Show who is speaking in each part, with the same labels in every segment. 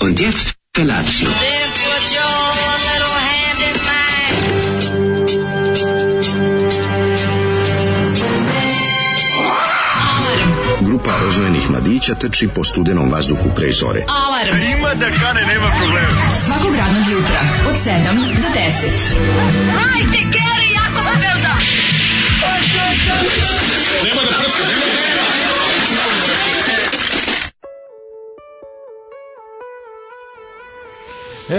Speaker 1: Und jetzt Felatio.
Speaker 2: Then put your little hand in mine.
Speaker 3: Grupa rozvojenih mladića trči po studenom vazduhu pre zore.
Speaker 4: Alarm. A ima da kane, nema problema. Svakog radnog jutra, od 7 do 10.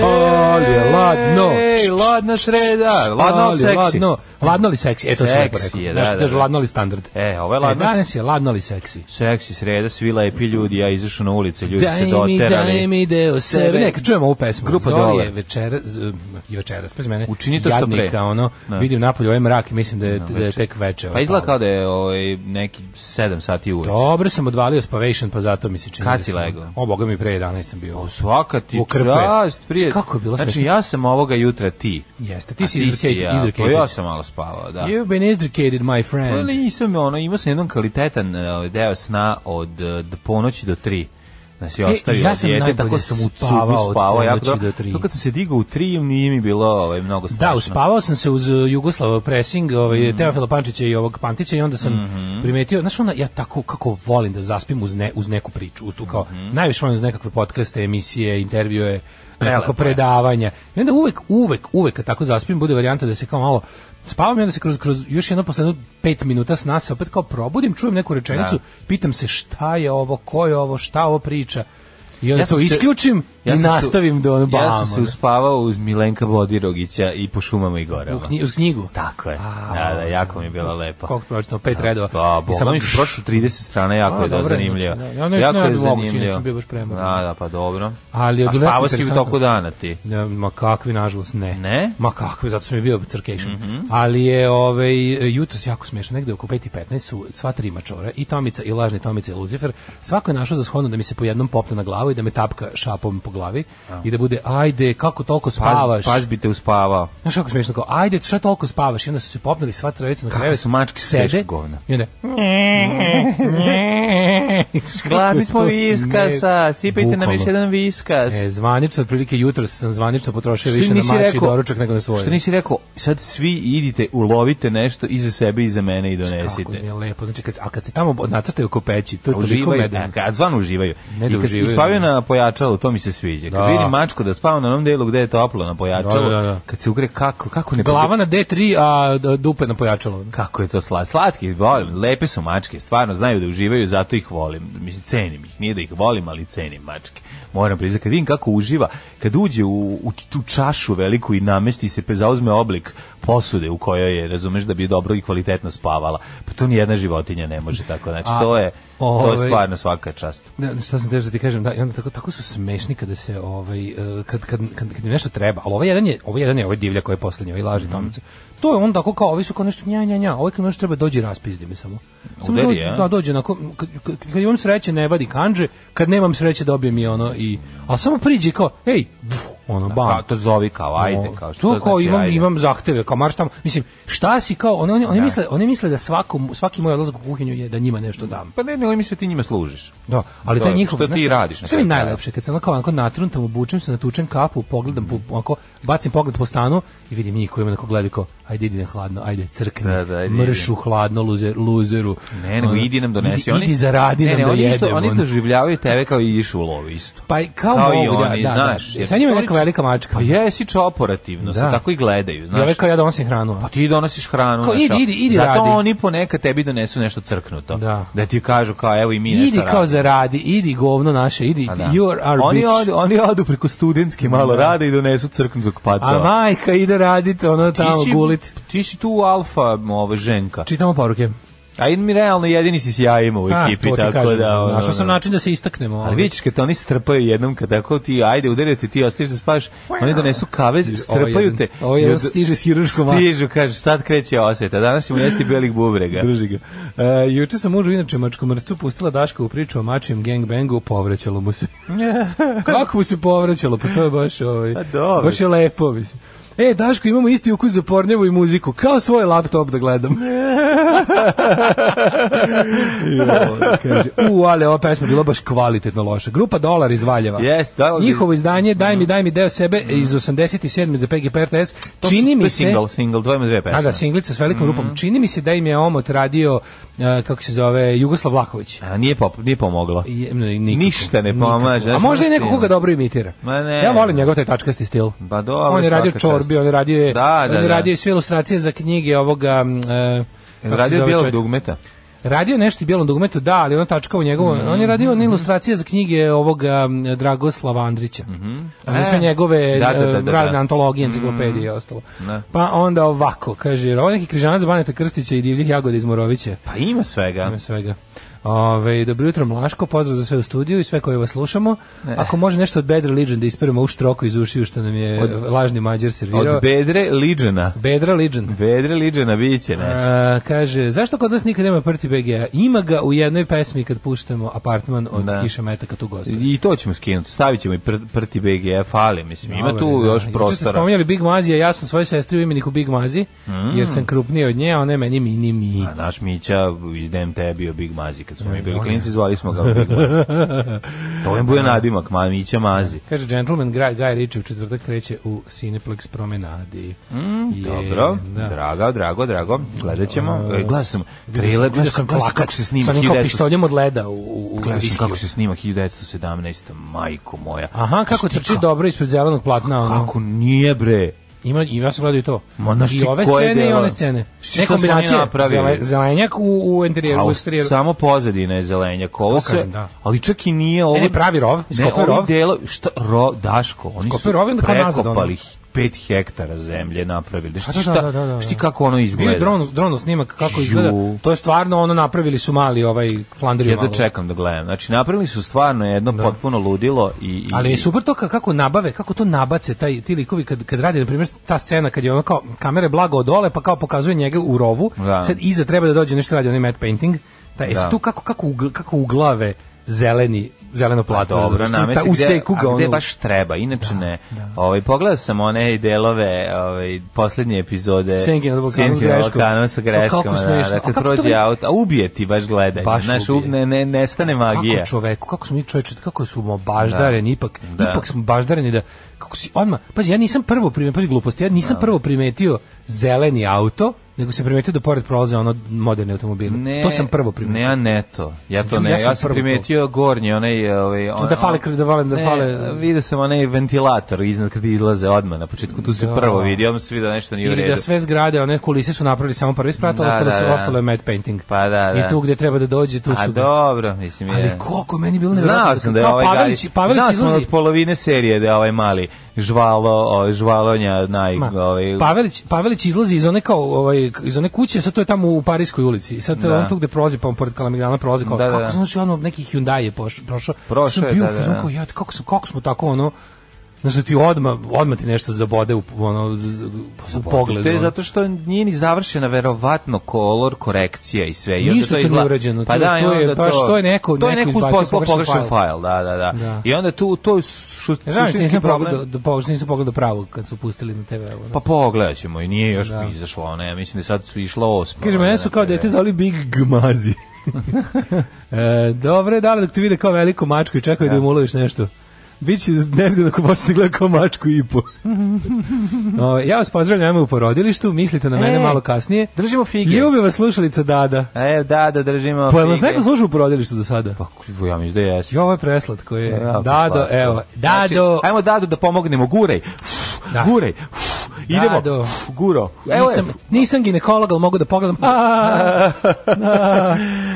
Speaker 5: Ali je ladno.
Speaker 6: Ej, ladna sreda, ladno ali
Speaker 5: Ali je
Speaker 6: seksi.
Speaker 5: Ladno, ladno li seksi? E, to sam
Speaker 6: Seksi
Speaker 5: lepo rekao.
Speaker 6: je,
Speaker 5: Je,
Speaker 6: da, da, da.
Speaker 5: ladno li standard.
Speaker 6: E, ovo je ladno-
Speaker 5: E, danas je ladno li seksi.
Speaker 6: Seksi sreda, svi lepi ljudi, ja izašao na ulicu, ljudi se
Speaker 5: Daj mi,
Speaker 6: doterali.
Speaker 5: daj mi deo sebe. Neka čujemo ovu pesmu.
Speaker 6: Grupa
Speaker 5: Zoli
Speaker 6: Dole.
Speaker 5: je večera, z- i večeras, pa mene.
Speaker 6: Učini to što pre.
Speaker 5: jadnika, ono,
Speaker 6: Da.
Speaker 5: vidim napolje ovaj mrak i mislim da je, da je
Speaker 6: večer.
Speaker 5: tek večer.
Speaker 6: Pa izgleda kao da je ovaj, neki 7 sati uveče.
Speaker 5: Dobro sam odvalio Spavation, pa zato mi se čini.
Speaker 6: Kad
Speaker 5: da
Speaker 6: si
Speaker 5: sam-
Speaker 6: legao?
Speaker 5: O, boga mi pre 11 sam bio.
Speaker 6: Svaka ti
Speaker 5: U krpe.
Speaker 6: čast, prije.
Speaker 5: Kako je bilo
Speaker 6: Znači,
Speaker 5: smešno?
Speaker 6: ja sam ovoga jutra ti.
Speaker 5: Jeste,
Speaker 6: A
Speaker 5: ti si izrekated.
Speaker 6: ja, pa ja sam malo spavao, da.
Speaker 5: You've been izrekated, my
Speaker 6: Pa
Speaker 5: friend.
Speaker 6: nisam, ono, imao sam jedan kvalitetan e, deo sna od e, do ponoći do tri. Nas je
Speaker 5: E,
Speaker 6: ostavio
Speaker 5: ja sam
Speaker 6: dijete, tako
Speaker 5: najbolje
Speaker 6: sam u cugu
Speaker 5: spavao od
Speaker 6: spavao. jako
Speaker 5: ponoći
Speaker 6: dobro.
Speaker 5: do tri.
Speaker 6: To kad sam se digao u tri, nije mi bilo ovaj, mnogo strašno.
Speaker 5: Da, uspavao sam se uz uh, Jugoslava pressing, ovaj
Speaker 6: Mhm.
Speaker 5: Teofila Pančića i ovog Pantića i onda sam primetio, znaš ona ja tako kako volim da zaspim uz ne, uz neku priču, uz tu kao najviše volim uz nekakve podcaste, emisije, intervjue,
Speaker 6: Mhm. Prelepo
Speaker 5: nekako
Speaker 6: je.
Speaker 5: predavanja. I onda uvek, uvek, uvek kad tako zaspim bude varijanta da se kao malo spavam i onda se kroz, kroz još jedno posle jedno pet minuta sna se opet kao probudim, čujem neku rečenicu, pitam se šta je ovo, ko je ovo, šta ovo priča. I onda
Speaker 6: Ja sam
Speaker 5: to
Speaker 6: se-
Speaker 5: isključim
Speaker 6: Ja
Speaker 5: i
Speaker 6: sam se-
Speaker 5: nastavim do ono
Speaker 6: Ja sam se
Speaker 5: bam, ono.
Speaker 6: uspavao uz Milenka Bodirogića i po šumama i
Speaker 5: U
Speaker 6: gorama.
Speaker 5: knji- uz knjigu.
Speaker 6: Tako je.
Speaker 5: A,
Speaker 6: Da, da, jako mi je bilo lepo.
Speaker 5: Pa, koliko pročitao, pet redova.
Speaker 6: Pa, bo,
Speaker 5: I samo
Speaker 6: mi su prošli 30 strana, jako
Speaker 5: A,
Speaker 6: je da
Speaker 5: dobro je,
Speaker 6: zanimljivo.
Speaker 5: znači, da. Ja ne- ne, moguće, inače bi bio baš premoran.
Speaker 6: Da, da, pa dobro.
Speaker 5: Ali je
Speaker 6: A
Speaker 5: bilo jako
Speaker 6: spavao si u
Speaker 5: interesantno.
Speaker 6: toku dana ti.
Speaker 5: Ne, ma kakvi, nažalost, ne.
Speaker 6: Ne? Mhm.
Speaker 5: Ma kakvi, zato sam i bio crkešan. Ali je ovaj, jutros jako smiješno, negde oko 5 i 15 su sva tri mačora, i Tomica, i lažni Tomica, i Lucifer. Svako je našao za shodno da mi se po jednom popne na glavu i da me tapka šapom po glavi i da bude, ajde, kako toliko
Speaker 6: Paz,
Speaker 5: spavaš?
Speaker 6: paz bi te uspavao.
Speaker 5: Znaš kako smiješno, kao, ajde, šta toliko spavaš? I onda su se popneli sva trojica na
Speaker 6: Kakve
Speaker 5: krevet.
Speaker 6: su mačke
Speaker 5: sede,
Speaker 6: teško govna.
Speaker 5: I onda...
Speaker 6: Gladni smo
Speaker 5: To smeš-
Speaker 6: viskasa, sipajte nam još
Speaker 5: Bukvalno.
Speaker 6: jedan viskas.
Speaker 5: E, zvanično, otprilike jutro sam zvanično potrošio više na
Speaker 6: nisi
Speaker 5: mači
Speaker 6: rekao-
Speaker 5: doručak nego na svoje.
Speaker 6: Što nisi rekao, sad svi idite, ulovite nešto iza sebe, iza mene i
Speaker 5: Kako mi
Speaker 6: donesite.
Speaker 5: je lepo, znači kad, a kad se tamo nacrtaju kopeći, to je toliko
Speaker 6: Uživaju,
Speaker 5: medeno.
Speaker 6: e, kad zvan uživaju.
Speaker 5: Ne da
Speaker 6: I kad
Speaker 5: uživaju,
Speaker 6: spavaju
Speaker 5: ne.
Speaker 6: na pojačalu, to mi se sviđa. Kad
Speaker 5: Da.
Speaker 6: vidim mačku da spava na onom delu gde je toplo na pojačalu,
Speaker 5: Da, da, da.
Speaker 6: kad se ugre kako, kako ne
Speaker 5: Glava na D3, a d- dupe na pojačalo.
Speaker 6: Kako je to slat, slatki, volim, lepe su mačke, stvarno znaju da uživaju, zato ih volim. Mislim, cenim ih, nije da ih volim, ali cenim mačke. Moram priznati, kad vidim kako uživa, kad uđe u, u tu čašu veliku i namesti se, pa zauzme oblik posude u kojoj je, razumeš, da bi dobro i kvalitetno spavala. Pa to nijedna životinja ne može tako, znači
Speaker 5: A,
Speaker 6: to je, to je
Speaker 5: ovaj-
Speaker 6: stvarno svaka čast.
Speaker 5: Ne, ne, šta sam teo da ti kažem, da, i onda tako, tako su smešni kada se, ovaj, e, kad, kad, kad, kad im nešto treba, ali ovaj jedan je, ovaj jedan je ovaj divlja koji je poslednji, ovaj
Speaker 6: Mhm.
Speaker 5: laži Tomica. To je on tako kao, ovi su kao nešto nja, nja, nja, ovaj kad mu nešto treba dođe i raspizdi mi samo. Samo
Speaker 6: Udari,
Speaker 5: dođe-
Speaker 6: a?
Speaker 5: da, dođe, onako, kad, kad, kad imam sreće ne vadi kanđe, kad nemam sreće dobijem i ono, i, a samo priđe kao, ej, pff, ono, bam.
Speaker 6: Kao to zovi kao, ajde,
Speaker 5: O,
Speaker 6: kao što
Speaker 5: to kao
Speaker 6: znači,
Speaker 5: imam
Speaker 6: ajde.
Speaker 5: imam zahteve kao marš tamo mislim šta si kao oni oni, oni misle oni misle da svakom svaki moj odlazak u kuhinju je da njima nešto dam
Speaker 6: Pa ne, nego mi se ti njima služiš.
Speaker 5: da, ali
Speaker 6: To
Speaker 5: taj
Speaker 6: je,
Speaker 5: njihov
Speaker 6: što
Speaker 5: znaš
Speaker 6: ti
Speaker 5: šta-
Speaker 6: radiš na
Speaker 5: Šta mi je
Speaker 6: kraju
Speaker 5: najlepše kad se onako onako natruntam, obučem se, natučem kapu, pogledam po, onako bacim pogled po stanu i vidim njih koji me onako gledaju kao ajde idi na hladno, ajde crkni,
Speaker 6: Da, da, ajde,
Speaker 5: mršu hladno luzer, luzeru.
Speaker 6: Ne, nego
Speaker 5: Ono,
Speaker 6: idi nam donesi.
Speaker 5: Idi, idi zaradi
Speaker 6: ne,
Speaker 5: nam
Speaker 6: ne,
Speaker 5: da
Speaker 6: oni
Speaker 5: jedemo.
Speaker 6: isto- Oni
Speaker 5: ono.
Speaker 6: doživljavaju tebe kao i iš u lovi isto.
Speaker 5: Pa i kao,
Speaker 6: kao i
Speaker 5: mogu, da,
Speaker 6: oni,
Speaker 5: da,
Speaker 6: znaš,
Speaker 5: da.
Speaker 6: jer
Speaker 5: Sa njima je
Speaker 6: to
Speaker 5: neka
Speaker 6: liči-
Speaker 5: velika mačka.
Speaker 6: Pa jesi čoporativno, se
Speaker 5: Da.
Speaker 6: tako i gledaju,
Speaker 5: I
Speaker 6: znaš.
Speaker 5: ove kao ja donosim hranu. a?
Speaker 6: Pa ti donosiš hranu.
Speaker 5: Kao,
Speaker 6: znaš,
Speaker 5: idi,
Speaker 6: a-
Speaker 5: idi, idi,
Speaker 6: Zato
Speaker 5: radi.
Speaker 6: oni ponekad tebi donesu nešto crknuto.
Speaker 5: Da.
Speaker 6: ti kažu kao evo i mi nešto
Speaker 5: Idi kao
Speaker 6: radimo.
Speaker 5: zaradi, idi govno naše, idi,
Speaker 6: Pa da.
Speaker 5: you are
Speaker 6: oni,
Speaker 5: bitch.
Speaker 6: odu, oni odu preko studentske malo rade i donesu crknutog
Speaker 5: A
Speaker 6: pacova.
Speaker 5: majka ide radit, ono
Speaker 6: Ti
Speaker 5: tamo
Speaker 6: si-
Speaker 5: gulit.
Speaker 6: Ti si tu alfa ova, ženka.
Speaker 5: Čitamo poruke.
Speaker 6: A i mi realno jedini si s jajima u
Speaker 5: A,
Speaker 6: ekipi,
Speaker 5: to ti
Speaker 6: tako
Speaker 5: kažem,
Speaker 6: da... ono,
Speaker 5: Našao sam
Speaker 6: ono.
Speaker 5: način da se istaknemo.
Speaker 6: Ali vidiš kad te oni strpaju jednom kad tako ti ajde udarite ti ostaješ da spavaš, oni donesu kavez, strpaju te.
Speaker 5: Ovo jedan
Speaker 6: i od-
Speaker 5: stiže s hiruškom.
Speaker 6: Stižu, kaže, sad kreće osveta. Danas ćemo jesti belih bubrega.
Speaker 5: Drži ga. E, juče sam mužu inače mačkomrcu pustila Daška u priču o mačijem gangbangu, povraćalo mu se. Kako mu se povraćalo? Pa to je baš ovaj.
Speaker 6: A dobro.
Speaker 5: Baš je lepo, mislim. E, Daško, imamo isti ukus za pornjevu i muziku. Kao svoj laptop da gledam. Joj, kaže, u, ali ova pesma je bila baš kvalitetno loša. Grupa Dolar iz Valjeva.
Speaker 6: Jest, Dolar iz-
Speaker 5: Njihovo izdanje, daj mi, daj mi deo sebe, iz 87. za PGP RTS.
Speaker 6: To
Speaker 5: Čini
Speaker 6: su- to
Speaker 5: mi
Speaker 6: je
Speaker 5: se...
Speaker 6: Single, single, to ima dve pesme.
Speaker 5: A da, singlica s velikom
Speaker 6: Mhm.
Speaker 5: grupom. Čini mi se da im je Omot radio, eh, kako se zove, Jugoslav Vlahović.
Speaker 6: A, nije, pop, nije pomoglo.
Speaker 5: Je- ne, nikako,
Speaker 6: Ništa ne
Speaker 5: nikako.
Speaker 6: pomaže,
Speaker 5: A
Speaker 6: znaš,
Speaker 5: možda i
Speaker 6: ono
Speaker 5: neko
Speaker 6: ti-
Speaker 5: koga dobro imitira.
Speaker 6: Ma ne.
Speaker 5: Ja volim njegov taj tačkasti stil.
Speaker 6: Pa dobro,
Speaker 5: on je radio
Speaker 6: svaka
Speaker 5: čorbi,
Speaker 6: čast.
Speaker 5: on je radio, je-
Speaker 6: Da, da,
Speaker 5: on je
Speaker 6: da.
Speaker 5: radio i sve ilustracije za knjige ovoga... mm, e, kako se
Speaker 6: Radio
Speaker 5: zove
Speaker 6: bijelog
Speaker 5: čovjek?
Speaker 6: dugmeta.
Speaker 5: Radio je nešto i bijelom dugmetu, da, ali ono tačka u njegovom.
Speaker 6: Mhm,
Speaker 5: On je radio one ilustracije za knjige ovoga mm, Dragoslava Andrića. Mm -hmm. sve
Speaker 6: E.
Speaker 5: njegove
Speaker 6: Da, da, da, Mhm.
Speaker 5: e,
Speaker 6: da,
Speaker 5: razne
Speaker 6: da.
Speaker 5: antologije, enciklopedije i ostalo.
Speaker 6: Da.
Speaker 5: Pa onda ovako, kaže, ovo je neki križanac Baneta Krstića i divljih jagoda iz Morovića.
Speaker 6: Pa ima svega.
Speaker 5: Ima svega. Ove, dobro jutro Mlaško, pozdrav za sve u studiju i sve koje vas slušamo. Ako može nešto od Bad Religion da isperemo u štroku iz ušiju što nam je lažni mađar servirao.
Speaker 6: Od bedre liđena.
Speaker 5: Bedra Religion.
Speaker 6: Bedre liđena bit će nešto.
Speaker 5: A, kaže, zašto kod nas nikad nema prti BGA? Ima ga u jednoj pesmi kad puštamo apartman od
Speaker 6: Da.
Speaker 5: Kiša Metaka tu gostu.
Speaker 6: I to ćemo skinuti. Stavit ćemo i pr prti BGF, ali mislim, ima tu još
Speaker 5: Juče ste
Speaker 6: prostora.
Speaker 5: spominjali Big Mazija, ja sam svoje sestri u imeniku Big Mazi,
Speaker 6: Mm.
Speaker 5: jer sam krupniji od nje, a ona je meni mini mi.
Speaker 6: A Pa naš Mića iz DMT je bio Big Mazi. Kad smo mi bili klinici, zvali smo ga Big Mazi. To je bio nadimak, ma, Mića Mazi.
Speaker 5: Kaže Gentleman Guy, Guy Ritchie u četvrtak kreće u Cineplex promenadi.
Speaker 6: Mm.
Speaker 5: Mm, Je,
Speaker 6: Dobro,
Speaker 5: da.
Speaker 6: drago, drago, drago. Gledat ćemo. E, Gledao sam trailer, gledao
Speaker 5: Vidio
Speaker 6: sam, gledao sam kako se snima.
Speaker 5: Sa onim kao
Speaker 6: 1900.
Speaker 5: pištoljem od leda u, u, u
Speaker 6: Gledao sam
Speaker 5: viskiju.
Speaker 6: kako se snima 1917. Majko moja.
Speaker 5: Aha, kako
Speaker 6: Znaš ti
Speaker 5: trči dobro ispred zelenog platna. ono.
Speaker 6: Kako nije bre?
Speaker 5: Ima, i ja sam gledao i to.
Speaker 6: Ma, znaš
Speaker 5: I
Speaker 6: ti
Speaker 5: ove
Speaker 6: koje
Speaker 5: scene i
Speaker 6: dela?
Speaker 5: one scene.
Speaker 6: Šta
Speaker 5: Ne
Speaker 6: su oni
Speaker 5: kombinacije.
Speaker 6: napravili?
Speaker 5: zele- Zelenjak u, u interijeru.
Speaker 6: A
Speaker 5: u
Speaker 6: u-
Speaker 5: eksterijeru.
Speaker 6: samo pozadina je zelenjak. Ovo
Speaker 5: To
Speaker 6: se,
Speaker 5: kažem, da.
Speaker 6: ali čak i nije ovo.
Speaker 5: Ne, ne, pravi rov,
Speaker 6: Ne,
Speaker 5: iskopaju
Speaker 6: ovi
Speaker 5: rov.
Speaker 6: delo, šta, ro, Daško, oni su
Speaker 5: Iskopaju rov i onda kao nazad ono.
Speaker 6: prekopali 5 hektara zemlje napravili. Šta,
Speaker 5: da,
Speaker 6: šta,
Speaker 5: da, da, da, da.
Speaker 6: šta kako ono
Speaker 5: Bio je
Speaker 6: izgleda?
Speaker 5: dron, dron snimak kako
Speaker 6: Ju.
Speaker 5: izgleda. To je stvarno ono napravili su mali ovaj flanderiju
Speaker 6: Ja
Speaker 5: malu.
Speaker 6: da čekam da gledam. Znači, napravili su stvarno jedno potpuno ludilo i... i
Speaker 5: Ali je super to ka- kako nabave, kako to nabace taj ti likovi kad kad radi na primjer ta scena kad je ono kao kamere blago od dole pa kao pokazuje njega u rovu.
Speaker 6: Da.
Speaker 5: Sad iza treba da dođe nešto radi onaj matte painting. Taj e
Speaker 6: Da.
Speaker 5: sad tu kako kako ugl- kako uglave zeleni zeleno plato.
Speaker 6: Pa Dobro,
Speaker 5: razumeš,
Speaker 6: namesti
Speaker 5: znači, ta-
Speaker 6: gde-
Speaker 5: useku ga
Speaker 6: a gde
Speaker 5: ono.
Speaker 6: baš treba, inače ne. Ovaj, pogledao sam one delove ovaj, poslednje epizode
Speaker 5: Senki na Balkanu s
Speaker 6: Senki na
Speaker 5: greškom.
Speaker 6: Balkanu sa greškama.
Speaker 5: A kako smešno,
Speaker 6: Da,
Speaker 5: a
Speaker 6: kad
Speaker 5: kako to
Speaker 6: prođe
Speaker 5: meni-
Speaker 6: auto, a ubije ti baš gledanje.
Speaker 5: Baš
Speaker 6: znaš,
Speaker 5: ubije.
Speaker 6: ub- ne, ne, nestane magija.
Speaker 5: Kako čoveku, kako smo mi čoveče, kako smo baždareni, ipak,
Speaker 6: Da.
Speaker 5: ipak smo baždareni da, kako si, odmah, pazi, ja nisam prvo primetio, pazi gluposti, ja nisam prvo primetio zeleni auto, nego sam primetio da pored prolaze ono moderni automobili. to sam prvo
Speaker 6: Ne,
Speaker 5: primetio.
Speaker 6: ja ne to. Ja to
Speaker 5: Ja
Speaker 6: ne. Ja
Speaker 5: sam
Speaker 6: sam,
Speaker 5: prvo to.
Speaker 6: primetio gornji onaj ovaj on,
Speaker 5: Da fale kr- da volim da
Speaker 6: ne,
Speaker 5: fale-
Speaker 6: Video sam onaj ventilator iznad kad izlaze odmah na početku tu se
Speaker 5: Da.
Speaker 6: prvo vidi, ja se video da nešto nije u
Speaker 5: Ili
Speaker 6: redu.
Speaker 5: da sve zgrade, one kulise su napravili samo prvi sprat, da,
Speaker 6: Da,
Speaker 5: ostalo,
Speaker 6: da,
Speaker 5: su,
Speaker 6: da.
Speaker 5: ostalo je matte painting.
Speaker 6: Pa da, da.
Speaker 5: I tu gdje treba da dođe, tu
Speaker 6: A
Speaker 5: su...
Speaker 6: dobro, mislim je.
Speaker 5: Ali koliko je meni bilo nevjerojatno.
Speaker 6: Znao sam da je
Speaker 5: Kao
Speaker 6: ovaj
Speaker 5: Pavelić,
Speaker 6: Garić-
Speaker 5: Pavelić
Speaker 6: znao sam ono
Speaker 5: izlazi.
Speaker 6: od polovine serije da je ovaj mali žvalo, o, žvalonja naj,
Speaker 5: Ma, pa
Speaker 6: ovaj,
Speaker 5: Pavelić, Pavelić izlazi iz one kao ovaj iz one kuće, sad to je tamo u Pariskoj ulici. I sad to je
Speaker 6: Da.
Speaker 5: on tu gde prolazi pa on pored Kalamigdana prolazi kao
Speaker 6: Da, da,
Speaker 5: kako
Speaker 6: da.
Speaker 5: znači ono neki Hyundai je poš- prošao.
Speaker 6: Prošao
Speaker 5: sam
Speaker 6: je,
Speaker 5: bio
Speaker 6: da,
Speaker 5: u
Speaker 6: da,
Speaker 5: fazonu
Speaker 6: da.
Speaker 5: kao, ja, kako sam kako smo tako ono Znaš da ti odma odma ti nešto zabode u ono z- u pogledu.
Speaker 6: To je
Speaker 5: ono.
Speaker 6: zato što nije ni završena verovatno kolor korekcija i sve. I onda
Speaker 5: Ništa
Speaker 6: to
Speaker 5: tu nije
Speaker 6: izla-
Speaker 5: urađeno.
Speaker 6: Pa
Speaker 5: Tu
Speaker 6: da,
Speaker 5: je-
Speaker 6: i
Speaker 5: tu je-
Speaker 6: onda
Speaker 5: baš to je neko-
Speaker 6: to je
Speaker 5: neko
Speaker 6: neko
Speaker 5: izbacio
Speaker 6: poslao
Speaker 5: pogrešan
Speaker 6: pogrešan
Speaker 5: fajl.
Speaker 6: fajl, da, da, da.
Speaker 5: Da.
Speaker 6: I onda tu to je su,
Speaker 5: Ne znam, ti
Speaker 6: suštinski
Speaker 5: nisam
Speaker 6: problem.
Speaker 5: pogledao, da, da, nisam pogledao pravo kad su pustili na TV. Ono.
Speaker 6: Pa pogledat ćemo i nije još
Speaker 5: Da.
Speaker 6: izašla ona, ja mislim da je sad su išla osma. ono,
Speaker 5: Kaže,
Speaker 6: ona
Speaker 5: mene su
Speaker 6: na
Speaker 5: kao
Speaker 6: TV.
Speaker 5: dete zvali Big Gmazi. e, dobre, dale, dok te vide kao veliku mačku i čekaju da im uloviš nešto. Biće nezgodno ako počnete gledati kao mačku i po. o, ja vas pozdravljam u porodilištu, mislite na mene
Speaker 6: E,
Speaker 5: malo kasnije.
Speaker 6: Držimo fige.
Speaker 5: Ljubi vas slušalica Dada.
Speaker 6: E, da, da držimo
Speaker 5: Pa je vas
Speaker 6: fige.
Speaker 5: neko slušao u porodilištu do sada?
Speaker 6: Pa, k- ja mislim da jesi.
Speaker 5: Jo, ovo je preslat koji je.
Speaker 6: Jako
Speaker 5: Dado,
Speaker 6: slatko.
Speaker 5: evo.
Speaker 6: Znači,
Speaker 5: Dado,
Speaker 6: ajmo Dado da pomognemo, guraj.
Speaker 5: Da.
Speaker 6: Guraj. Idemo.
Speaker 5: Dado.
Speaker 6: Guro. Evo
Speaker 5: nisam,
Speaker 6: je.
Speaker 5: nisam ginekolog, ali mogu da pogledam. A,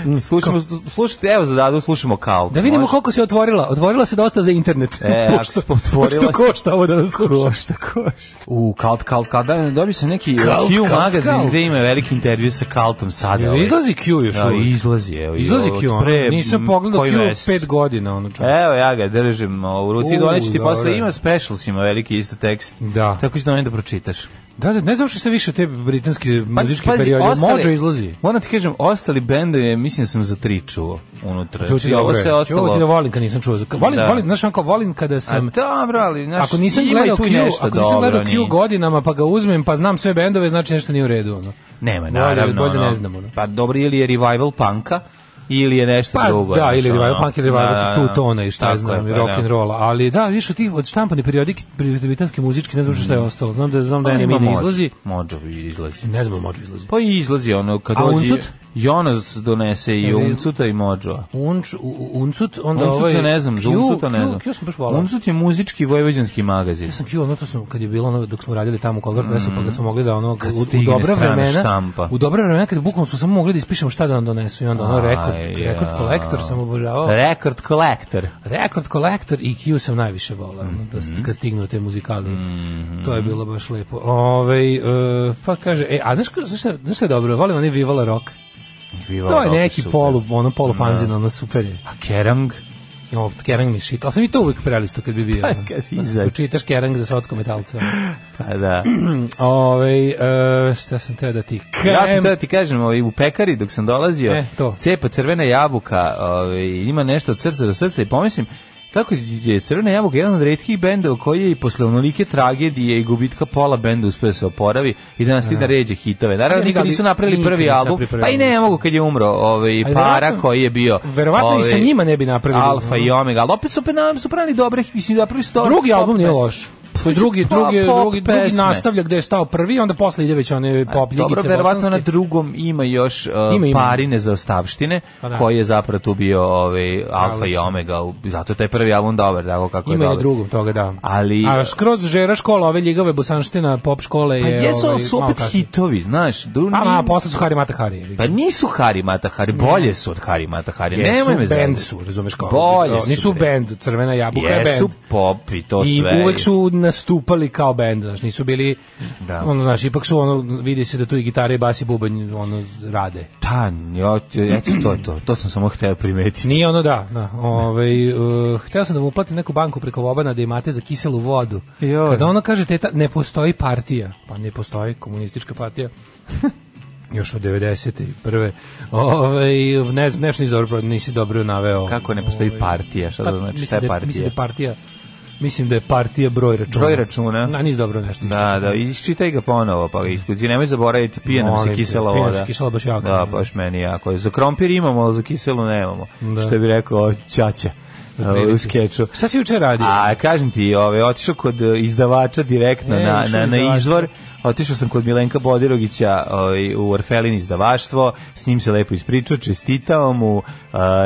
Speaker 6: Mm, Slušamo, slušajte, evo za Dadu slušamo kao.
Speaker 5: da vidimo koliko se otvorila. Otvorila se dosta za internet.
Speaker 6: E, ako se otvorila
Speaker 5: pošto
Speaker 6: se-
Speaker 5: košta ovo da nas sluša. Košta, košta.
Speaker 6: U, kalt, kalt, kalt. Da, dobio sam neki
Speaker 5: Kalt,
Speaker 6: Q
Speaker 5: kalt,
Speaker 6: magazin
Speaker 5: kalt.
Speaker 6: gde ima veliki intervju sa kaltom sada.
Speaker 5: Jel
Speaker 6: ovaj.
Speaker 5: izlazi Q još
Speaker 6: Da,
Speaker 5: uvijek?
Speaker 6: izlazi, evo.
Speaker 5: Izlazi
Speaker 6: od
Speaker 5: Q, ono.
Speaker 6: pre,
Speaker 5: nisam
Speaker 6: m,
Speaker 5: pogledao
Speaker 6: koji
Speaker 5: Q
Speaker 6: mesec. E?
Speaker 5: pet godina, ono čovječe.
Speaker 6: Evo, ja ga držim o, u ruci,
Speaker 5: U,
Speaker 6: doneću ti
Speaker 5: dobro.
Speaker 6: posle, ima specials, ima veliki isto tekst.
Speaker 5: Da.
Speaker 6: Tako ću doneći da čitaš.
Speaker 5: Da, da, ne znam što više te britanske muzičke
Speaker 6: Pa, pazi,
Speaker 5: periode.
Speaker 6: ostale-
Speaker 5: Mođo izlazi.
Speaker 6: Moram ti kažem, ostali bendovi, mislim da sam za tri čuo unutra.
Speaker 5: Čuti
Speaker 6: I Znači, ovo
Speaker 5: dobro.
Speaker 6: se
Speaker 5: je.
Speaker 6: ostalo...
Speaker 5: Ovo ti da volim kad nisam čuo. Kad Volim,
Speaker 6: Da.
Speaker 5: volim, znaš, onako, volim kada sam...
Speaker 6: A dobro, ali, znaš,
Speaker 5: ako nisam
Speaker 6: ima i
Speaker 5: gledao
Speaker 6: tu
Speaker 5: Q,
Speaker 6: nešto
Speaker 5: ako nisam
Speaker 6: dobro,
Speaker 5: gledao Q
Speaker 6: nije.
Speaker 5: godinama pa ga uzmem pa znam sve bendove, znači nešto nije u redu. Ono.
Speaker 6: Nema,
Speaker 5: Bolje-
Speaker 6: naravno.
Speaker 5: bolje
Speaker 6: ono.
Speaker 5: ne znamo, da.
Speaker 6: Pa dobro, ili je revival punka, ili je nešto
Speaker 5: Pa
Speaker 6: drugo.
Speaker 5: da,
Speaker 6: znaš,
Speaker 5: ili revival
Speaker 6: ono.
Speaker 5: punk ili revival
Speaker 6: Da, da, da.
Speaker 5: tu tona i šta
Speaker 6: Tako
Speaker 5: ja znam,
Speaker 6: je,
Speaker 5: i
Speaker 6: pa
Speaker 5: rock
Speaker 6: da.
Speaker 5: and rolla, ali da, više od tih od štampane periodike britanske muzičke, ne znam šta je ostalo. Znam da znam da
Speaker 6: Pa
Speaker 5: Enemy ne
Speaker 6: Mođo.
Speaker 5: izlazi.
Speaker 6: Mođo izlazi.
Speaker 5: Ne znam da može izlazi.
Speaker 6: Pa i izlazi ono, kad
Speaker 5: A
Speaker 6: dođe...
Speaker 5: Uncut?
Speaker 6: Jonas donese i
Speaker 5: Ili-
Speaker 6: Uncuta i Mođova.
Speaker 5: Unč, u- u- uncut, onda
Speaker 6: Uncuta
Speaker 5: ovaj...
Speaker 6: ne znam, za
Speaker 5: Q,
Speaker 6: Uncuta ne
Speaker 5: Q,
Speaker 6: znam.
Speaker 5: Q sam baš volao.
Speaker 6: Uncut je muzički vojvođanski magazin.
Speaker 5: sam Q, ono to smo, kad je bilo ono, dok smo radili tamo u Color Pressu, pa kad smo mogli da ono, u, u
Speaker 6: stigne
Speaker 5: dobra
Speaker 6: strana
Speaker 5: vremena,
Speaker 6: štampa.
Speaker 5: u dobra vremena, kad bukvalno smo samo mogli da ispišemo šta da nam donesu i onda ono, rekord,
Speaker 6: Aj,
Speaker 5: rekord
Speaker 6: ja.
Speaker 5: kolektor sam obožavao.
Speaker 6: Record Collector.
Speaker 5: Rekord kolektor i Q sam najviše volao, mm
Speaker 6: Mhm.
Speaker 5: -hmm. kad stignu te muzikali. To je bilo baš lepo. Ove, pa kaže, e, a znaš, ko- znaš, šta- znaš šta je dobro? Volim onaj Vivala Rock.
Speaker 6: Viva
Speaker 5: To je
Speaker 6: rock,
Speaker 5: neki
Speaker 6: super. Pa
Speaker 5: polu, ono polu fanzin, ono super je.
Speaker 6: A Kerang?
Speaker 5: Jo, Kerang mi shit. Ali sam i to uvijek prelisto kad bi bio. ono.
Speaker 6: Pa, kad izađe.
Speaker 5: Čitaš Kerang za sotsko metalca.
Speaker 6: Pa da.
Speaker 5: Ove, e, šta sam teo da ti kažem?
Speaker 6: Ja sam teo da ti kažem, ovaj, u pekari dok sam dolazio,
Speaker 5: E, to.
Speaker 6: cepa crvena jabuka, ovaj, ima nešto od srca do srca i pomislim, kako je Crvena jabuka jedan od retkih benda koji je i posle onolike tragedije i gubitka pola benda uspio da se oporavi i danas ti da ređe hitove. Naravno,
Speaker 5: Ja
Speaker 6: nikad
Speaker 5: nikad-
Speaker 6: nisu napravili
Speaker 5: nikad
Speaker 6: prvi
Speaker 5: nisu
Speaker 6: album,
Speaker 5: napravili prvi
Speaker 6: pa i
Speaker 5: album,
Speaker 6: ne
Speaker 5: mislim.
Speaker 6: mogu kad je umro ovaj,
Speaker 5: Ali
Speaker 6: para
Speaker 5: verovatno-
Speaker 6: koji je bio. ovaj,
Speaker 5: verovatno i sa njima ne bi napravili. ono.
Speaker 6: Alfa i Omega, ali opet su, opet nam, su pravili dobre, mislim, napravili su dobre
Speaker 5: Drugi
Speaker 6: pop
Speaker 5: album nije
Speaker 6: pesme.
Speaker 5: loš.
Speaker 6: Pa,
Speaker 5: Drugi,
Speaker 6: pa,
Speaker 5: drugi,
Speaker 6: pop
Speaker 5: drugi, drugi
Speaker 6: pesme.
Speaker 5: nastavlja gde je stao prvi, onda posle ide već one pop ljigice
Speaker 6: Dobro, verovatno na
Speaker 5: bosanske.
Speaker 6: drugom ima još uh,
Speaker 5: Ima, ima.
Speaker 6: parine za ostavštine,
Speaker 5: Pa da.
Speaker 6: koji je zapravo tu bio ovaj, alfa
Speaker 5: Pravo
Speaker 6: i
Speaker 5: si.
Speaker 6: omega, u- zato je taj prvi album dobar, tako kako je
Speaker 5: Ima i na
Speaker 6: dobar.
Speaker 5: drugom toga, da.
Speaker 6: Ali- e,
Speaker 5: A skroz žera škola, ove ljigave bosanština, pop škole
Speaker 6: Pa
Speaker 5: je...
Speaker 6: jesu,
Speaker 5: ovaj,
Speaker 6: ali su
Speaker 5: malo
Speaker 6: opet
Speaker 5: kasnije.
Speaker 6: hitovi, znaš. Du,
Speaker 5: Pa, ma,
Speaker 6: ni-
Speaker 5: posle su Hari Mata Hari. jebi ga.
Speaker 6: pa nisu Hari Mata Hari, bolje su od Hari Mata Hari,
Speaker 5: Jesu,
Speaker 6: nemoj me
Speaker 5: bend
Speaker 6: zezati.
Speaker 5: su, razumeš kao.
Speaker 6: Bolje su,
Speaker 5: Nisu
Speaker 6: bre.
Speaker 5: bend, Crvena jabuka je
Speaker 6: Jesu
Speaker 5: bend.
Speaker 6: pop i to
Speaker 5: I
Speaker 6: sve.
Speaker 5: uvek su nastupali kao bend, znaš, nisu bili,
Speaker 6: Da.
Speaker 5: ono, znaš, ipak su, ono, vidi se da tu i gitare i bas i bubanj, ono, rade.
Speaker 6: Da, ja, eto, to, to, to sam samo hteo primetiti.
Speaker 5: Nije ono da, da. Ovaj uh, hteo sam da mu uplatim neku banku preko Vobana da imate za kiselu vodu.
Speaker 6: Joj.
Speaker 5: Kada ono kaže teta ne postoji partija, pa ne postoji komunistička partija. Još od 90. prve. Ovaj ne znam, nešto nisi dobro nisi dobro naveo.
Speaker 6: Kako ne postoji
Speaker 5: Ovaj,
Speaker 6: partija, šta
Speaker 5: pa,
Speaker 6: da znači, šta
Speaker 5: mislim
Speaker 6: je
Speaker 5: da- Mislim da
Speaker 6: partija?
Speaker 5: je partija Mislim da je partija broj računa.
Speaker 6: Broj računa.
Speaker 5: Na, nisi dobro nešto.
Speaker 6: Da, da, iščitaj ga ponovo, pa ga iskuci. Nemoj zaboraviti, pije nam
Speaker 5: Molim
Speaker 6: se
Speaker 5: te,
Speaker 6: kisela voda.
Speaker 5: pije nam se kisela baš jako.
Speaker 6: Da, baš meni jako. je. Za krompir imamo, ali za kiselu nemamo.
Speaker 5: Da.
Speaker 6: Što bi rekao Ćaća ovaj, u skeču.
Speaker 5: Šta si juče radio?
Speaker 6: A kažem ti, ove, otišao kod eh, izdavača direktno
Speaker 5: E,
Speaker 6: na,
Speaker 5: išao
Speaker 6: na, na
Speaker 5: izdavač.
Speaker 6: izvor, otišao sam kod Milenka Bodirogića ovaj, u Orfelin izdavaštvo, s njim se lepo ispričao, čestitao mu,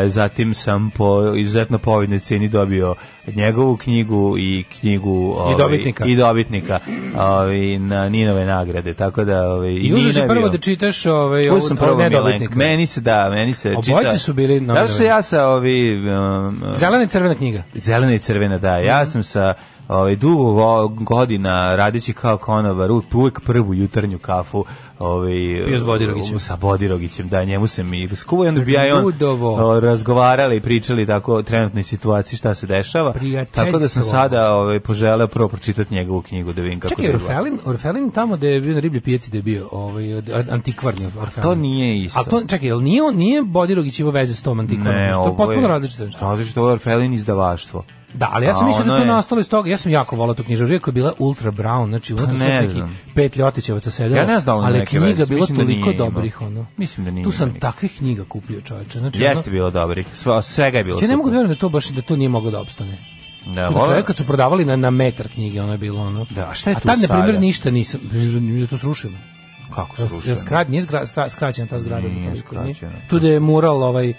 Speaker 6: eh, zatim sam po izuzetno povidnoj ceni dobio njegovu knjigu i knjigu ovaj,
Speaker 5: dobitnika.
Speaker 6: i dobitnika ovaj, na Ninove nagrade, tako da ovaj,
Speaker 5: I uzeo si
Speaker 6: Nina je
Speaker 5: prvo
Speaker 6: bio-
Speaker 5: da čitaš ovaj,
Speaker 6: Uzeo sam
Speaker 5: ovo,
Speaker 6: prvo
Speaker 5: ovo
Speaker 6: Milenka.
Speaker 5: nedobitnika.
Speaker 6: Meni se da, meni se čita.
Speaker 5: Obojica su bili
Speaker 6: Zato što
Speaker 5: novinari.
Speaker 6: ja sa ovi... um, um,
Speaker 5: Zelena i crvena knjiga.
Speaker 6: zelena i crvena, da. Ja
Speaker 5: Mhm.
Speaker 6: sam sa ovaj, dugo go- godina radeći kao konobar, uvijek, uvijek prvu jutarnju kafu ovaj,
Speaker 5: Pio s Bodirogićem.
Speaker 6: sa Bodirogićem, da, njemu sam i skuvao i onda bi ja i on
Speaker 5: Ludovo.
Speaker 6: o, razgovarali i pričali tako o trenutnoj situaciji šta se dešava.
Speaker 5: Prijateljstvo.
Speaker 6: Tako da sam sada ovaj, poželeo prvo pročitati njegovu knjigu da vidim kako
Speaker 5: Čekaj,
Speaker 6: je bila.
Speaker 5: Orfelin, Orfelin tamo gde je bio na riblji pijaci gde je bio, ovaj, od- od- antikvarni Orfelin.
Speaker 6: To nije isto.
Speaker 5: A to, čekaj, jel nije, on- nije Bodirogić imao veze s tom antikvarnom? Znači,
Speaker 6: Ne,
Speaker 5: to
Speaker 6: ovo
Speaker 5: je potpuno različito. nešto.
Speaker 6: Različito, ovo je Orfelin izdavaštvo.
Speaker 5: Da, ali ja
Speaker 6: A
Speaker 5: sam mislio da
Speaker 6: ono
Speaker 5: je to
Speaker 6: je-
Speaker 5: nastalo iz toga. Ja sam jako volao tu knjižaru, iako je bila ultra brown, znači unutra su
Speaker 6: Pa ne
Speaker 5: neki
Speaker 6: znam.
Speaker 5: pet ljotićevaca sedelo.
Speaker 6: Ja ne znam da li ima
Speaker 5: ali
Speaker 6: neke
Speaker 5: knjiga
Speaker 6: veze.
Speaker 5: bila
Speaker 6: Mislim da nije
Speaker 5: toliko
Speaker 6: imao.
Speaker 5: dobrih, ono.
Speaker 6: Mislim da nije
Speaker 5: Tu sam
Speaker 6: imao neke.
Speaker 5: takvih knjiga kupio, čoveče. Znači,
Speaker 6: Jeste
Speaker 5: ono,
Speaker 6: bilo dobrih, sve, svega je bilo
Speaker 5: ja ne mogu da
Speaker 6: super.
Speaker 5: verujem da to baš da to nije moglo da opstane.
Speaker 6: Da,
Speaker 5: Na
Speaker 6: volim-
Speaker 5: kraju kad su prodavali na, na metar knjige, ono je bilo ono.
Speaker 6: Da, a šta je
Speaker 5: a
Speaker 6: tu
Speaker 5: tad, na primjer,
Speaker 6: sada?
Speaker 5: ništa nisam, mi je to srušeno.
Speaker 6: Kako
Speaker 5: Ja
Speaker 6: srušeno?
Speaker 5: skrad, nije zgra, stra, skraćena ta zgrada
Speaker 6: Nije
Speaker 5: za to.
Speaker 6: skraćena.
Speaker 5: Tu da je mural ovaj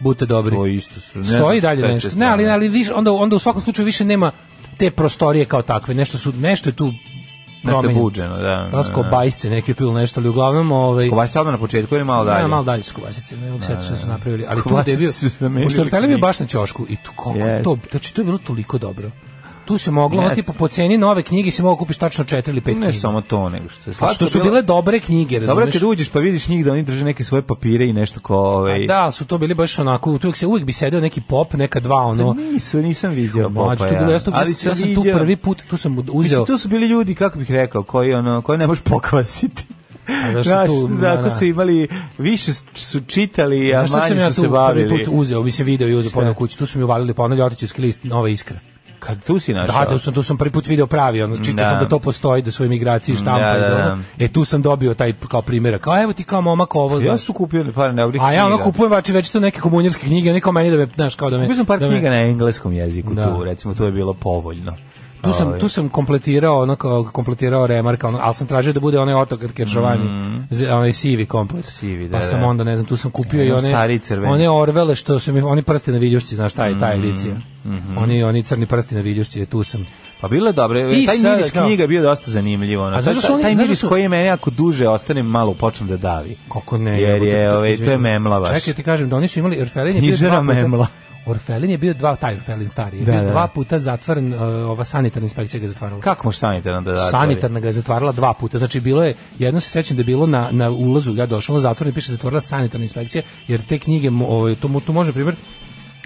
Speaker 5: Bute dobri.
Speaker 6: To isto su. ne znam
Speaker 5: Stoji
Speaker 6: šta
Speaker 5: dalje
Speaker 6: je te
Speaker 5: nešto. Ne,
Speaker 6: strane.
Speaker 5: ali ali više onda onda u svakom slučaju više nema te prostorije kao takve. Nešto su nešto je tu
Speaker 6: Nešto je
Speaker 5: promenjeno.
Speaker 6: buđeno, da.
Speaker 5: Da, skobajsce neke tu ili nešto, ali uglavnom ovaj
Speaker 6: Skobaš sad na početku ili malo dalje?
Speaker 5: Ne, malo dalje su kobasice, ne mogu se setiti šta su napravili, ali tu
Speaker 6: Kobasice
Speaker 5: gde je bio,
Speaker 6: su zamenili
Speaker 5: pošto je Orfelin bio
Speaker 6: knjigu.
Speaker 5: baš na ćošku i tu kako
Speaker 6: Jeste.
Speaker 5: to, znači to je bilo toliko dobro. tu se moglo,
Speaker 6: Ne.
Speaker 5: ono, tipo, po ceni nove knjige si mogao kupiš tačno četiri ili pet
Speaker 6: Ne
Speaker 5: knjiga.
Speaker 6: samo to, nego što je
Speaker 5: Pa što su bile dobre knjige,
Speaker 6: Dobro,
Speaker 5: razumeš?
Speaker 6: kad uđeš pa vidiš njih da oni drže neke svoje papire i nešto ko... Ovaj,
Speaker 5: Pa Da, ali su to bili baš onako, uvijek se uvijek bi sedeo neki pop, neka dva ono.
Speaker 6: Nisu, nisam vidio
Speaker 5: Mlađe,
Speaker 6: Popa
Speaker 5: tu bilo,
Speaker 6: pa ja.
Speaker 5: ja, sam, ja, sam, ja sam tu
Speaker 6: vidio-
Speaker 5: prvi put, tu sam uzeo.
Speaker 6: Mislim, tu su bili ljudi, kako bih rekao, koji, ono, koji ne možeš pokvasiti.
Speaker 5: A zašto
Speaker 6: Znaš,
Speaker 5: tu-
Speaker 6: da,
Speaker 5: da,
Speaker 6: ako
Speaker 5: da.
Speaker 6: su imali, više su čitali, a
Speaker 5: Znaš šta sam
Speaker 6: manje
Speaker 5: ja
Speaker 6: su
Speaker 5: tu
Speaker 6: se
Speaker 5: prvi
Speaker 6: bavili.
Speaker 5: put uzeo, mislim video i uzeo poneo kući, tu su mi uvalili ponavlja otićevski list Nova iskra.
Speaker 6: Kad tu si našao?
Speaker 5: Da, da sam, tu sam prvi put video pravi, ono, čitao
Speaker 6: Da.
Speaker 5: sam da to postoji, da su emigraciji štampaju.
Speaker 6: Da,
Speaker 5: Da,
Speaker 6: da, da.
Speaker 5: ono. E, tu sam dobio taj kao primjerak, kao evo ti kao momak ovo,
Speaker 6: Ja
Speaker 5: znaš.
Speaker 6: sam tu kupio par neobrih
Speaker 5: A ja ono
Speaker 6: knjiga.
Speaker 5: kupujem vači već to neke komunjarske knjige, oni kao meni da me, znaš, kao da me...
Speaker 6: Kupio sam par
Speaker 5: da me-
Speaker 6: knjiga na engleskom jeziku
Speaker 5: Da.
Speaker 6: tu, recimo, to je bilo povoljno.
Speaker 5: Tu sam,
Speaker 6: Ovaj.
Speaker 5: tu sam kompletirao ono kao kompletirao remarka, ono, ali sam tražio da bude onaj otok Keršovani, mm. onaj sivi komplet.
Speaker 6: Sivi, da,
Speaker 5: pa sam
Speaker 6: da.
Speaker 5: onda, ne znam, tu sam kupio
Speaker 6: Ono
Speaker 5: i one,
Speaker 6: stariji crveni. Mm,
Speaker 5: one orvele što su mi, oni prsti na viljušci, znaš, taj, taj edicija.
Speaker 6: mhm.
Speaker 5: Oni, oni crni prsti na viljušci, tu sam.
Speaker 6: Pa bilo je dobro.
Speaker 5: I
Speaker 6: Taj
Speaker 5: sada
Speaker 6: miris
Speaker 5: kao-
Speaker 6: knjiga je bio dosta zanimljiv. Ono.
Speaker 5: A znaš da su
Speaker 6: Taj-
Speaker 5: oni-
Speaker 6: taj
Speaker 5: znaš da
Speaker 6: miris
Speaker 5: su-
Speaker 6: koji je meni jako duže ostane malo počnem da davi.
Speaker 5: Kako ne?
Speaker 6: Jer
Speaker 5: jebote,
Speaker 6: je, ovaj, to je memla baš.
Speaker 5: Čekaj, ti kažem da oni su imali Orfelin je bio
Speaker 6: Knjižara
Speaker 5: dva puta.
Speaker 6: memla.
Speaker 5: Orfelin je bio dva, taj Orfelin stari, je
Speaker 6: Da,
Speaker 5: bio
Speaker 6: da.
Speaker 5: dva puta zatvoren, e, ova sanitarna inspekcija ga je zatvarala.
Speaker 6: Kako može sanitarno da zatvori?
Speaker 5: Sanitarna ga je zatvarala dva puta. Znači bilo je jedno se sećam da je bilo na na ulazu ja došao na zatvor i piše zatvorila sanitarna inspekcija jer te knjige mo- ovaj to mu tu može primer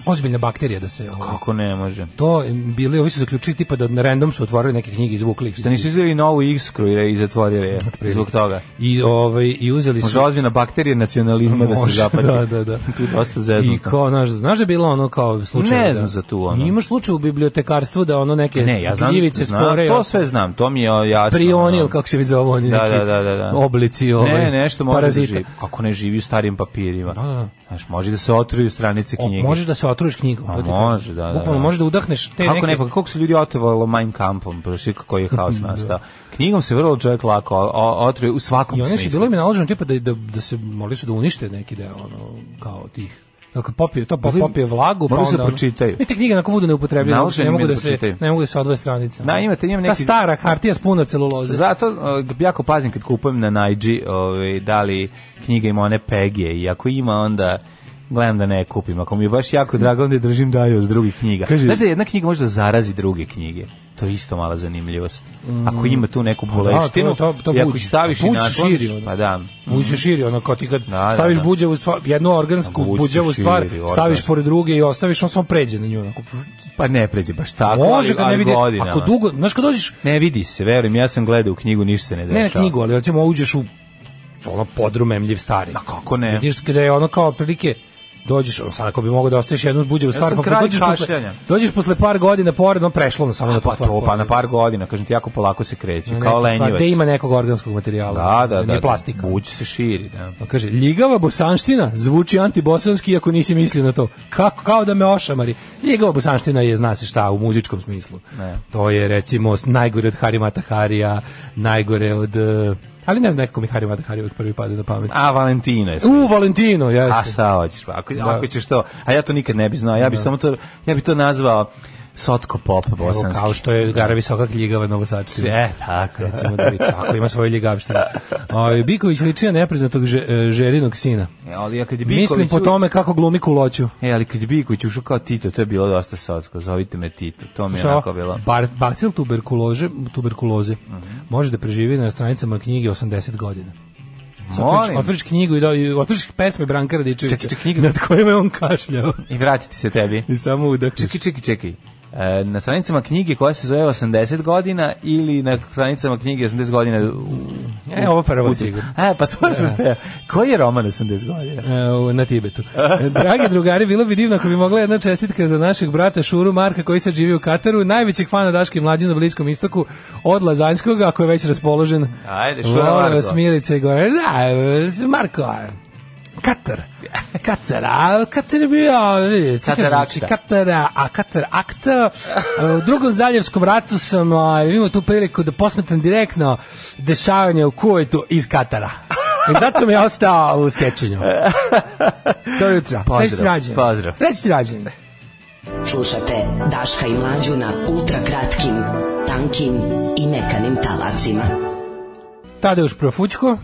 Speaker 5: ozbiljna bakterija da se ovaj,
Speaker 6: Kako ne može?
Speaker 5: to bili ovi su zaključili tipa da na random su otvorili neke knjige izvukli ih.
Speaker 6: Da nisu izveli novu iskru i- i zatvorili je
Speaker 5: Otprilike.
Speaker 6: zbog toga.
Speaker 5: i ovaj i uzeli su
Speaker 6: Može ozbiljna bakterija nacionalizma da se
Speaker 5: Može,
Speaker 6: zapati.
Speaker 5: da, da, da.
Speaker 6: Tu je dosta
Speaker 5: I
Speaker 6: zeznuto.
Speaker 5: kao, znaš, znaš da je bilo ono kao slučaj?
Speaker 6: Ne
Speaker 5: da-
Speaker 6: znam za tu, ono.
Speaker 5: Imaš slučaj u bibliotekarstvu da ono neke
Speaker 6: Ne, ja znam,
Speaker 5: gljivice
Speaker 6: znam,
Speaker 5: spore.
Speaker 6: to sve znam, to mi je jasno.
Speaker 5: Prionil,
Speaker 6: ono.
Speaker 5: kako se vidi zove, oni
Speaker 6: Da,
Speaker 5: neki
Speaker 6: da, da, da, da.
Speaker 5: oblici ovaj,
Speaker 6: Ne, nešto može
Speaker 5: parazita.
Speaker 6: da živi. Kako ne živi u starim papirima.
Speaker 5: da, da.
Speaker 6: Znaš, može da se otruju stranice
Speaker 5: O,
Speaker 6: knjige.
Speaker 5: možeš da se otruviš knjigom.
Speaker 6: A
Speaker 5: to ti
Speaker 6: može,
Speaker 5: kažem.
Speaker 6: da, da,
Speaker 5: Bukvalno
Speaker 6: da.
Speaker 5: možeš da udahneš te
Speaker 6: Kako
Speaker 5: neke...
Speaker 6: ne, pa kako su ljudi otovalo Mein Kampom, prošli koji je haos nastao. Knjigom se vrlo čovjek lako o- o- otruje u svakom
Speaker 5: I oni su
Speaker 6: smislu.
Speaker 5: bilo im naloženo tipa da, da, da se morali su da unište neki deo, ono, kao tih Dakle, popije, to pop-
Speaker 6: Bili-
Speaker 5: popije vlagu, pa
Speaker 6: morali
Speaker 5: onda...
Speaker 6: su da
Speaker 5: ono-
Speaker 6: pročitaju.
Speaker 5: Mislim, te knjige onako budu neupotrебljene,
Speaker 6: Naloženo
Speaker 5: ne
Speaker 6: im je
Speaker 5: mogu
Speaker 6: da
Speaker 5: da se,
Speaker 6: pročitaju.
Speaker 5: ne mogu da se odvoje stranice.
Speaker 6: Da, imate, imam
Speaker 5: Ta
Speaker 6: neki-
Speaker 5: stara hartija s puno celuloze.
Speaker 6: Zato uh, jako pazim kad kupujem na Najdži, ovaj, da li knjiga ima one pegije i ako ima onda gledam da ne kupim. Ako mi je baš jako drago, onda je držim dalje od drugih knjiga.
Speaker 5: Kaže-
Speaker 6: Znaš da jedna knjiga može da zarazi druge knjige? To je isto mala zanimljivost. Ako ima tu neku buleštinu,
Speaker 5: Mm. to- to- to
Speaker 6: i ako
Speaker 5: buđi.
Speaker 6: ih staviš i
Speaker 5: Buđ se
Speaker 6: nakloniš,
Speaker 5: širi, ono.
Speaker 6: pa da.
Speaker 5: Buđ se širi, ono kao ti kad
Speaker 6: Da, da,
Speaker 5: staviš
Speaker 6: da.
Speaker 5: buđavu stvar, jednu organsku
Speaker 6: Buđ se
Speaker 5: buđavu
Speaker 6: širi,
Speaker 5: stvar,
Speaker 6: organska.
Speaker 5: staviš pored druge i ostaviš, on samo pređe na nju. Onako.
Speaker 6: Pa ne pređe baš tako,
Speaker 5: Može
Speaker 6: ali-
Speaker 5: kad
Speaker 6: ali
Speaker 5: ne vidi,
Speaker 6: godinama.
Speaker 5: ako dugo, znaš kad dođeš,
Speaker 6: Ne vidi se, verujem, ja sam gledao u knjigu, ništa se ne dešava.
Speaker 5: ne na knjigu, ali recimo uđeš u ono podrum emljiv stari.
Speaker 6: A kako ne?
Speaker 5: Vidiš kada je ono kao otprilike dođeš, ono, sad ako bi mogao da ostaviš jednu buđavu stvar,
Speaker 6: sam
Speaker 5: pa kad
Speaker 6: kralj
Speaker 5: dođeš posle,
Speaker 6: kašljanja.
Speaker 5: dođeš posle par godina pored, on prešlo ono samo na tu
Speaker 6: Pa
Speaker 5: stvar
Speaker 6: to, pa
Speaker 5: pored.
Speaker 6: na par godina, kažem ti, jako polako se kreće,
Speaker 5: Na
Speaker 6: kao
Speaker 5: neke stvari,
Speaker 6: lenjivac.
Speaker 5: Gde ima nekog organskog materijala?
Speaker 6: Da, da, da.
Speaker 5: Nije plastika.
Speaker 6: Buć se širi, da.
Speaker 5: Pa kaže, ljigava bosanština zvuči antibosanski ako nisi mislio na to. Kako, kao da me ošamari. Ljigava bosanština je, zna se šta, u muzičkom smislu. To je, recimo, s- najgore od Harimata Harija, najgore od... eh, Ali ne znam, nekako mi Harimata Harija uvijek prvi pade na pamet.
Speaker 6: A Valentino je.
Speaker 5: U, Valentino, jeste.
Speaker 6: A šta hoćeš? pa, Ako, ako ćeš to, a ja to nikad ne bi znao. Ja bi samo to, ja bi to nazvao socko pop
Speaker 5: Evo,
Speaker 6: bosanski.
Speaker 5: kao što je Gara Visoka ljigava novosačina.
Speaker 6: E, tako.
Speaker 5: Recimo da vidi, svako ima svoju ljigavštinu. Ovaj, Biković liči na nepriznatog že, eh, žerinog sina.
Speaker 6: E, Ali ja kad je Biković...
Speaker 5: Mislim po tome kako glumi kuloću.
Speaker 6: E, ali kad je Biković ušao kao Tito, to je bilo dosta socko. Zovite me Tito. To mi je
Speaker 5: Slušaj,
Speaker 6: onako bilo. Mhm.
Speaker 5: Bar, bacil tuberkuloze, tuberkuloze može da preživi na stranicama knjige 80 godina. Sad Otvoriš,
Speaker 6: Molim.
Speaker 5: otvoriš knjigu i, do, i otvoriš pesme Branka Radičevića
Speaker 6: Čekaj, čekaj, knjiga-
Speaker 5: nad kojima je on kašljao
Speaker 6: I vratiti se tebi.
Speaker 5: i samo udahneš.
Speaker 6: Čekaj, čekaj, čekaj. E, na stranicama knjige koja se zove 80 godina ili na stranicama knjige 80 godina u-
Speaker 5: E, ovo prvo
Speaker 6: u-
Speaker 5: sigurno.
Speaker 6: E, pa to sam te. Koji je roman 80 godina?
Speaker 5: E, u- na Tibetu. E, Dragi drugari, bilo bi divno ako bi mogla jedna čestitka za našeg brata Šuru Marka koji sad živi u Kataru, najvećeg fana Daške mlađe na Bliskom istoku, od Lazanjskog, ako je već raspoložen.
Speaker 6: Ajde, Šura
Speaker 5: Vole
Speaker 6: Marko.
Speaker 5: vas Milice i Goran. Da, Marko, Katar. Katar, a Katar je bio, vidi, ti kažeš,
Speaker 6: Katarakta.
Speaker 5: Katara, a Katar akta. U drugom zaljevskom ratu sam a, imao tu priliku da posmetram direktno dešavanje u Kuvajtu iz Katara. I zato mi je ostao u sjećanju. Do jutra.
Speaker 6: Pozdrav,
Speaker 5: Sreći rađenje.
Speaker 6: pozdrav.
Speaker 5: Sreći rađenje.
Speaker 4: Slušate Daška i Mlađu na ultra kratkim, tankim i mekanim talasima.
Speaker 5: Tadeuš Profućko.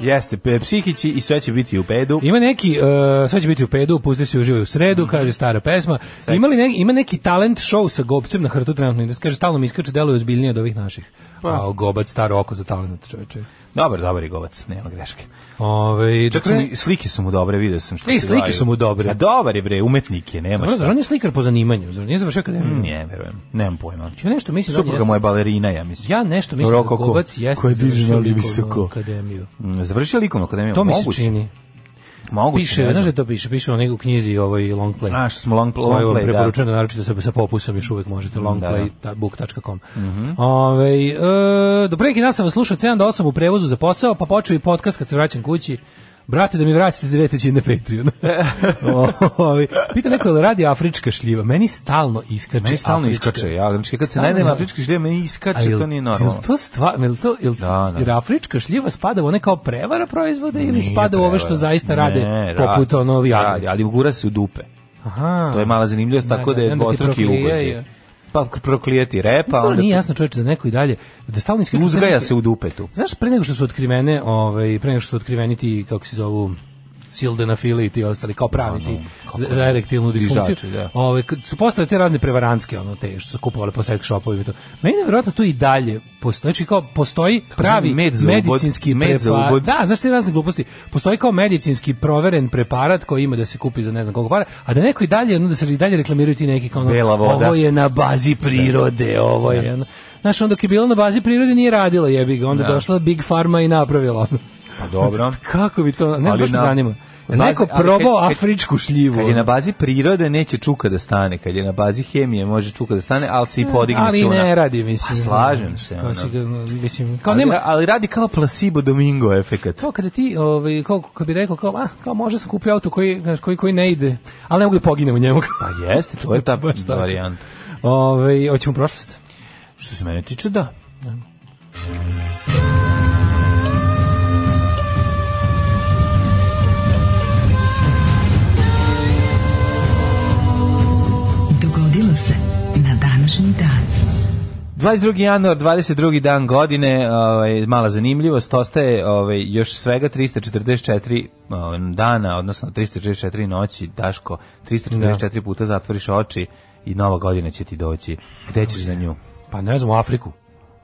Speaker 6: Jeste, pe- psihići i sve će biti u pedu.
Speaker 5: Ima neki, uh, sve će biti u pedu, pusti se uživaju u sredu,
Speaker 6: Mhm.
Speaker 5: kaže stara pesma. Ima, li ne, ima neki talent show sa gobcem na hrtu trenutno, da kaže stalno mi iskače, deluje ozbiljnije od ovih naših. Pa. A gobac, staro oko za talent, čoveče.
Speaker 6: Dobar, dobar je govac, nema greške.
Speaker 5: Ove,
Speaker 6: Čak
Speaker 5: dok
Speaker 6: su
Speaker 5: ne-
Speaker 6: mi, slike su mu dobre, vidio sam što
Speaker 5: I
Speaker 6: se
Speaker 5: slike
Speaker 6: daju.
Speaker 5: su mu dobre.
Speaker 6: A dobar je bre, umetnik je, nema
Speaker 5: Dobro, zar
Speaker 6: šta.
Speaker 5: on je slikar po zanimanju, zar nije završio akademiju?
Speaker 6: Ne, verujem, nemam pojma.
Speaker 5: Ja nešto mislim da on
Speaker 6: Supruga
Speaker 5: jeste-
Speaker 6: mu je balerina, ja mislim.
Speaker 5: Ja nešto mislim da
Speaker 6: Rokoko,
Speaker 5: Gobac jeste
Speaker 6: koja diže
Speaker 5: završio
Speaker 6: na livi
Speaker 5: likovnu
Speaker 6: visoko.
Speaker 5: akademiju.
Speaker 6: Mm, Završio likovnu akademiju,
Speaker 5: To mi se
Speaker 6: moguće.
Speaker 5: čini.
Speaker 6: Moguće,
Speaker 5: Piše,
Speaker 6: ne znam.
Speaker 5: znaš da to piše, piše u nekoj knjizi ovoj long play.
Speaker 6: Znaš, smo long play,
Speaker 5: Ovo
Speaker 6: long
Speaker 5: je vam
Speaker 6: play, da.
Speaker 5: preporučeno, naročito sa, sa popusom još uvek možete,
Speaker 6: da. Mhm.
Speaker 5: longplaybook.com. Ovaj, e, do pre neki dan sam vas slušao 7 do 8 u prevozu za posao, pa počeo i podcast kad se vraćam kući. Brate, da mi vratite dve trećine Patreon. Pita neko, je li radi afrička šljiva? Meni stalno iskače
Speaker 6: Meni stalno
Speaker 5: afrička.
Speaker 6: iskače, ja, znači kad se
Speaker 5: Stalno
Speaker 6: najdem
Speaker 5: je-
Speaker 6: na afrički šljiv, meni
Speaker 5: A
Speaker 6: iskače,
Speaker 5: jel,
Speaker 6: to nije normalno.
Speaker 5: Jel to stva, jel to, jel,
Speaker 6: Da, da.
Speaker 5: jer afrička šljiva spada u one kao prevara proizvode ili
Speaker 6: Nije
Speaker 5: spada u ove što
Speaker 6: prevara.
Speaker 5: zaista
Speaker 6: Ne,
Speaker 5: rade
Speaker 6: ra-
Speaker 5: poput ono
Speaker 6: radi, ali gura se u dupe.
Speaker 5: Aha.
Speaker 6: To je mala zanimljivost,
Speaker 5: Da,
Speaker 6: tako
Speaker 5: da,
Speaker 6: da je
Speaker 5: onda ti
Speaker 6: dvostruki
Speaker 5: proklijaju.
Speaker 6: ugođaj. Pa proklijeti repa,
Speaker 5: Pa
Speaker 6: onda
Speaker 5: nije jasno čoveče da neko i dalje da stalno iskače
Speaker 6: uzgaja se u dupetu.
Speaker 5: Znaš, pre nego što su otkrivene, ovaj, pre nego što su otkriveni ti, kako se zovu, sildenafili i ti ostali, kao
Speaker 6: Pa
Speaker 5: pravi ti za, za erektilnu disfunkciju.
Speaker 6: Dižači, da.
Speaker 5: Ovaj, kad su postale te razne prevarantske, ono, te što su kupovali po sex shopovima i to. Meni je nevjerojatno tu i dalje postoji, znači kao postoji pravi
Speaker 6: med za ubod,
Speaker 5: medicinski
Speaker 6: med za
Speaker 5: preparat.
Speaker 6: ubod.
Speaker 5: Da, znaš te razne gluposti. Postoji kao medicinski proveren preparat koji ima da se kupi za ne znam koliko para, a da neko i dalje, ono, da se i dalje reklamiraju ti neki kao ono,
Speaker 6: Bela voda.
Speaker 5: ovo je na bazi prirode, ovo je. ono. Znaš, onda dok je bilo na bazi prirode nije radilo jebi ga, onda
Speaker 6: Da.
Speaker 5: došla Big Pharma i napravila ono.
Speaker 6: Pa dobro.
Speaker 5: Kako bi to, ne znam
Speaker 6: Ali
Speaker 5: baš me
Speaker 6: na-
Speaker 5: zanima.
Speaker 6: na
Speaker 5: Neko
Speaker 6: bazi- ali
Speaker 5: probao
Speaker 6: kad- kad-
Speaker 5: afričku šljivu. ono.
Speaker 6: Kad je na bazi prirode neće čuka da stane, kad je na bazi hemije može čuka da stane, ali se i podigne
Speaker 5: Eh, ali
Speaker 6: čuna.
Speaker 5: ne radi, mislim.
Speaker 6: Pa slažem se,
Speaker 5: Kao
Speaker 6: ono.
Speaker 5: si ga, mislim, kao
Speaker 6: ali,
Speaker 5: nema,
Speaker 6: ali radi kao placebo domingo efekat.
Speaker 5: to kada ti, ovaj, kao, kako bi rekao, kao, ah, kao može sam kupio auto koji, znaš, koji, koji ne ide, ali ne mogu da poginem u njemu.
Speaker 6: Pa jeste, to je ta
Speaker 5: Baš tako.
Speaker 6: varijanta.
Speaker 5: Ove, hoćemo u prošlost.
Speaker 6: Što se mene tiče, da.
Speaker 4: Dogodilo se na današnji dan.
Speaker 6: 22. januar, 22. dan godine, ovaj, mala zanimljivost, ostaje ovaj, još svega 344 ovaj, dana, odnosno 344 noći, Daško, 344 puta zatvoriš oči i nova godina će ti doći. Gde ćeš za nju?
Speaker 5: Pa ne znam, u Afriku.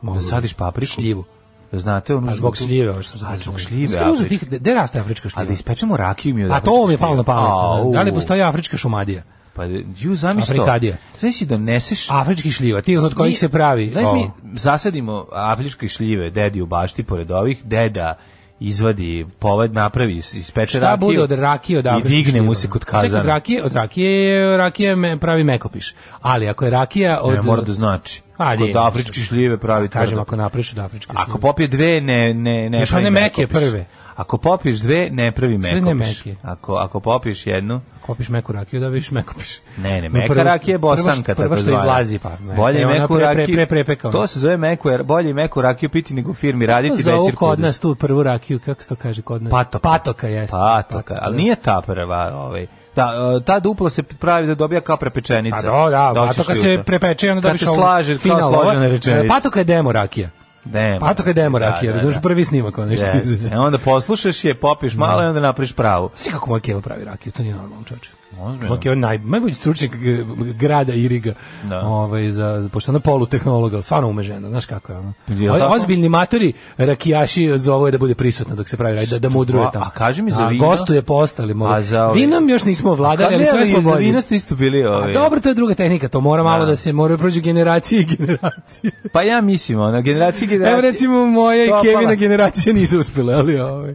Speaker 5: Mogu
Speaker 6: Da sadiš papriku?
Speaker 5: Ovaj, Šljivu.
Speaker 6: Da znate ono...
Speaker 5: A zbog
Speaker 6: žutu-
Speaker 5: šljive, ovo što sam
Speaker 6: A
Speaker 5: pričao.
Speaker 6: zbog šljive,
Speaker 5: Skoro su
Speaker 6: Afrika.
Speaker 5: tih, gde raste afrička šljiva?
Speaker 6: A da ispečemo rakiju mi od
Speaker 5: A to
Speaker 6: afričke
Speaker 5: mi je palo na
Speaker 6: šljive.
Speaker 5: pamet.
Speaker 6: Au.
Speaker 5: Da li postoji afrička šumadija?
Speaker 6: Pa, ju, zamisli to.
Speaker 5: Afrikadija.
Speaker 6: Znaš si doneseš...
Speaker 5: Afrički šljiva, ti ono od kojih se pravi.
Speaker 6: Znaš
Speaker 5: o,
Speaker 6: mi, zasadimo afričke šljive dedi u bašti pored ovih, deda izvadi poved, napravi, is- ispeče
Speaker 5: Šta
Speaker 6: rakiju.
Speaker 5: bude od rakije od
Speaker 6: I
Speaker 5: afričkih
Speaker 6: digne mu
Speaker 5: šljiva?
Speaker 6: se kod
Speaker 5: Čekaj, od
Speaker 6: kazana.
Speaker 5: rakije, od rakije, je- rakija me pravi mekopiš. Ali ako je rakija od...
Speaker 6: Ne mora da znači.
Speaker 5: A, nije,
Speaker 6: kod afričke šljive pravi
Speaker 5: Kažem,
Speaker 6: tvrdo.
Speaker 5: ako napriš od afričke šljive.
Speaker 6: Ako popije dve, ne, ne, ne
Speaker 5: Još
Speaker 6: pravi
Speaker 5: one meke
Speaker 6: mekopiš.
Speaker 5: prve.
Speaker 6: Ako popiješ dve, ne pravi
Speaker 5: Sve ne
Speaker 6: mekopiš.
Speaker 5: meke.
Speaker 6: Ako, ako popiješ jednu,
Speaker 5: Ako popiš meku rakiju, dobiš mekopiš.
Speaker 6: Ne, ne,
Speaker 5: No,
Speaker 6: meka
Speaker 5: prvo-
Speaker 6: rakija je bosanka
Speaker 5: prvo što-
Speaker 6: tako
Speaker 5: Prvo što izlazi, pa. meka
Speaker 6: Bolje
Speaker 5: je ona
Speaker 6: meku
Speaker 5: pre- pre-
Speaker 6: rakiju.
Speaker 5: Pre, pre, prepekao.
Speaker 6: To se zove meku, jer bolje meku rakiju piti nego u firmi raditi
Speaker 5: Zovu
Speaker 6: večer
Speaker 5: kod
Speaker 6: kod
Speaker 5: nas tu prvu rakiju, kako se to kaže kod nas?
Speaker 6: Patoka.
Speaker 5: Patoka, jeste.
Speaker 6: Patoka, Pa, ali nije ta prva, ovaj. Da, e, ta dupla se pravi da dobija kao prepečenica.
Speaker 5: Pa do, da,
Speaker 6: Doćiš
Speaker 5: patoka
Speaker 6: ti u
Speaker 5: se
Speaker 6: to.
Speaker 5: prepeče i onda
Speaker 6: Kad
Speaker 5: dobiš
Speaker 6: se
Speaker 5: ovu
Speaker 6: slaže,
Speaker 5: final,
Speaker 6: kao
Speaker 5: ovo.
Speaker 6: složena
Speaker 5: E, pa
Speaker 6: rečenica.
Speaker 5: Patoka je demo rakija.
Speaker 6: Demo.
Speaker 5: Patoka je demo
Speaker 6: Da,
Speaker 5: rakija,
Speaker 6: da,
Speaker 5: razumiješ
Speaker 6: da.
Speaker 5: prvi snimak ono, onaj što
Speaker 6: Jeste. E, onda poslušaš je, popiš malo i onda napriš pravu.
Speaker 5: Svi kako moja keva pravi rakiju, to nije normalno čoče.
Speaker 6: Ozbiljno?
Speaker 5: Moja keva je naj, najbolji stručnjak g- grada Iriga,
Speaker 6: Da.
Speaker 5: ovaj, za, za- pošto je ona polutehnologa, ali stvarno ume žena, znaš kako je ona.
Speaker 6: Pa Je li
Speaker 5: O-
Speaker 6: tako?
Speaker 5: Ozbiljni matori rakijaši zovu je da bude prisutna dok se pravi rakija, da, da mudruje
Speaker 6: A-
Speaker 5: tamo.
Speaker 6: a kaži mi za vino?
Speaker 5: Gostuje postali,
Speaker 6: A za ove-
Speaker 5: Vinom još nismo vladali, ali
Speaker 6: Pa ne,
Speaker 5: sve smo
Speaker 6: za
Speaker 5: bolji.
Speaker 6: vino ste isto bili,
Speaker 5: A
Speaker 6: ovaj.
Speaker 5: dobro, to je druga tehnika, to mora malo da, se moraju prođu generacije i generacije.
Speaker 6: Pa ja mislim, ona generacija generacija.
Speaker 5: Evo recimo moja i
Speaker 6: Stopala.
Speaker 5: Kevina generacija nisu uspjele, ali ovaj, e, ove.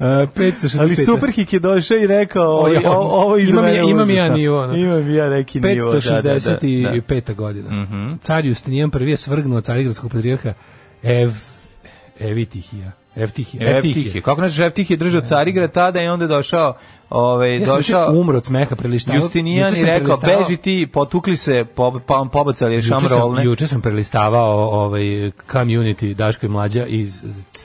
Speaker 5: 565.
Speaker 6: Ali Superhik je došao i rekao, ovo,
Speaker 5: O, ja,
Speaker 6: ovo, ovo iz
Speaker 5: ono- imam
Speaker 6: mene
Speaker 5: ja- imam ja
Speaker 6: užasno.
Speaker 5: nivo, ono.
Speaker 6: Imam ja neki nivo. da, Mhm. da, da, da.
Speaker 5: 565. godina. Car Justinijan prvi je svrgnuo carigradskog patrijarha Ev, Evitihija. Evtihija.
Speaker 6: Evtih je. Kako naš Evtih je držao Carigrad tada i onda je došao, ovaj,
Speaker 5: Ja sam
Speaker 6: došao
Speaker 5: juče umro od smeha prelistavao.
Speaker 6: Justinijan
Speaker 5: Juče
Speaker 6: i
Speaker 5: sam
Speaker 6: rekao,
Speaker 5: prelistavao-
Speaker 6: beži ti, potukli se, po, pa, pobacali je
Speaker 5: Juče sam-
Speaker 6: šamrolne.
Speaker 5: Juče sam prelistavao ovaj community Daško i Mlađa i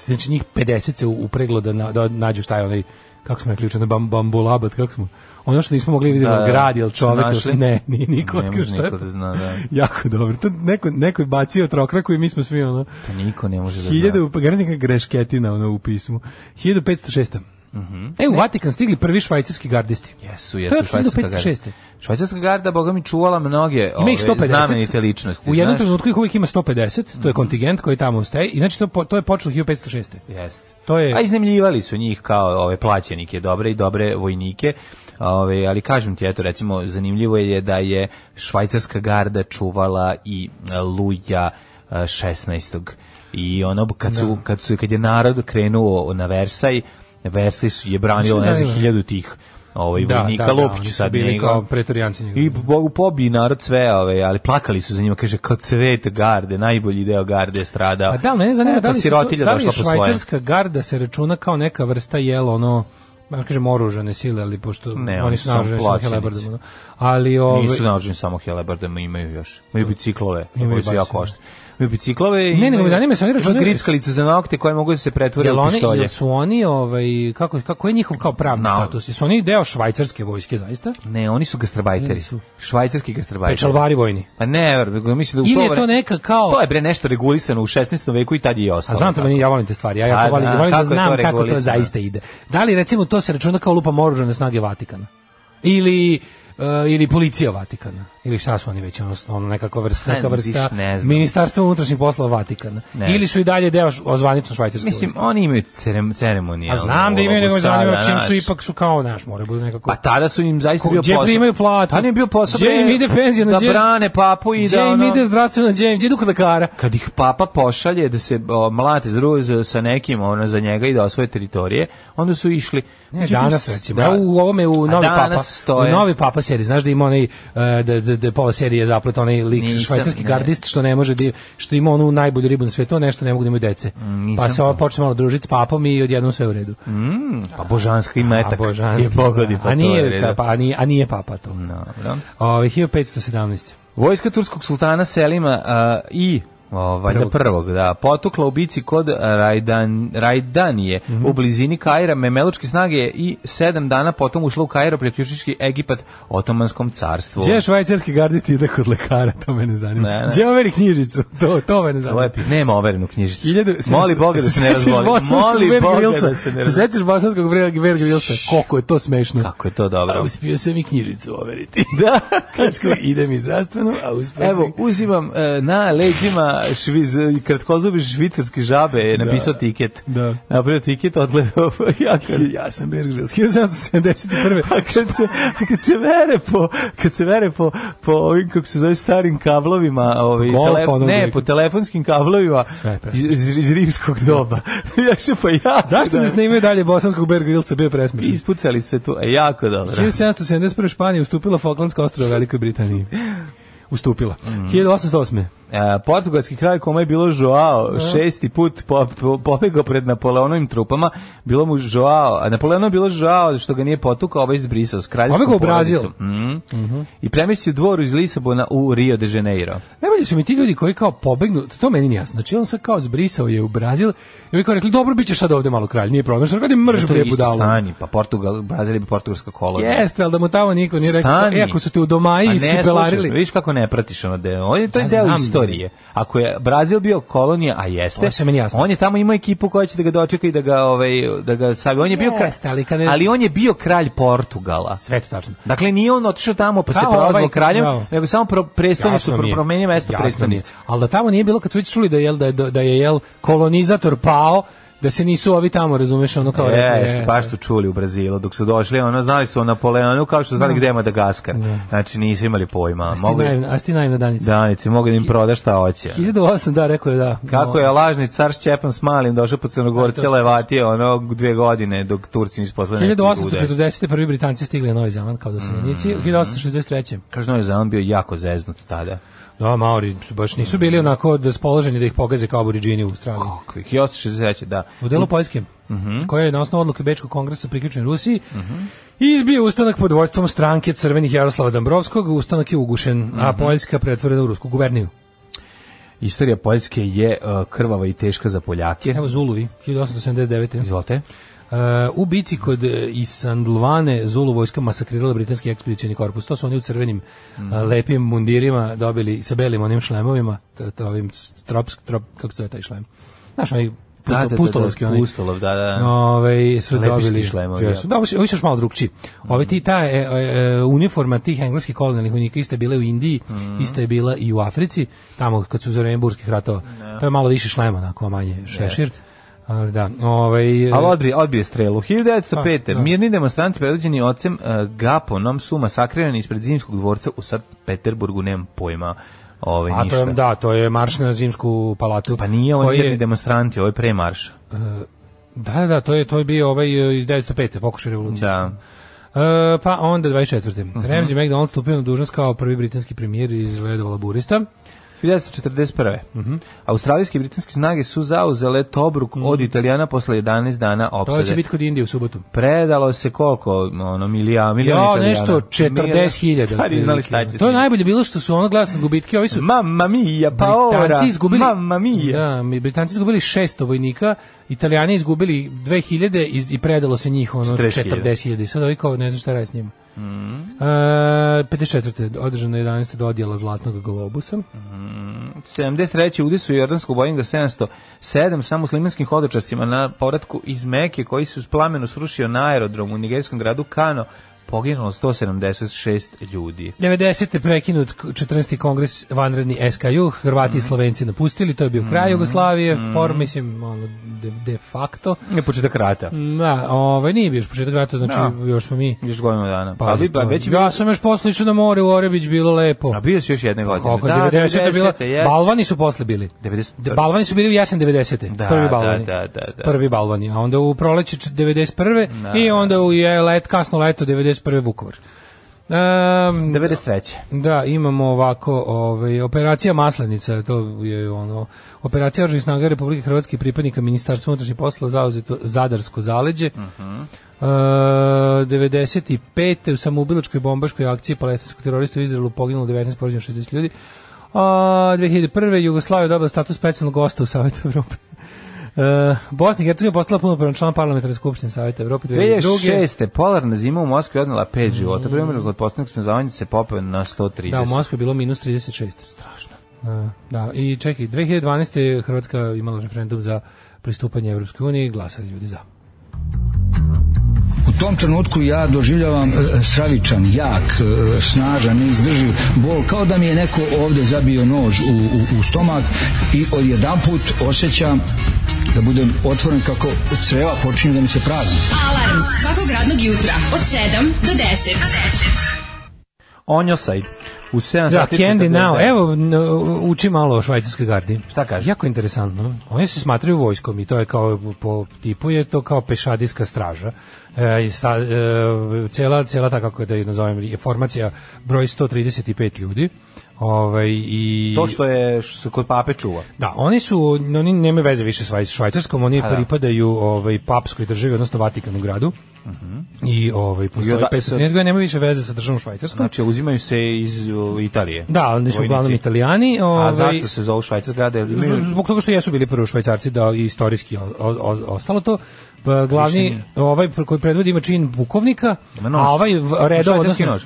Speaker 5: znači njih 50 se upreglo da, na, da nađu šta je onaj kako smo rekli juče, na bam, bambulabat, kako smo, ono što nismo mogli vidjeti
Speaker 6: Da,
Speaker 5: da,
Speaker 6: da.
Speaker 5: grad, jel čovek, jel-
Speaker 6: Našli?
Speaker 5: ne, nije niko
Speaker 6: Ne
Speaker 5: otkrio
Speaker 6: može
Speaker 5: šta je
Speaker 6: niko
Speaker 5: to.
Speaker 6: da zna, da.
Speaker 5: jako dobro, to neko, neko je bacio trokraku i mi smo svi, ono,
Speaker 6: To Pa niko ne može da zna.
Speaker 5: Hiljada, pa garantika grešketina ono, u pismu. 1506. Mm E, u Vatikan stigli prvi švajcarski gardisti.
Speaker 6: Mhm. Jesu, jesu
Speaker 5: To je od
Speaker 6: švajcarska
Speaker 5: 1506.
Speaker 6: garda. Švajcarska garda, boga mi, čuvala mnoge
Speaker 5: Ima
Speaker 6: ove,
Speaker 5: ih 150.
Speaker 6: znamenite ličnosti.
Speaker 5: U jednom
Speaker 6: znaš? Mhm.
Speaker 5: trenutku ih uvijek ima 150, to je kontingent koji tamo ustaje, i znači to, po- to je počelo 1506.
Speaker 6: Jeste.
Speaker 5: To je-
Speaker 6: A iznemljivali su njih kao ove plaćenike, dobre i dobre vojnike. Ove, ali kažem ti, eto, recimo, zanimljivo je da je švajcarska garda čuvala i e, Luja e, 16. I ono, kad, su, kad, su, kad je narod krenuo na Versaj, Versaj su je branilo,
Speaker 5: Mislim,
Speaker 6: ne
Speaker 5: da
Speaker 6: znam,
Speaker 5: je-
Speaker 6: hiljadu tih ovaj,
Speaker 5: Da,
Speaker 6: vojnika,
Speaker 5: da, da,
Speaker 6: Lupiću
Speaker 5: oni su
Speaker 6: sad
Speaker 5: bili
Speaker 6: njega.
Speaker 5: kao pretorijanci njegovi.
Speaker 6: I Bogu pobi narod sve, ove, ali plakali su za njima, kaže, kao cvet garde, najbolji deo garde je stradao.
Speaker 5: A da, mene zanima
Speaker 6: E, pa
Speaker 5: da li, su, to-
Speaker 6: sirotilja
Speaker 5: da li je
Speaker 6: došla po svoje.
Speaker 5: švajcarska garda se računa kao neka vrsta jel ono ja kažem oružane sile, ali pošto
Speaker 6: Ne,
Speaker 5: oni
Speaker 6: oni
Speaker 5: su
Speaker 6: su samo
Speaker 5: naoružani sa
Speaker 6: plaćenici.
Speaker 5: helebardom. ono. Ali ove,
Speaker 6: Nisu naoružani samo helebardama, imaju još. Imaju biciklove,
Speaker 5: Imaju
Speaker 6: koji su jako
Speaker 5: bacine.
Speaker 6: oštri. Imaju biciklove i...
Speaker 5: Ne, nego
Speaker 6: imaju-
Speaker 5: me zanima, jesu oni
Speaker 6: imaju
Speaker 5: računali-
Speaker 6: grickalice za nokte koje mogu da se pretvore
Speaker 5: Jel
Speaker 6: u
Speaker 5: oni,
Speaker 6: pištolje.
Speaker 5: jel su oni, ovaj, kako, kako je njihov kao pravni
Speaker 6: Na-
Speaker 5: status? Jesu oni deo švajcarske vojske, zaista?
Speaker 6: Ne, oni su gastrabajteri.
Speaker 5: Ili su?
Speaker 6: Švajcarski gastrabajteri.
Speaker 5: Pečalvari vojni.
Speaker 6: Pa ne, nego mislim da u
Speaker 5: Ili je
Speaker 6: vre-
Speaker 5: to neka kao-
Speaker 6: To je bre nešto regulisano u 16. veku i tad je i
Speaker 5: A
Speaker 6: ostalo.
Speaker 5: znam to,
Speaker 6: tako.
Speaker 5: meni, ja volim te stvari. Ja,
Speaker 6: Pa
Speaker 5: ja volim,
Speaker 6: da,
Speaker 5: volim da
Speaker 6: kako je to
Speaker 5: znam kako to
Speaker 6: regulisano.
Speaker 5: zaista ide. Da li, recimo, to se računa kao lupa oružane snage Vatikana? Ili e, ili policija Vatikana ili šta su oni već ono, ono nekakva vrsta
Speaker 6: Ha,
Speaker 5: neka
Speaker 6: vidiš,
Speaker 5: vrsta
Speaker 6: Pa ne znam.
Speaker 5: ministarstva unutrašnjih poslova Vatikana
Speaker 6: Ne
Speaker 5: ili su i dalje deo š- o zvanično švajcarske
Speaker 6: Mislim, ono,
Speaker 5: vojske?
Speaker 6: oni imaju cerem, ceremonije.
Speaker 5: a znam da imaju nego zanima čim su ipak su kao naš moraju budu nekako
Speaker 6: Pa tada su im zaista
Speaker 5: Ko-
Speaker 6: bio
Speaker 5: gdje
Speaker 6: posao.
Speaker 5: primaju platu?
Speaker 6: Tada im je bio posao
Speaker 5: Gdje
Speaker 6: bre,
Speaker 5: im ide penzija, na
Speaker 6: da
Speaker 5: gdje-
Speaker 6: brane papu i
Speaker 5: gdje
Speaker 6: da
Speaker 5: im
Speaker 6: ono...
Speaker 5: ide zdravstveno gdje im gdje idu kod lekara
Speaker 6: kad ih papa pošalje da se o, mlate zruze sa nekim ono za njega i da osvoje teritorije, onda su išli.
Speaker 5: Ne,
Speaker 6: Međutim,
Speaker 5: danas
Speaker 6: s-
Speaker 5: recimo, da. u ovome u
Speaker 6: A
Speaker 5: Novi
Speaker 6: danas
Speaker 5: Papa,
Speaker 6: stoje.
Speaker 5: u Novi Papa seriji, znaš da ima onaj, e, da, da, da je pola serije zaplet, onaj lik
Speaker 6: Nisam,
Speaker 5: švajcarski
Speaker 6: ne.
Speaker 5: gardist što ne može, da, što ima onu najbolju ribu na svetu, a nešto ne mogu da imaju dece.
Speaker 6: Mm, nisam
Speaker 5: pa se ova počne malo družiti s papom i odjednom sve u redu.
Speaker 6: Pa božanski metak.
Speaker 5: a božanski,
Speaker 6: je pogodi,
Speaker 5: da.
Speaker 6: pa to
Speaker 5: a,
Speaker 6: je
Speaker 5: nije,
Speaker 6: red.
Speaker 5: pa, a, nije, a nije papa to.
Speaker 6: Dobro.
Speaker 5: Ove, 1517.
Speaker 6: Vojska turskog sultana Selima a, i o, valjda
Speaker 5: Prvog.
Speaker 6: prvog. da, potukla u bici kod Rajdan, Rajdanije
Speaker 5: Mhm.
Speaker 6: u blizini Kaira, memelučke snage i sedam dana potom ušla u Kairo priključiški Egipat otomanskom carstvu.
Speaker 5: Gdje je švajcarski gardist ide kod lekara, to mene zanima.
Speaker 6: Ne, ne.
Speaker 5: Gdje overi knjižicu, to, to mene zanima.
Speaker 6: Lepi, nema overenu knjižicu.
Speaker 5: Hiljadu-
Speaker 6: Moli Boga da se ne
Speaker 5: sećaš
Speaker 6: razvoli.
Speaker 5: bosanskog
Speaker 6: Moli
Speaker 5: Bear
Speaker 6: Boga
Speaker 5: Grylsa?
Speaker 6: da se ne
Speaker 5: Se
Speaker 6: razvoli.
Speaker 5: sećaš bosanskog Bear Bear Grylsa? Koliko je to smešno.
Speaker 6: Kako je to dobro.
Speaker 5: A uspio sam i knjižicu overiti. Da. Kačko, idem i zdravstveno, a uspio
Speaker 6: Evo,
Speaker 5: sam i-
Speaker 6: uzimam e, na leđima šviz, kratkozubi švicarski žabe, je napisao tiket.
Speaker 5: Da.
Speaker 6: Napravio tiket, odgledao ja kad,
Speaker 5: Ja sam Bear Grylls, 1771.
Speaker 6: a kad se, a kad se vere po, kad se vere po, po ovim, kako se zove, starim kablovima, ovaj,
Speaker 5: Golf, ono
Speaker 6: ne,
Speaker 5: gdje-
Speaker 6: po telefonskim kablovima
Speaker 5: je
Speaker 6: iz,
Speaker 5: presmešno.
Speaker 6: iz, iz rimskog doba. ja še pa ja.
Speaker 5: Zašto ne snimaju dalje bosanskog Bear Grylsa, bio je presmešan.
Speaker 6: Ispucali su se tu, e, jako dobro.
Speaker 5: 1771. Španija ustupila Falklandsko ostrovo Velikoj Britaniji. Ustupila.
Speaker 6: Mm.
Speaker 5: 1808.
Speaker 6: E, portugalski kralj kome je bilo Joao šesti put po, po, pobegao pred Napoleonovim trupama, bilo mu Joao, a Napoleonu je bilo Joao što ga nije potukao, ovaj izbrisao s kraljevskom
Speaker 5: Pobegao u Brazil.
Speaker 6: porodicom. Mhm. I premestio dvoru iz Lisabona u Rio de Janeiro.
Speaker 5: Najbolje su mi ti ljudi koji kao pobegnu, to meni nije jasno. Znači on sad kao zbrisao je u Brazil i ovi kao rekli, dobro, bit ćeš sad ovde malo kralj, nije problem. Znači, Što kada je mrž
Speaker 6: To je
Speaker 5: bre
Speaker 6: isto
Speaker 5: budalo.
Speaker 6: stani, pa Portugal, Brazil je portugalska kolonija.
Speaker 5: Jeste, ali da mu tamo niko nije rekao,
Speaker 6: Stani.
Speaker 5: e, ako su te u
Speaker 6: A
Speaker 5: domaji
Speaker 6: ne
Speaker 5: isipelarili.
Speaker 6: slušaš, Vidiš kako ne pratiš ono deo. On je, to je
Speaker 5: Ja
Speaker 6: deo
Speaker 5: znam.
Speaker 6: istorije. Ako je Brazil bio kolonija, a jeste,
Speaker 5: To se meni jasno.
Speaker 6: on je tamo imao ekipu koja će da ga dočeka i da ga, ovaj, da ga savi. On je bio kralj,
Speaker 5: Jeste, ali kad je-
Speaker 6: ali on je bio kralj Portugala.
Speaker 5: Sve to tačno.
Speaker 6: Dakle, nije on otišao tamo pa se
Speaker 5: Kao
Speaker 6: prozvao
Speaker 5: ovaj,
Speaker 6: kraljem,
Speaker 5: kao-
Speaker 6: nego samo pro, prestolnicu,
Speaker 5: Jasno mi
Speaker 6: pro,
Speaker 5: je.
Speaker 6: promenio mesto
Speaker 5: Jasno mi je.
Speaker 6: prestolnice.
Speaker 5: Ali da tamo nije bilo kad su već čuli da je jel da je, da je jel kolonizator pao, da se nisu ovi tamo, razumeš, ono kao rekli,
Speaker 6: Jeste,
Speaker 5: e,
Speaker 6: baš su čuli u Brazilu dok su došli, ono znali su o Napoleonu kao što su znali gde je Madagaskar. Znači nisu imali pojma.
Speaker 5: a sti
Speaker 6: Mogu
Speaker 5: naivna- A sti najna danica.
Speaker 6: danici, mogu da im proda šta hoće.
Speaker 5: 1008, da, rekao je da. ono,
Speaker 6: Kako je lažni car Šćepan s malim došao po Crnogorce levatije ono dvije godine dok Turci nisu poslali neki Mm. gude.
Speaker 5: 1840. prvi Britanci stigli na Novi Zeland kao doseljenici, u 1863.
Speaker 6: Kaže Novi Zeland bio jako zeznut tada.
Speaker 5: Da, Maori su baš nisu bili onako raspoloženi da ih pogaze kao aboriđini u Australiji.
Speaker 6: Kako ih? I 1863, da.
Speaker 5: U delu Poljske, koja je na osnovu odluke Bečkog kongresa priključen Rusiji, izbio ustanak pod vojstvom stranke crvenih Jaroslava Dambrovskog, ustanak je ugušen, a Poljska pretvorena u rusku guverniju.
Speaker 6: Istorija e, Poljske je uh, krvava i teška za Poljake.
Speaker 5: Evo Zuluvi, 1879.
Speaker 6: Izvolite.
Speaker 5: Uh, u bici kod uh, Isandlvane Zulu vojska masakrirala britanski ekspedicijni korpus. To su oni u crvenim
Speaker 6: Mhm.
Speaker 5: uh, lepim mundirima dobili sa belim onim šlemovima, to, to ovim trop, trop, kako se zove taj šlem? Znaš, onaj pusto,
Speaker 6: Da, da, da,
Speaker 5: pustolovski
Speaker 6: da,
Speaker 5: onaj.
Speaker 6: pustolov, da, da.
Speaker 5: Ovaj, su
Speaker 6: Lepiš ti
Speaker 5: dobili.
Speaker 6: šlemovi,
Speaker 5: Jesu.
Speaker 6: da.
Speaker 5: Da, ovi su ovi su još malo drugčiji. Ove ti, ta e, e, uniforma tih engleskih kolonijalnih vojnika ista je bila i u Indiji,
Speaker 6: Mhm.
Speaker 5: ista je bila i u Africi, tamo kad su za vreme burskih ratova. To je malo više šlema, onako, a manje šešir. Ali da, ovaj, e,
Speaker 6: Ali odbije, odbije strelu. 1905.
Speaker 5: Pa, Da, da.
Speaker 6: Mirni demonstranti predvođeni ocem eh, Gaponom su masakrirani ispred zimskog dvorca u Sankt Peterburgu, nemam pojma. Ove,
Speaker 5: A to
Speaker 6: ništa.
Speaker 5: je, da, to je marš na zimsku palatu.
Speaker 6: Pa nije on
Speaker 5: koji
Speaker 6: mirni
Speaker 5: je,
Speaker 6: demonstranti, ovo je premarš.
Speaker 5: Da, da, to je, to je bio ovaj e, iz 905. pokušaj revolucije.
Speaker 6: Da. Mhm.
Speaker 5: E, pa onda 24. Mm -hmm. Ramsey MacDonald stupio na dužnost kao prvi britanski premijer iz redova laburista.
Speaker 6: 1941.
Speaker 5: Mhm.
Speaker 6: Australijske i britanske snage su zauzele Tobruk od Italijana posle 11 dana
Speaker 5: To će
Speaker 6: opsade.
Speaker 5: biti kod Indije u subotu.
Speaker 6: Predalo se koliko, ono, milija, milijon
Speaker 5: Jo,
Speaker 6: Italijana.
Speaker 5: nešto
Speaker 6: Milijon-
Speaker 5: 40.000.
Speaker 6: Stari, znali
Speaker 5: otprilike.
Speaker 6: šta će.
Speaker 5: To je
Speaker 6: s njim.
Speaker 5: najbolje bilo što su ono glasne gubitke, ovi su
Speaker 6: Mamma mia, pa ora.
Speaker 5: Britanci izgubili
Speaker 6: Mamma mia.
Speaker 5: Da, mi Britanci izgubili 600 vojnika, Italijani izgubili 2000 i, i predalo se njih ono
Speaker 6: 40.000.
Speaker 5: 40.000. I sad ovi kao ne znam šta radi s njima. Mm. E, 54. održano je 11. dodjela Zlatnog globusa.
Speaker 6: 73. udisu jordanskog Boeinga 707 sa muslimanskim hodočascima na povratku iz Meke koji se s plamenu srušio na aerodromu u nigerijskom gradu Kano poginulo 176 ljudi.
Speaker 5: 90. prekinut k- 14. kongres vanredni SKU, Hrvati
Speaker 6: Mm.
Speaker 5: i Slovenci napustili, to je bio kraj Jugoslavije, form, mislim, ono, de, de facto.
Speaker 6: Je početak rata.
Speaker 5: Da, ovaj, nije bio još početak rata, znači
Speaker 6: Da.
Speaker 5: još smo mi...
Speaker 6: Još godinu dana. Pa,
Speaker 5: Pa,
Speaker 6: vi- pa već je
Speaker 5: ja
Speaker 6: bilo-
Speaker 5: sam još posle išao na more u Orebić, bilo lepo.
Speaker 6: A bio si još jedne godine.
Speaker 5: Kako, 90. je bila,
Speaker 6: jes.
Speaker 5: balvani su posle bili.
Speaker 6: 91..
Speaker 5: De, balvani su bili u jesen 90.
Speaker 6: Da,
Speaker 5: prvi balvani.
Speaker 6: da, da, da, da.
Speaker 5: Prvi balvani, a onda u proleće č- 91. i onda u je let, kasno leto 91. Vukovar. Um,
Speaker 6: 93.
Speaker 5: Da, imamo ovako, ovaj, operacija Maslenica, to je ono, operacija Oružanih snaga Republike Hrvatske i pripadnika Ministarstva unutrašnjih poslova zauzeto Zadarsko zaleđe. Uh, 95. u samoubilačkoj bombaškoj akciji palestinskog terorista u Izraelu poginulo 19 porađeno 60 ljudi. A 2001. Jugoslavija je dobila status specijalnog gosta u Savjetu Evrope. Uh, Bosna i Hercegovina postala punopravan član parlamentarne skupštine Savjeta Evrope 2002.
Speaker 6: 2006. Polarna zima u Moskvi odnela 5 života. Primjer, kod posljednog smrzavanja se popeo na 130.
Speaker 5: Mm. Da, u Moskvi je bilo minus 36. Strašno. Da, i čekaj, 2012. je Hrvatska imala referendum za pristupanje Evropskoj uniji i glasali ljudi za.
Speaker 1: U tom trenutku ja doživljavam e, stravičan, jak, e, snažan, neizdrživ bol, kao da mi je neko ovde zabio nož u, u, u stomak i odjedanput osjećam da budem otvoren kako creva počinju da mi se prazni.
Speaker 4: Alarm svakog radnog jutra od 7 do 10.
Speaker 6: Onjosaj. U 7
Speaker 5: Da,
Speaker 6: sati. 49.
Speaker 5: Candy Now, evo, n- uči malo o švajcarskoj gardi.
Speaker 6: Šta kaže?
Speaker 5: Jako interesantno. Oni se smatraju vojskom i to je kao, po tipu je to kao pešadijska straža. E, i sa, e, cela, cela ta, kako da je nazovem, je formacija broj 135 ljudi. Ovaj, i...
Speaker 6: To što je što se kod pape čuva.
Speaker 5: Da, oni su oni nemaju veze više sa Švaj- švajcarskom, oni
Speaker 6: da.
Speaker 5: pripadaju ovaj papskoj državi, odnosno Vatikanu gradu.
Speaker 6: Mhm.
Speaker 5: I ovaj
Speaker 6: I
Speaker 5: postoji
Speaker 6: oda-
Speaker 5: 513 godina, nemaju više veze sa državom Švajcarskom.
Speaker 6: Znači, uzimaju se iz uh, Italije.
Speaker 5: da, oni su
Speaker 6: Vojnici.
Speaker 5: uglavnom Italijani, ovaj
Speaker 6: A zašto se zovu Švajcarska grada? Jer imaju-
Speaker 5: zbog toga što jesu bili prvi švajcarci da i istorijski o- o- o- ostalo to pa glavni ovaj pr- koji predvodi ima čin bukovnika
Speaker 6: Ima nož.
Speaker 5: a ovaj v- redov
Speaker 6: Švajcarski nož.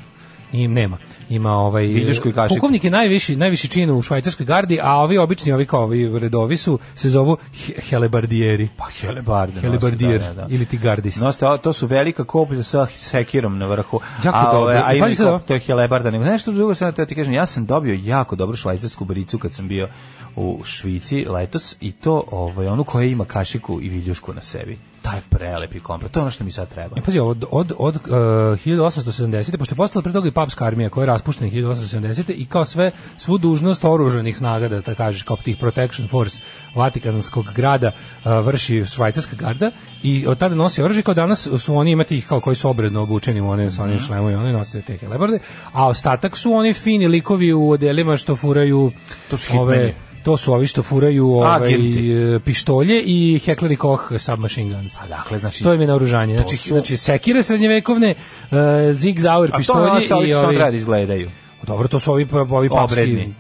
Speaker 5: i nema ima ovaj
Speaker 6: Viljušku i kašiku.
Speaker 5: pukovnik je najviši najviši čin u švajcarskoj gardi a ovi obični ovi kao ovi redovi su se zovu he- helebardijeri
Speaker 6: Pa helebarde. nose,
Speaker 5: helebardijer
Speaker 6: da, da, da.
Speaker 5: ili ti gardist
Speaker 6: Noste, a, to su velika koplja sa sekirom na vrhu.
Speaker 5: Jako
Speaker 6: a,
Speaker 5: dobro.
Speaker 6: ove, A ima
Speaker 5: Pazi sad ovo.
Speaker 6: to je helebarda. Nego, znaš što drugo sam da ti kažem, ja sam dobio jako dobru švajcarsku bricu kad sam bio u Švici letos i to ovaj, onu koja ima kašiku i viljušku na sebi. Taj prelepi komplet, to je ono što mi sad treba.
Speaker 5: E, pazi, ovo, od, od, od uh, 1870. pošto je postala pre toga i papska armija koja je raspuštena 1870. i kao sve, svu dužnost oruženih snaga, da ta kažeš, kao tih protection force Vatikanskog grada uh, vrši švajcarska garda i od tada nosi oružje, kao danas su oni imati ih kao koji su obredno obučeni u one sa onim
Speaker 6: Mhm.
Speaker 5: šlemom i oni nose te helebarde, a ostatak su oni fini likovi u odelima što furaju
Speaker 6: To su hitmeni.
Speaker 5: to su ovi što furaju ovaj,
Speaker 6: Agenti.
Speaker 5: e, pištolje i Heckler Koch submachine guns.
Speaker 6: A dakle, znači,
Speaker 5: To im je naoružanje. Znači,
Speaker 6: su-
Speaker 5: znači sekire srednjevekovne, uh, zig zauer
Speaker 6: A to
Speaker 5: pištolje
Speaker 6: ono sa ovi
Speaker 5: i
Speaker 6: što sam
Speaker 5: ovi,
Speaker 6: radi izgledaju.
Speaker 5: Dobro, to su ovi, pa- ovi papski...
Speaker 6: Obredni.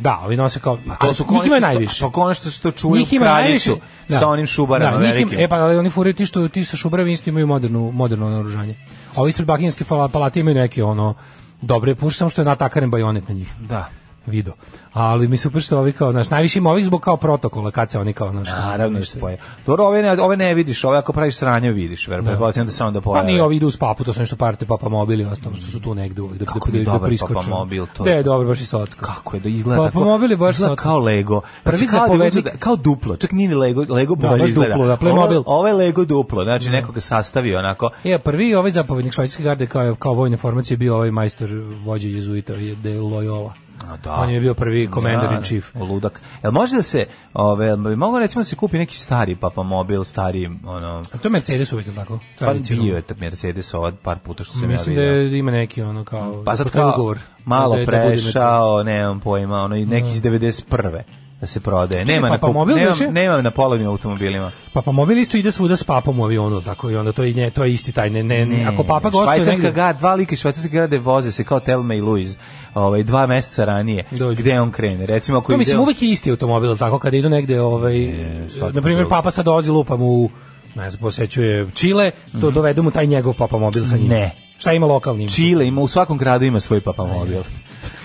Speaker 5: Da, ovi nose kao...
Speaker 6: Pa To su
Speaker 5: ali njih ima
Speaker 6: konačno
Speaker 5: najviše.
Speaker 6: Pa konačno što čuju
Speaker 5: Njih ima najviše.
Speaker 6: kraljicu
Speaker 5: Da.
Speaker 6: sa onim šubarama
Speaker 5: Da, njih
Speaker 6: velikim.
Speaker 5: Ima, e pa ali oni furaju ti što ti sa šubarama isto imaju modernu moderno naoružanje. A Ovi ispred Buckinghamske fala- palate imaju neke ono dobre puše samo što je natakaren bajonet na njih.
Speaker 6: Da.
Speaker 5: Video. Ali mi su prsto ovi kao, znaš, najviše ima ovih zbog kao protokola kad se oni kao, znaš,
Speaker 6: Naravno da
Speaker 5: nešto-
Speaker 6: se pojavi. Dobro, ove ne, ove ne vidiš, ove ako praviš sranje vidiš, ver, pretpostavljam da se onda
Speaker 5: Pa
Speaker 6: pojave.
Speaker 5: nije ovi idu uz papu, to su nešto parte papa mobil i ostalo što su tu negde uvek da
Speaker 6: Kako mi
Speaker 5: da,
Speaker 6: je
Speaker 5: da,
Speaker 6: dobar
Speaker 5: priskoče.
Speaker 6: Papa Mobil, to
Speaker 5: Da
Speaker 6: je-
Speaker 5: je dobro baš i slatko.
Speaker 6: Kako je da izgleda
Speaker 5: Pa,
Speaker 6: tako?
Speaker 5: pa mobil je baš
Speaker 6: izgleda
Speaker 5: slatko.
Speaker 6: kao Lego.
Speaker 5: Prvi
Speaker 6: znači, kao, da
Speaker 5: zapovednik-
Speaker 6: izgleda- kao duplo, čak nije ni Lego, Lego
Speaker 5: Da,
Speaker 6: bolje
Speaker 5: baš
Speaker 6: izgleda.
Speaker 5: duplo, da, Playmobil. Mm.
Speaker 6: Ovo, ovo je Lego duplo, znači nekoga sastavi onako.
Speaker 5: Ja, prvi ovaj zapovednik švajcarske garde kao, kao vojne formacije je bio ovaj majstor vođe jezuita je de Loyola.
Speaker 6: A, da.
Speaker 5: On je bio prvi commander in chief.
Speaker 6: Da, ludak. Jel može da se, ove, bi moglo recimo da se kupi neki stari Papa Mobil, stari, ono,
Speaker 5: A to je Mercedes uvijek, jel tako?
Speaker 6: pa
Speaker 5: Tradicionalno.
Speaker 6: bio je tad Mercedes ovaj par puta što sam
Speaker 5: Mislim
Speaker 6: ja
Speaker 5: da
Speaker 6: vidio.
Speaker 5: je- ima neki ono kao...
Speaker 6: Pa sad
Speaker 5: postoji
Speaker 6: kao
Speaker 5: ugovor
Speaker 6: malo
Speaker 5: da je- da bude Mm.
Speaker 6: prešao, nemam pojma, ono i neki iz 91. da se prodaje.
Speaker 5: Čekaj,
Speaker 6: Nema
Speaker 5: pa-
Speaker 6: na
Speaker 5: pa
Speaker 6: kup-
Speaker 5: mobil
Speaker 6: nemam,
Speaker 5: više?
Speaker 6: nemam na polovnim automobilima.
Speaker 5: Pa pa mobil isto ide svuda s papom u avionu, jel tako i onda to i nje, to je isti taj ne, ne, ako papa gostuje
Speaker 6: Švajcarska
Speaker 5: negde.
Speaker 6: ga, dva lika iz Švajcarske grade voze se kao Telma i Luiz, ovaj, dva meseca ranije,
Speaker 5: Dođu.
Speaker 6: gde on krene. Recimo, ako
Speaker 5: To
Speaker 6: ide...
Speaker 5: Pa mislim uvek je isti automobil, jel tako kada idu negde ovaj
Speaker 6: E, svakako
Speaker 5: na primjer
Speaker 6: drugo.
Speaker 5: papa sad dolazi lupam u ne znam, posećuje Čile, to dovede mu taj njegov papa mobil sa njim.
Speaker 6: Mhm. Ne.
Speaker 5: Šta ima lokalni?
Speaker 6: Čile ima, u svakom gradu ima svoj papamobil.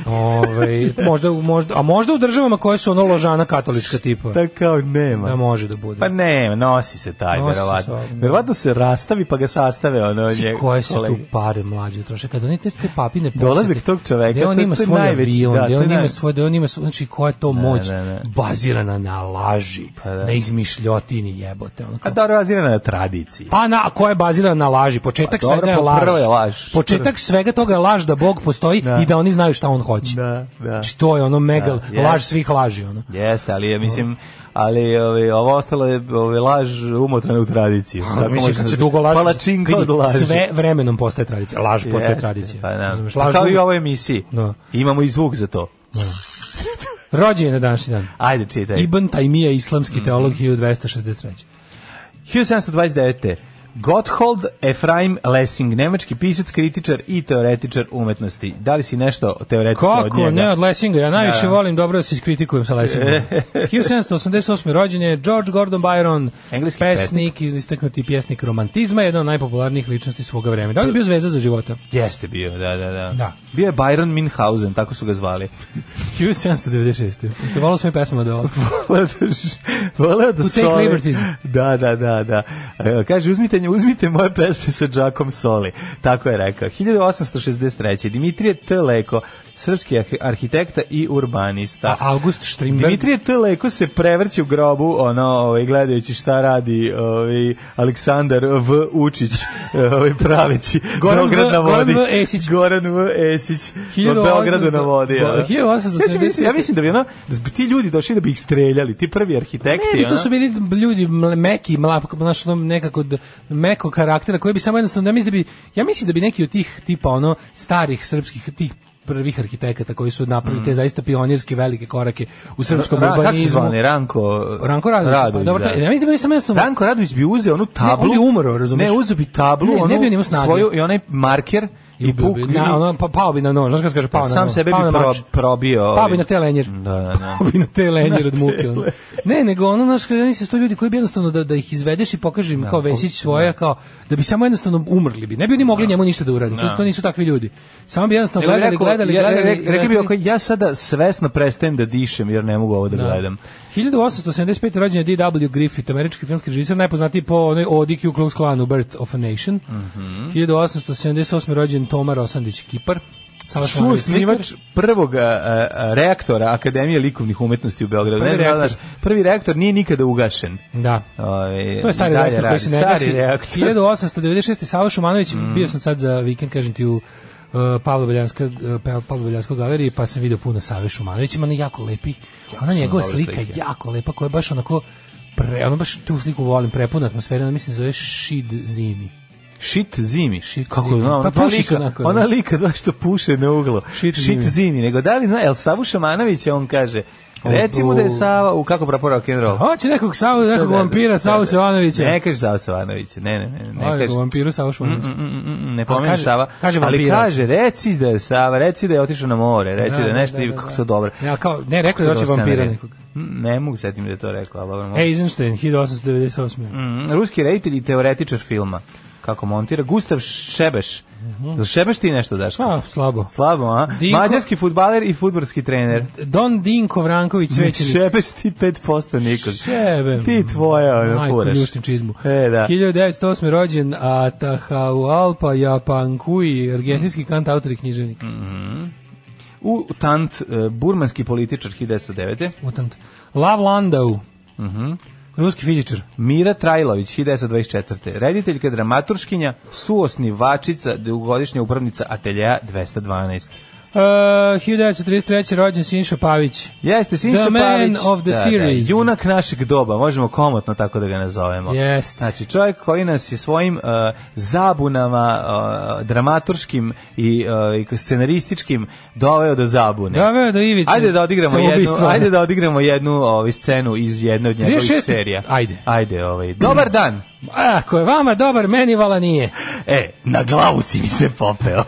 Speaker 5: Ovaj možda, možda, a možda u državama koje su ono ložana katolička tipa.
Speaker 6: Da Pa kao nema.
Speaker 5: Da može da bude.
Speaker 6: Pa ne, nosi se taj,
Speaker 5: Nosi se
Speaker 6: verovatno.
Speaker 5: sobom.
Speaker 6: Verovatno se rastavi pa ga sastave ono
Speaker 5: Mislim,
Speaker 6: nje-
Speaker 5: koje su tu
Speaker 6: kolege.
Speaker 5: pare mlađe troše kad oni te, te papine posete,
Speaker 6: Dolazak tog čoveka,
Speaker 5: gde on
Speaker 6: to-
Speaker 5: ima
Speaker 6: to je
Speaker 5: svoj
Speaker 6: najveći,
Speaker 5: avion,
Speaker 6: da,
Speaker 5: gde
Speaker 6: to je
Speaker 5: on ima
Speaker 6: naj-
Speaker 5: svoj da on ima svoj, znači koja je to moć
Speaker 6: ne, ne.
Speaker 5: bazirana na laži
Speaker 6: da.
Speaker 5: na izmišljotini jebote ono
Speaker 6: A
Speaker 5: kao,
Speaker 6: dobro, razirana na tradiciji.
Speaker 5: pa na a koja je bazirana na laži početak
Speaker 6: Pa dobro,
Speaker 5: svega je
Speaker 6: pa
Speaker 5: laž
Speaker 6: prvo je laž.
Speaker 5: početak svega toga je laž da bog postoji
Speaker 6: Da.
Speaker 5: i da oni znaju šta on hoće
Speaker 6: Da, da.
Speaker 5: znači to je ono mega
Speaker 6: Da, jest.
Speaker 5: laž svih laži ono
Speaker 6: Jeste, ali ja mislim, ali ovaj, ovo ostalo je ovaj, laž umotrana u tradiciju.
Speaker 5: Pa, mislim,
Speaker 6: može
Speaker 5: kad
Speaker 6: da
Speaker 5: se dugo laže,
Speaker 6: Palačinka
Speaker 5: vidi,
Speaker 6: od laži.
Speaker 5: sve vremenom postaje tradicija. Laž postaje
Speaker 6: Jeste,
Speaker 5: tradicija.
Speaker 6: Pa, da.
Speaker 5: Razumeš,
Speaker 6: Pa
Speaker 5: laž
Speaker 6: Kao i u
Speaker 5: dugo-
Speaker 6: ovoj emisiji.
Speaker 5: Da.
Speaker 6: Imamo i zvuk za to.
Speaker 5: Rođen je na današnji dan.
Speaker 6: Ajde, čitaj.
Speaker 5: Ibn Taymija, islamski
Speaker 6: Mm.
Speaker 5: teolog 1263.
Speaker 6: 1729. Gotthold Efraim Lessing, nemački pisac, kritičar i teoretičar umetnosti. Da li si nešto teoretisao od njega?
Speaker 5: Kako ne od Lessinga? Ja najviše
Speaker 6: Da.
Speaker 5: volim dobro da se iskritikujem sa Lessingom. 1788. rođen je George Gordon Byron,
Speaker 6: Engleski
Speaker 5: pesnik, istaknuti pjesnik romantizma, jedna od najpopularnijih ličnosti svoga vremena. Da li je bio zvezda za života?
Speaker 6: Jeste bio, da, da, da.
Speaker 5: Da.
Speaker 6: Bio je Byron Minhausen, tako su ga zvali.
Speaker 5: 1796. Ste volao svojim pesmama da ovo?
Speaker 6: Voleo da- Voleo da
Speaker 5: To take
Speaker 6: soli.
Speaker 5: liberties.
Speaker 6: Da, da, da, da. E, Kaže, uzmite, uzmite moje pesme sa Đakom Soli. Tako je rekao. 1863. Dimitrije T. Leko, srpski arhi- arhitekta i urbanista.
Speaker 5: A August Strindberg.
Speaker 6: Dimitrije T. Leko se prevrće u grobu, ono, ovaj, gledajući šta radi ovaj, Aleksandar V. Učić, ovaj, praveći
Speaker 5: Goran V-
Speaker 6: Beograd na vodi.
Speaker 5: Goran V. Esić.
Speaker 6: Goran V. Esić. Od
Speaker 5: 1800
Speaker 6: Beogradu na vodi.
Speaker 5: Bo-
Speaker 6: ono.
Speaker 5: 1870.
Speaker 6: Ja si mislim, ja mislim da bi ono, da bi ti ljudi došli da bi ih streljali, ti prvi arhitekti.
Speaker 5: Ne, bi, to
Speaker 6: ono.
Speaker 5: su bili ljudi mle- meki, mlap, znaš, ono, nekako d- meko karaktera, koji bi samo jednostavno, ja mislim da bi, ja mislim da bi neki od tih tipa, ono, starih srpskih, tih prvih arhitekata koji su napravili te zaista pionirske velike korake u srpskom
Speaker 6: Mm. Ra- kako se
Speaker 5: urbanizmu.
Speaker 6: zvane, Ranko...
Speaker 5: Ranko Radović. pa, dobro,
Speaker 6: da.
Speaker 5: ja mislim da bi samo jednostavno...
Speaker 6: Ranko Radović bi uzeo onu tablu.
Speaker 5: on bi umro, razumeš?
Speaker 6: Ne, uzeo bi tablu,
Speaker 5: Ne, ne
Speaker 6: onu
Speaker 5: bi on imao snage.
Speaker 6: svoju i onaj marker i,
Speaker 5: I
Speaker 6: puk.
Speaker 5: puk, na, ono, pa, pao bi na nož, znaš kada se kaže, pao na
Speaker 6: Pa sam
Speaker 5: nož,
Speaker 6: sebe
Speaker 5: pao
Speaker 6: bi
Speaker 5: na
Speaker 6: pro,
Speaker 5: mač.
Speaker 6: probio.
Speaker 5: ono, Pa
Speaker 6: ovaj.
Speaker 5: bi na te lenjer.
Speaker 6: Da, da, da.
Speaker 5: Pa bi na te lenjer od muke. Ono. Ne, nego ono, znaš, kada nisi sto ljudi koji bi jednostavno da, da ih izvedeš i pokaži im kao Vesić svoje, kao, da bi samo jednostavno umrli bi. Ne bi oni mogli njemu ništa da uradi. To, to nisu takvi ljudi. Samo bi jednostavno
Speaker 6: Nego bi
Speaker 5: gledali,
Speaker 6: rekao,
Speaker 5: gledali,
Speaker 6: ja- ja-
Speaker 5: gledali.
Speaker 6: rekli bi ako ja sada svesno prestajem da dišem jer ne mogu ovo da, gledam.
Speaker 5: 1875. rođen je D.W. Griffith, američki filmski režisar, najpoznatiji po onoj odi Ku Klux Klanu, Birth of a Nation. Mhm. 1878. rođen Toma Rosandić, Kipar. Sava
Speaker 6: Su
Speaker 5: Šumanović,
Speaker 6: snimač
Speaker 5: slikar.
Speaker 6: prvog a, a, a, reaktora Akademije likovnih umetnosti u Beogradu.
Speaker 5: Prvi
Speaker 6: ne znam, da li
Speaker 5: reaktor.
Speaker 6: znaš, prvi reaktor nije nikada ugašen. Ovaj,
Speaker 5: Da.
Speaker 6: Ove,
Speaker 5: To je stari reaktor koji se ne gasi.
Speaker 6: Stari reaktor. Mm.
Speaker 5: 1896. Sava Šumanović, bio sam sad za vikend, kažem ti, u uh, Pavlo Beljanskoj Pavlo Beljanskoj galeriji pa sam video puno Save Šumanović ima ona jako lepi ona
Speaker 6: su
Speaker 5: njegova
Speaker 6: dobre
Speaker 5: slika
Speaker 6: slike.
Speaker 5: jako lepa koja je baš onako pre, ono baš tu sliku volim prepuna atmosfera ona mislim zove Šid zimi
Speaker 6: Shit zimi.
Speaker 5: Shit
Speaker 6: Kako
Speaker 5: zimi.
Speaker 6: Ona,
Speaker 5: Pa
Speaker 6: ona
Speaker 5: puši se
Speaker 6: lika,
Speaker 5: onako,
Speaker 6: ona
Speaker 5: da.
Speaker 6: lika da što puše na uglu.
Speaker 5: Shit
Speaker 6: Shit,
Speaker 5: zimi.
Speaker 6: zimi. Nego da li zna, el Savu Šamanovića on kaže Recimo da je Sava, u kako prapora rock and roll.
Speaker 5: Hoće nekog Savu, nekog
Speaker 6: Sada,
Speaker 5: vampira Savu
Speaker 6: sada.
Speaker 5: Šovanovića.
Speaker 6: Ne kaže Sava Savanović. Ne, ne, ne, ne
Speaker 5: Ajde,
Speaker 6: kaže.
Speaker 5: vampiru Savu Šovanovića.
Speaker 6: Mm, mm, mm, mm, Ne
Speaker 5: Ali
Speaker 6: pomeni
Speaker 5: kaže-
Speaker 6: Sava,
Speaker 5: kaže
Speaker 6: ali
Speaker 5: vampirac.
Speaker 6: kaže, reci da je Sava, reci da je otišao na more, reci da, je nešto i kako to dobro.
Speaker 5: Ja kao, ne, rekao je da hoće
Speaker 6: Dobro
Speaker 5: vampira
Speaker 6: scenarij.
Speaker 5: nekog.
Speaker 6: Mm, Ne mogu setim da je to rekao, ali dobro. mogu.
Speaker 5: Eisenstein, 1898.
Speaker 6: Mm, ruski reditelj i teoretičar filma. Kako montira? Gustav Šebeš. Jel Šebeš ti nešto daš?
Speaker 5: Mhm. Pa, slabo.
Speaker 6: Slabo, a?
Speaker 5: Dinko-
Speaker 6: Mađarski futbaler i futborski trener.
Speaker 5: Don Dinko Vranković Svećenik.
Speaker 6: Šebeš ti 5% nikog.
Speaker 5: Šebe.
Speaker 6: Ti tvoja, ono,
Speaker 5: Majko,
Speaker 6: furaš.
Speaker 5: ljuštim čizmu.
Speaker 6: E, da.
Speaker 5: 1908. rođen Atahualpa Japankui,
Speaker 6: Mm.
Speaker 5: argentinski kant, autor i književnik.
Speaker 6: U Tant, e, burmanski političar 1909.
Speaker 5: Mutant. Lav Landau.
Speaker 6: Mhm.
Speaker 5: Ruski fizičar.
Speaker 6: Mira Trajlović, 1924. Rediteljka, dramaturškinja, suosnivačica, dugogodišnja upravnica Ateljeja 212.
Speaker 5: Uh, 1933. rođen Sinša Pavić.
Speaker 6: Jeste, Sinša
Speaker 5: The man
Speaker 6: Pavić.
Speaker 5: of the series.
Speaker 6: junak našeg doba, možemo komotno tako da ga nazovemo.
Speaker 5: Jeste.
Speaker 6: Znači, čovjek koji nas je svojim uh, zabunama uh, dramaturškim i, uh, i scenarističkim doveo do zabune.
Speaker 5: Doveo do Ivice.
Speaker 6: Ajde da odigramo jednu,
Speaker 5: samoubistva.
Speaker 6: ajde da odigramo jednu ovaj scenu iz jedne od njegovih
Speaker 5: 36.
Speaker 6: serija.
Speaker 5: Ajde.
Speaker 6: Ajde, ovaj. Dobar dan.
Speaker 5: Ako je vama dobar, meni vala nije.
Speaker 6: E, na glavu si mi se popeo.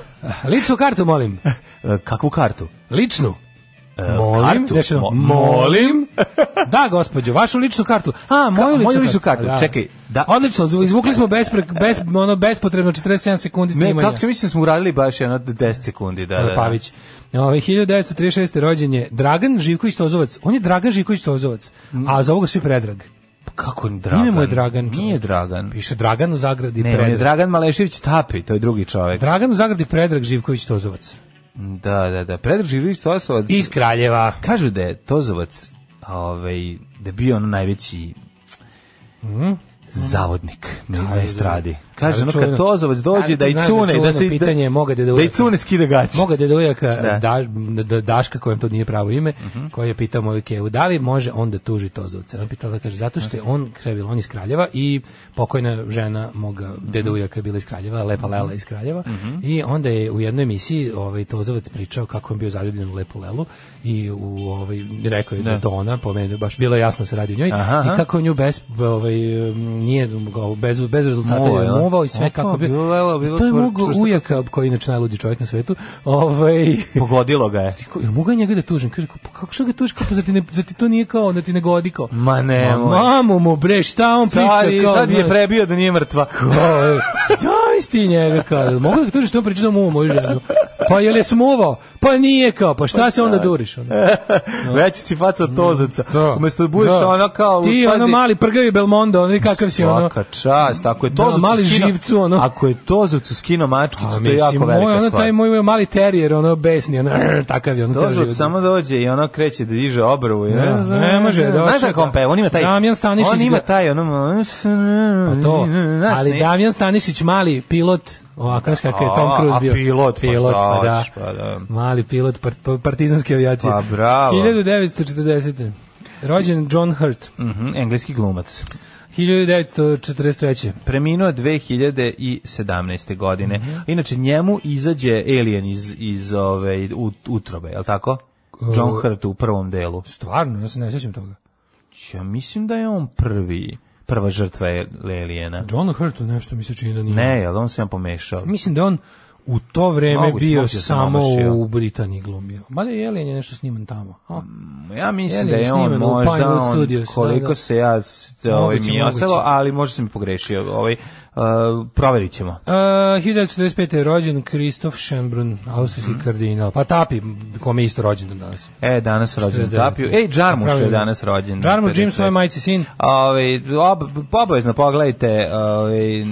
Speaker 5: Ličnu kartu molim.
Speaker 6: E, Kakvu kartu?
Speaker 5: Ličnu.
Speaker 6: E, kartu?
Speaker 5: Znači,
Speaker 6: Mo-
Speaker 5: molim. da, gospođo, vašu ličnu kartu. A, moju
Speaker 6: Ka-
Speaker 5: ličnu,
Speaker 6: moju ličnu kartu, čekaj, da.
Speaker 5: Odlično, zvu- izvukli smo bespre, bez, ono, bespotrebno 47 sekundi
Speaker 6: Ne,
Speaker 5: snimanja.
Speaker 6: kako se mislim da smo uradili baš jedno 10 sekundi, da, da. da.
Speaker 5: Pavić. Ove, 1936. rođen je Dragan Živković Tozovac. On je Dragan Živković Tozovac, a za ovoga svi predrag.
Speaker 6: Kako Dragan?
Speaker 5: Ime mu je Dragan, čovjek.
Speaker 6: Nije Dragan.
Speaker 5: Piše Dragan u zagradi
Speaker 6: Ne, on je
Speaker 5: predrag.
Speaker 6: Dragan Malešević Tapi, to je drugi čovjek.
Speaker 5: Dragan u zagradi predrag Živković Tozovac.
Speaker 6: Da, da, da. Predrag Živković Tozovac.
Speaker 5: Iz Kraljeva.
Speaker 6: Kažu da je Tozovac, ovaj, da je bio ono najveći
Speaker 5: Mhm.
Speaker 6: zavodnik na, na estradi. Kaže, ono kad
Speaker 5: čuveno.
Speaker 6: Tozovac dođe
Speaker 5: Ali
Speaker 6: da
Speaker 5: to
Speaker 6: i
Speaker 5: znaš
Speaker 6: cune, da
Speaker 5: čuveno
Speaker 6: se
Speaker 5: pitanje je moga deda
Speaker 6: da i
Speaker 5: Uraka.
Speaker 6: cune skida gaće.
Speaker 5: Moga deda Ujaka,
Speaker 6: Da. Mhm.
Speaker 5: da. da- Daška, kojem to nije pravo ime, koji je pitao moju kevu, da li može on da tuži Tozovca? On pitao da kaže, zato što je on krevil, on iz Kraljeva i pokojna žena moga
Speaker 6: Mhm.
Speaker 5: deda Ujaka je bila iz Kraljeva, Lepa Lela iz Kraljeva i onda je u jednoj emisiji ovaj, Tozovac pričao kako je bio zaljubljen u Lepu Lelu i u, ovaj, rekao je da, je to ona, pomenuo, baš bilo je jasno da se radi o njoj
Speaker 6: Aha, aha.
Speaker 5: i kako nju bez, ovaj, nije, bez, bez rezultata
Speaker 6: Muvao je,
Speaker 5: je
Speaker 6: a?
Speaker 5: muvao i sve
Speaker 6: Opa,
Speaker 5: kako bi...
Speaker 6: bilo Lela, bilo
Speaker 5: to je
Speaker 6: tvor-
Speaker 5: mogo
Speaker 6: čvrsto-
Speaker 5: ujaka koji je inače najluđi čovjek na svetu. Ovaj
Speaker 6: Pogodilo ga je.
Speaker 5: Ko, jel mogu ja njega da tužim? Kaže, kao, pa kako što ga tužiš? Kao, pa zar ti, ne, zar ti to nije kao, da ti ne godi kao?
Speaker 6: Ma
Speaker 5: Ma,
Speaker 6: nemoj.
Speaker 5: mamu mu bre, šta on priča
Speaker 6: Sad, je-
Speaker 5: kao?
Speaker 6: sad je
Speaker 5: znaš,
Speaker 6: prebio da nije mrtva.
Speaker 5: kao, e, Zavisti njega kao, jel mogu da ga tužiš što on priča da mu moju ženu? Pa jel je smuvao? Pa nije kao, pa šta se onda duriš? Ono?
Speaker 6: Veći si faca od Tozovca.
Speaker 5: Mm, Da.
Speaker 6: E, Umesto da budeš
Speaker 5: Da.
Speaker 6: ono kao...
Speaker 5: Ti ono
Speaker 6: pazi,
Speaker 5: mali prgavi Belmondo, ono i kakav si ono...
Speaker 6: Svaka čast, ako je
Speaker 5: Da,
Speaker 6: Tozovcu
Speaker 5: mali
Speaker 6: skino-
Speaker 5: živcu, ono.
Speaker 6: Ako je Tozovcu skino mačkicu,
Speaker 5: A
Speaker 6: to je
Speaker 5: mislim,
Speaker 6: jako
Speaker 5: moj,
Speaker 6: velika
Speaker 5: ono,
Speaker 6: stvar.
Speaker 5: taj moj mali terijer, ono besni, ono, "Arr", takav je, ono ceo
Speaker 6: Tozovac
Speaker 5: život.
Speaker 6: samo dođe i ono kreće da diže obrvu. Ja,
Speaker 5: Da, ne može, došao
Speaker 6: Znaš kako on
Speaker 5: je.
Speaker 6: peva? On ima taj...
Speaker 5: Damjan Stanišić
Speaker 6: On ima
Speaker 5: ga-
Speaker 6: taj, ono...
Speaker 5: Pa to.
Speaker 6: Znaš,
Speaker 5: Ali
Speaker 6: ne-
Speaker 5: Damjan Stanišić, mali pilot, ovako znaš kakav je Tom
Speaker 6: A,
Speaker 5: Cruise
Speaker 6: a
Speaker 5: bio.
Speaker 6: pilot, pa
Speaker 5: pilot,
Speaker 6: šta
Speaker 5: pa, da.
Speaker 6: hoćeš, pa da.
Speaker 5: Mali pilot part, pa- partizanske avijacije.
Speaker 6: Pa bravo.
Speaker 5: 1940. Rođen John Hurt.
Speaker 6: Mhm, engleski glumac.
Speaker 5: 1943.
Speaker 6: Preminuo 2017. godine.
Speaker 5: Mhm.
Speaker 6: Inače, njemu izađe Alien iz, iz ove, u- utrobe, je li tako?
Speaker 5: E,
Speaker 6: John Hurt u prvom delu.
Speaker 5: Stvarno, ja se ne sjećam toga.
Speaker 6: Ja mislim da je on prvi, prva žrtva Lelijena.
Speaker 5: John Hurtu nešto mi se čini da nije.
Speaker 6: Ne, jel on se ja pomešao.
Speaker 5: Mislim da je on u to vreme
Speaker 6: Moguće,
Speaker 5: bio
Speaker 6: moguće da sam
Speaker 5: samo
Speaker 6: omašio.
Speaker 5: u Britaniji glumio. Mada je Jelin je nešto sniman tamo. A?
Speaker 6: Ja mislim
Speaker 5: Alien
Speaker 6: da
Speaker 5: je
Speaker 6: je on
Speaker 5: sniman u
Speaker 6: možda
Speaker 5: Pinewood
Speaker 6: on,
Speaker 5: Studios, da,
Speaker 6: koliko
Speaker 5: da.
Speaker 6: se ja s- ovaj,
Speaker 5: Moguće,
Speaker 6: mi je
Speaker 5: moguće.
Speaker 6: ostalo, ali možda sam i pogrešio. Ovaj, uh, proverit ćemo.
Speaker 5: Uh, 1945. je rođen Kristof Schönbrunn, austrijski
Speaker 6: Mhm.
Speaker 5: kardinal. Pa Tapi, kome je isto rođen danas.
Speaker 6: E, danas rođen
Speaker 5: 49.
Speaker 6: Tapiju. Ej, Džarmuš je
Speaker 5: Napravio.
Speaker 6: danas rođen.
Speaker 5: Jarmusch Jim,
Speaker 6: 53.
Speaker 5: svoje majci sin.
Speaker 6: Ove, ob, obavezno pogledajte, ove,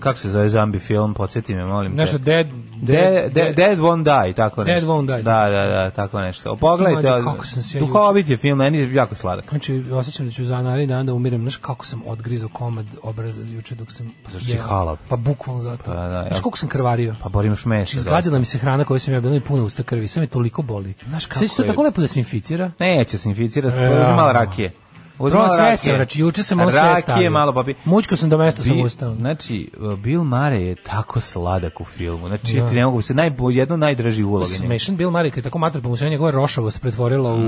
Speaker 6: kako se zove zambi film, podsjeti me, molim
Speaker 5: Nešto
Speaker 6: te.
Speaker 5: dead...
Speaker 6: Dead, dead, dead Won't Die, tako
Speaker 5: Dead
Speaker 6: nešto.
Speaker 5: Won't Die.
Speaker 6: Da, da, da, tako nešto. Pogledajte,
Speaker 5: Mlađe, kako sam se ja
Speaker 6: duhovit je film, meni je jako sladak.
Speaker 5: Znači, osjećam da ću za naredni dan da umirem. Znaš kako sam odgrizao komad obraza juče dok sam... Pa
Speaker 6: zašto si halab?
Speaker 5: Pa bukvalno zato.
Speaker 6: Pa da, ja.
Speaker 5: Znaš koliko sam krvario?
Speaker 6: Pa borim još mesa.
Speaker 5: Znači, izgladila mi se hrana koju sam ja bila i puno usta krvi. Sve me toliko boli.
Speaker 6: Znaš kako
Speaker 5: Sve će to
Speaker 6: je-
Speaker 5: tako lepo da se inficira.
Speaker 6: Neće se inficirati,
Speaker 5: E,
Speaker 6: uzmi malo
Speaker 5: a.
Speaker 6: rakije.
Speaker 5: Pro
Speaker 6: Uzmao
Speaker 5: sve
Speaker 6: rakije.
Speaker 5: sam, znači juče sam ovo sve
Speaker 6: Rakije,
Speaker 5: stavio.
Speaker 6: malo papi.
Speaker 5: Mučko sam do mesta sam
Speaker 6: Bi-
Speaker 5: ustao.
Speaker 6: Znači, uh, Bill Murray je tako sladak u filmu. Znači, ja ti ne mogu se najbolje, jedno najdraži uloga. njemu.
Speaker 5: Smešan Bill Murray, kad je tako matra, pa mu se on njegova rošavost pretvorila u,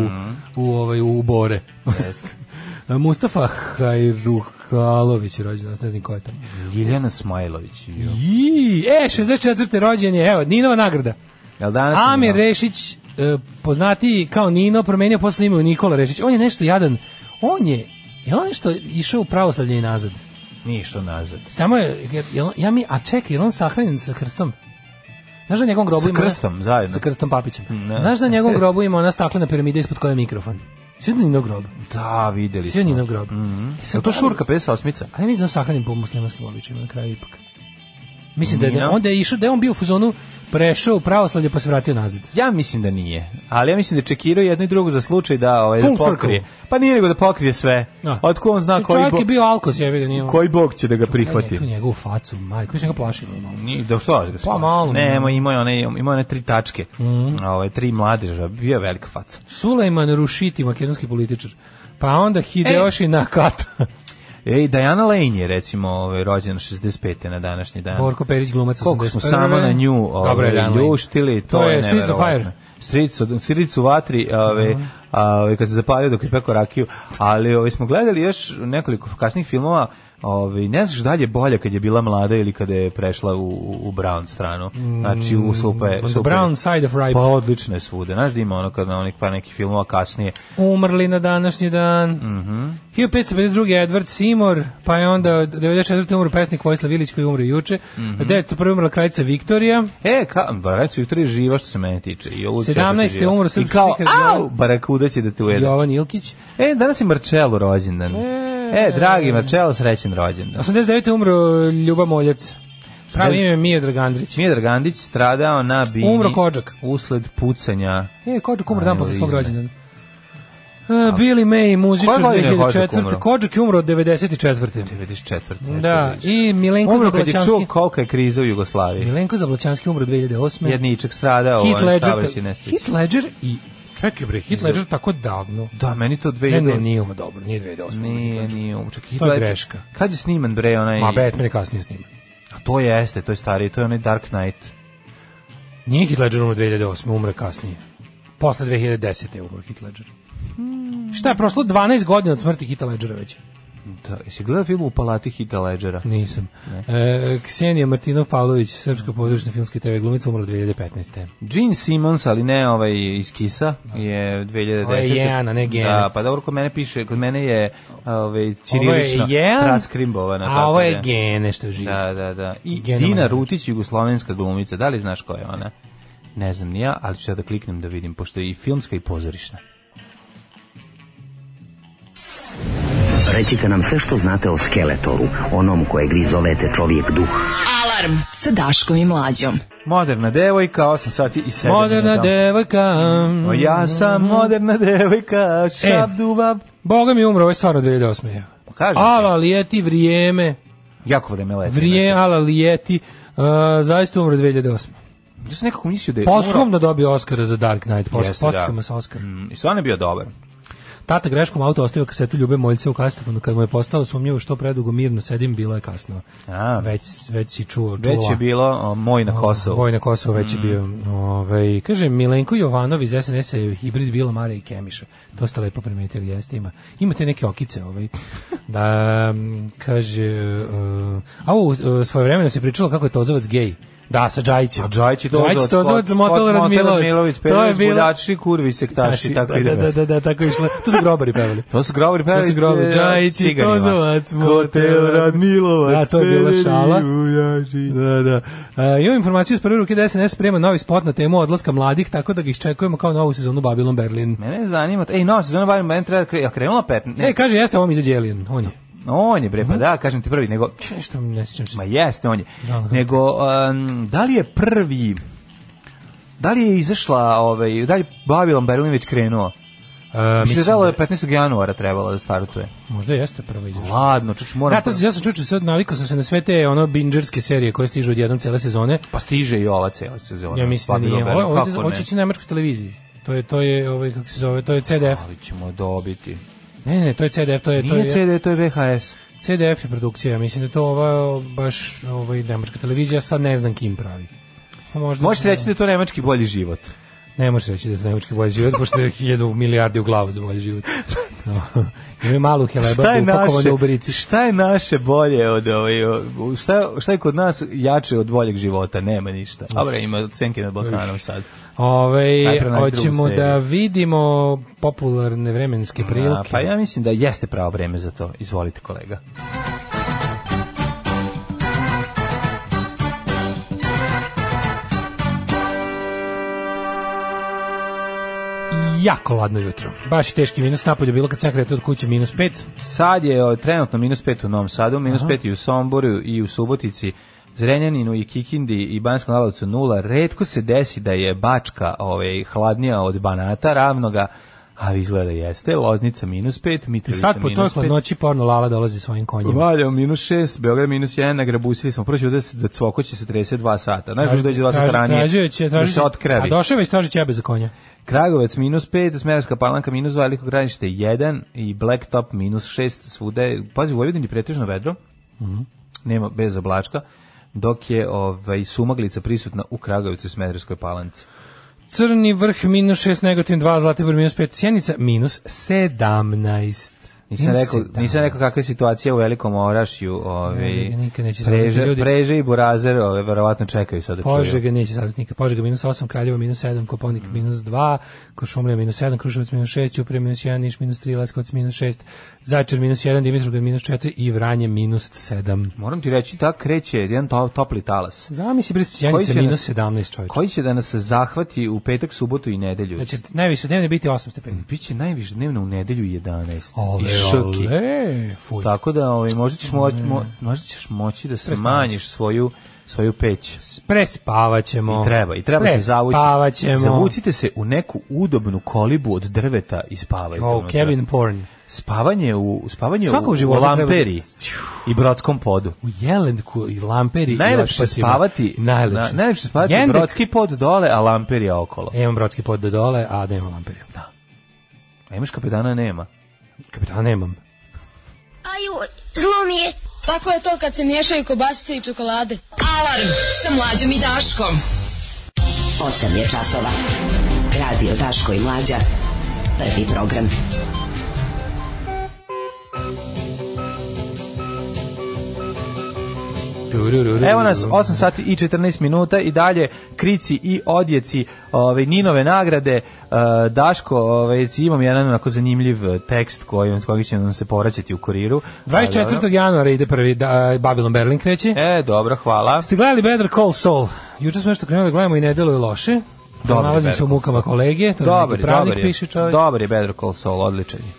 Speaker 5: u, ovaj, u bore. Mustafa Hajruhalović je rođen, danas, ne znam ko je tamo.
Speaker 6: Ljiljana Smajlović. jo.
Speaker 5: Jii, e, 64. rođen je, evo, Ninova nagrada.
Speaker 6: Jel danas sam
Speaker 5: Amir
Speaker 6: imao?
Speaker 5: Rešić, e, poznatiji kao Nino, promenio posle ime u Nikola Rešić. On je nešto jadan, on je, je on nešto išao u pravoslavlje i nazad?
Speaker 6: Nije išao nazad.
Speaker 5: Samo je, jer- jel on- ja mi, a čekaj, je on sahranjen sa krstom? Znaš da na njegovom grobu
Speaker 6: Sa
Speaker 5: ima-
Speaker 6: krstom, zajedno. Mm,
Speaker 5: Sa krstom Papićem.
Speaker 6: Ne.
Speaker 5: Znaš da na njegovom grobu ima ona staklena piramida ispod koje je mikrofon? Sve na Ninov grob.
Speaker 6: Da, videli
Speaker 5: Sve na
Speaker 6: smo.
Speaker 5: Ninov grob. E sad,
Speaker 6: Mhm. Jel to Šurka 58-ica?
Speaker 5: Ali mislim da je sahranjen po muslimanskim običajima na kraju ipak. Mislim da je,
Speaker 6: Nino?
Speaker 5: onda je išao, da je on bio u fuzonu, prešao u pravoslavlje pa se vratio nazad.
Speaker 6: Ja mislim da nije, ali ja mislim da je čekirao jedno i drugo za slučaj da, ovaj, da
Speaker 5: Full circle.
Speaker 6: pokrije. Pa nije nego da pokrije sve.
Speaker 5: Da.
Speaker 6: Otko on zna koji,
Speaker 5: Čovjek
Speaker 6: bo,
Speaker 5: je bio alkos, jebi ga, nije on.
Speaker 6: koji bog će da ga
Speaker 5: Tu
Speaker 6: prihvati.
Speaker 5: njegovu facu, majko, više ga plašimo. malo.
Speaker 6: Ni, da što? Da
Speaker 5: Pa malo.
Speaker 6: Ne, ima, ima, je one, ima je one tri tačke.
Speaker 5: Mhm.
Speaker 6: Ove, tri mladeža, bio je velika faca.
Speaker 5: Sulejman Rušiti, makedonski političar. Pa onda Hideoshi Nakata.
Speaker 6: Ej, Diana E, Lane je recimo ovaj, rođena 65. na današnji dan.
Speaker 5: Borko Perić glumac
Speaker 6: Koliko smo
Speaker 5: 81..
Speaker 6: samo na nju
Speaker 5: Dobra je
Speaker 6: ovaj,
Speaker 5: Diana Lane.
Speaker 6: ljuštili, to,
Speaker 5: To
Speaker 6: je
Speaker 5: je Streets of
Speaker 6: neverovatno.
Speaker 5: Fire. Mhm.
Speaker 6: Stricu, stricu vatri, ove, ove, kad se zapalio dok je peko rakiju, ali ove, smo gledali još nekoliko kasnih filmova, ove, ne znaš dalje bolje kad je bila mlada ili kada je prešla u, u- u Brown stranu, znači u supe.
Speaker 5: On the Mm, brown side of ripe.
Speaker 6: Pa odlično je svude, znaš da ima ono kad na onih par nekih filmova kasnije,
Speaker 5: Umrli na današnji dan.
Speaker 6: Mhm.
Speaker 5: Mm 1552. Edward Seymour, pa je onda 94. umro pesnik Vojislav Ilić koji je umro juče. Mm
Speaker 6: Mhm.
Speaker 5: -hmm. 901. umrla kraljica Viktorija.
Speaker 6: E, ka, Baracu jutro je živa što se mene tiče. I ovo
Speaker 5: 17.
Speaker 6: četvrti živa.
Speaker 5: umro srpski
Speaker 6: I kao,
Speaker 5: slikar Jovan-
Speaker 6: au, Barakuda će da te ujede.
Speaker 5: Jovan Ilkić.
Speaker 6: E, danas je Marcello rođendan.
Speaker 5: E.
Speaker 6: E, dragi Marcello, srećen rođendan.
Speaker 5: 89. umro Ljuba Moljac. Pravo
Speaker 6: Sedam-
Speaker 5: ime je Mija Dragandrić.
Speaker 6: Smidar Gandić stradao na bini.
Speaker 5: Umro Kodžak.
Speaker 6: Usled pucanja.
Speaker 5: E, Kođak umro dan posle svog
Speaker 6: Analizme.
Speaker 5: rođendana. E, Billy May, muzičar
Speaker 6: Koje godine je Kodžak
Speaker 5: 2004.
Speaker 6: umro?
Speaker 5: Kođak je umro od 94.
Speaker 6: 94.
Speaker 5: Da,
Speaker 6: Eto, vidiš.
Speaker 5: i Milenko
Speaker 6: Umro kad je čuo
Speaker 5: Zablačanski.
Speaker 6: kolika je kriza u Jugoslaviji.
Speaker 5: Milenko Zablačanski umro 2008.
Speaker 6: Jedničak stradao,
Speaker 5: Heath
Speaker 6: on
Speaker 5: Ledger,
Speaker 6: Šabac i Nestić.
Speaker 5: Heath Ledger i čekaj bre, Heath Ledger tako davno.
Speaker 6: Da, meni to
Speaker 5: Ne,
Speaker 6: 2000...
Speaker 5: ne, nije ovo dobro, nije 2008.
Speaker 6: Nije, nije, čak Heath
Speaker 5: To je
Speaker 6: Ledger-
Speaker 5: greška.
Speaker 6: Kad je sniman, bre, onaj...
Speaker 5: Ma Batman je kasnije snima.
Speaker 6: A To jeste, to je stariji, to je onaj Dark Knight.
Speaker 5: Nije Heath Ledger umro 2008, umre kasnije. Posle 2010. je umro Heath Ledger.
Speaker 6: Hmm.
Speaker 5: Šta je prošlo 12 godina od smrti Heath Ledgera već?
Speaker 6: Da, jesi gledao film u palati Hita Ledgera?
Speaker 5: Nisam. E, Ksenija Martinov Pavlović, srpska područna filmska i TV glumica, umrla 2015.
Speaker 6: Gene Simmons, ali ne ovaj iz Kisa, je 2010.
Speaker 5: Ovo je Jeana, ne Gena.
Speaker 6: Da, pa dobro, kod mene piše, kod mene je ovaj, cirilično
Speaker 5: Ovo je Jean,
Speaker 6: transkrimbovana.
Speaker 5: A
Speaker 6: tako
Speaker 5: ovo je
Speaker 6: da.
Speaker 5: gene što živi.
Speaker 6: Da, da, da. I
Speaker 5: Gena
Speaker 6: Dina
Speaker 5: Majer.
Speaker 6: Rutić, jugoslovenska glumica, da li znaš ko je ona? Ne znam ni ja, ali ću sad da kliknem da vidim, pošto je i filmska i pozorišna.
Speaker 7: Recite nam sve što znate o Skeletoru, onom kojeg vi zovete čovjek duh.
Speaker 4: Alarm sa Daškom i Mlađom.
Speaker 6: Moderna devojka, 8 sati i 7
Speaker 5: Moderna devojka.
Speaker 6: O, ja sam moderna devojka, šabdubab.
Speaker 5: Boga mi umro, ovo je stvarno 2008. je.
Speaker 6: Pa kažem ti.
Speaker 5: Ala lijeti vrijeme,
Speaker 6: Jako vreme leti.
Speaker 5: vrije, ala lijeti, uh, zaista umro 2008.
Speaker 6: znači. Ja sam nekako mislio da je... umro.
Speaker 5: Posthumno dobio Oscara za Dark Knight,
Speaker 6: Jeste, da.
Speaker 5: posthumno sa Oscar.
Speaker 6: Mm, I stvarno je bio dobar.
Speaker 5: Tata greškom auto ostavio kasetu Ljube Moljca u kastofonu, kad mu je postalo sumnjivo što predugo mirno sedim, bilo je kasno.
Speaker 6: A.
Speaker 5: Već, već si čuo, čula.
Speaker 6: Već je bilo o, moj na Kosovu.
Speaker 5: Voj na Kosovo već
Speaker 6: Mm.
Speaker 5: je bio. Ovaj kaže Milenko Jovanov iz SNS je hibrid Bila Mare i Kemiša. To ste lepo primetili, jeste ima. Ima te neke okice, ovaj. Da mm, kaže uh, a u svoje vremena se pričalo kako je Tozovac gej. Da, sa Džajićem.
Speaker 6: A Džajić i Tozovac,
Speaker 5: Džajić, Tozovac,
Speaker 6: Kot-
Speaker 5: Motel
Speaker 6: Kot-
Speaker 5: Radmilović.
Speaker 6: Radmilović,
Speaker 5: To je
Speaker 6: Perović,
Speaker 5: bilo... Znači,
Speaker 6: Buljači, Kurvi, Sektaši, tako
Speaker 5: da,
Speaker 6: ide
Speaker 5: da, da, da, da, tako je išlo. Tu su grobari pevali.
Speaker 6: To su e, grobari pravi.
Speaker 5: To su grobari. Džajić i Tozovac,
Speaker 6: Kotel Radmilovac.
Speaker 5: Da, to je bila
Speaker 6: Pederiju,
Speaker 5: šala.
Speaker 6: Jaži.
Speaker 5: Da, da. E, imam informaciju iz prve ruke da SNS sprema novi spot na temu odlaska mladih, tako da ga iščekujemo kao novu sezonu Babylon Berlin.
Speaker 6: Mene zanima, ej, no, sezona bavim, meni treba, kre- jel krenula 15?
Speaker 5: Ne,
Speaker 6: Ne,
Speaker 5: E, kaže, jeste ovom izađe Alien, on je.
Speaker 6: on je bre, pa da, kažem ti prvi, nego,
Speaker 5: Nešto mi ne sjećam se.
Speaker 6: ma jeste, on je.
Speaker 5: Da, da.
Speaker 6: Nego, um, da li je prvi, da li je izašla, ovaj, da li je Babylon Berlin već krenuo?
Speaker 5: E,
Speaker 6: Mislim,
Speaker 5: mislim,
Speaker 6: da je 15. januara trebalo da startuje.
Speaker 5: možda jeste prva izašla.
Speaker 6: Ladno, čuč, moram...
Speaker 5: Da, to se, ja sam čučio sad, navikao sam se na sve te ono bingerske serije koje stižu odjednom cele sezone.
Speaker 6: Pa stiže i ova cela sezona.
Speaker 5: Ja mislim da
Speaker 6: Babylon
Speaker 5: nije.
Speaker 6: Berlin,
Speaker 5: Ovo
Speaker 6: Ono, kako
Speaker 5: ovo će
Speaker 6: ne?
Speaker 5: ići na nemačkoj televiziji. To je, to je, ovaj, kako se zove, to je CDF.
Speaker 6: Ali ćemo dobiti.
Speaker 5: Ne, ne, to je CDF, to je... to
Speaker 6: Nije
Speaker 5: je,
Speaker 6: CD, to je VHS.
Speaker 5: CDF je produkcija, ja mislim da je to ova baš ovaj nemačka televizija, sad ne znam kim pravi. A Možda
Speaker 6: Možeš reći da je to nemački bolji život.
Speaker 5: Ne možeš reći da je to nemački bolji život, pošto je hiljadu milijardi u glavu za bolji život. No. Imaju malu
Speaker 6: Šta je
Speaker 5: helebardu
Speaker 6: naše?
Speaker 5: upakovanu u brici.
Speaker 6: Šta je naše bolje od ovaj o- u- šta je- šta je kod nas jače od boljeg života? Nema ništa. Dobre, ima senke nad Balkanom sad.
Speaker 5: Ove,
Speaker 6: Najpre na drugu
Speaker 5: Ovaj, hoćemo
Speaker 6: seriju.
Speaker 5: da vidimo popularne vremenske
Speaker 6: A,
Speaker 5: prilike.
Speaker 6: pa ja mislim da jeste pravo vreme za to. Izvolite kolega.
Speaker 5: Jako ladno jutro. Baš teški minus napolje bilo kad sam ja kretao od kuće minus pet.
Speaker 6: Sad je o, trenutno minus pet u Novom Sadu, minus pet i u Somboru i u Subotici, Zrenjaninu i Kikindi i Banskom Lalovcu nula. Redko se desi da je Bačka ovaj, hladnija od Banata ravnoga, ali izgleda jeste. Loznica minus pet,
Speaker 5: I
Speaker 6: Mitrovica
Speaker 5: sad po toj
Speaker 6: minus pet.
Speaker 5: hladnoći porno Lala dolazi svojim konjima.
Speaker 6: Valjevo minus 6, Beograd minus 1, nagrabusili smo. Prvo ću da se da cvokoće se 32 sata. Znaš da dođe 2 sata ranije.
Speaker 5: Tražio će,
Speaker 6: da
Speaker 5: tražio
Speaker 6: se
Speaker 5: će, a
Speaker 6: otkravi.
Speaker 5: došao je već tražit jebe za konja.
Speaker 6: Kragovec minus 5, Smerska palanka minus 2, Veliko granište 1 i Blacktop minus 6 svuda. je- Pazi, u Vojvodini pretežno vedro,
Speaker 5: Mhm.
Speaker 6: nema bez oblačka, dok je ovaj, sumaglica prisutna u Kragovicu i Smederskoj palanci.
Speaker 5: Crni vrh minus 6, Negotin 2, Zlatibor minus 5, Sjenica minus 17.
Speaker 6: Nisam
Speaker 5: Minus
Speaker 6: rekao,
Speaker 5: 17.
Speaker 6: nisam rekao kakva je situacija u Velikom Orašju, ovaj,
Speaker 5: Ja, nikad neće saznati
Speaker 6: preže,
Speaker 5: ljudi.
Speaker 6: preže i burazer, ovaj, verovatno čekaju sad da čuju.
Speaker 5: Požega neće saznat nikad. Požega minus 8, Kraljevo minus 7, Koponik
Speaker 6: Mm.
Speaker 5: minus 2, Košumlija minus 7, Kruševac minus 6, Ćuprija minus 1, Niš minus 3, Leskovac minus 6, Zajčar minus 1, Dimitrovgrad minus 4 i Vranje minus 7.
Speaker 6: Moram ti reći, ta kreće jedan to, topli talas.
Speaker 5: Zamisli bre
Speaker 6: Koji će
Speaker 5: Sjenice
Speaker 6: nas-
Speaker 5: minus 17 čovječe.
Speaker 6: Koji će da nas zahvati u petak, subotu i nedelju?
Speaker 5: Znači, najviše dnevne biti 8 stepeni.
Speaker 6: Biće najviše dnevno u nedelju 11.
Speaker 5: Ole,
Speaker 6: I šoki.
Speaker 5: ole, fuj.
Speaker 6: Tako da ovaj, možda, ćeš moći,
Speaker 5: Mm.
Speaker 6: mo, možda ćeš moći da smanjiš svoju, svoju peć.
Speaker 5: Prespavaćemo.
Speaker 6: I treba, i treba se zavući.
Speaker 5: Prespavaćemo.
Speaker 6: Zavucite se u neku udobnu kolibu od drveta i spavajte.
Speaker 5: Oh,
Speaker 6: unutra.
Speaker 5: cabin porn.
Speaker 6: Spavanje u, spavanje
Speaker 5: Svako
Speaker 6: u,
Speaker 5: u
Speaker 6: u
Speaker 5: životu treba-
Speaker 6: lamperiji i brodskom podu.
Speaker 5: U Jelenku i Lamperi
Speaker 6: Najlepše
Speaker 5: i otpacima.
Speaker 6: spavati,
Speaker 5: Najlepše.
Speaker 6: na- najlepše spavati
Speaker 5: Jendek- E,
Speaker 6: brodski pod dole, a lamperija okolo.
Speaker 5: Imam brodski pod do dole, a nemam Lamperiju.
Speaker 6: A imaš kapetana nema.
Speaker 5: Kapitana nemam.
Speaker 2: Aju, zlo mi je.
Speaker 8: Tako je to kad se miješaju kobasice i čokolade.
Speaker 4: Alarm sa mlađom i Daškom.
Speaker 7: 8 je časova. Radio Daško i Mlađa. Prvi program.
Speaker 6: Evo nas 8 sati i 14 minuta i dalje krici i odjeci ove Ninove nagrade e, Daško ove imam jedan onako zanimljiv e, tekst koji s kojim će nam se povraćati u kuriru. Ali,
Speaker 5: 24. januara ide prvi da, Babylon Berlin kreće.
Speaker 6: dobro. E, dobro, hvala.
Speaker 5: Ste gledali Better Call Saul? Juče smo nešto krenuli, da gledamo i ne deluje loše.
Speaker 6: Dobar je
Speaker 5: Nalazim se u
Speaker 6: Better
Speaker 5: mukama kolege, to je
Speaker 6: Dobar,
Speaker 5: neki
Speaker 6: je,
Speaker 5: pravnik
Speaker 6: dobar je.
Speaker 5: piše čovjek.
Speaker 6: Dobar je Better Call Saul, odličan je.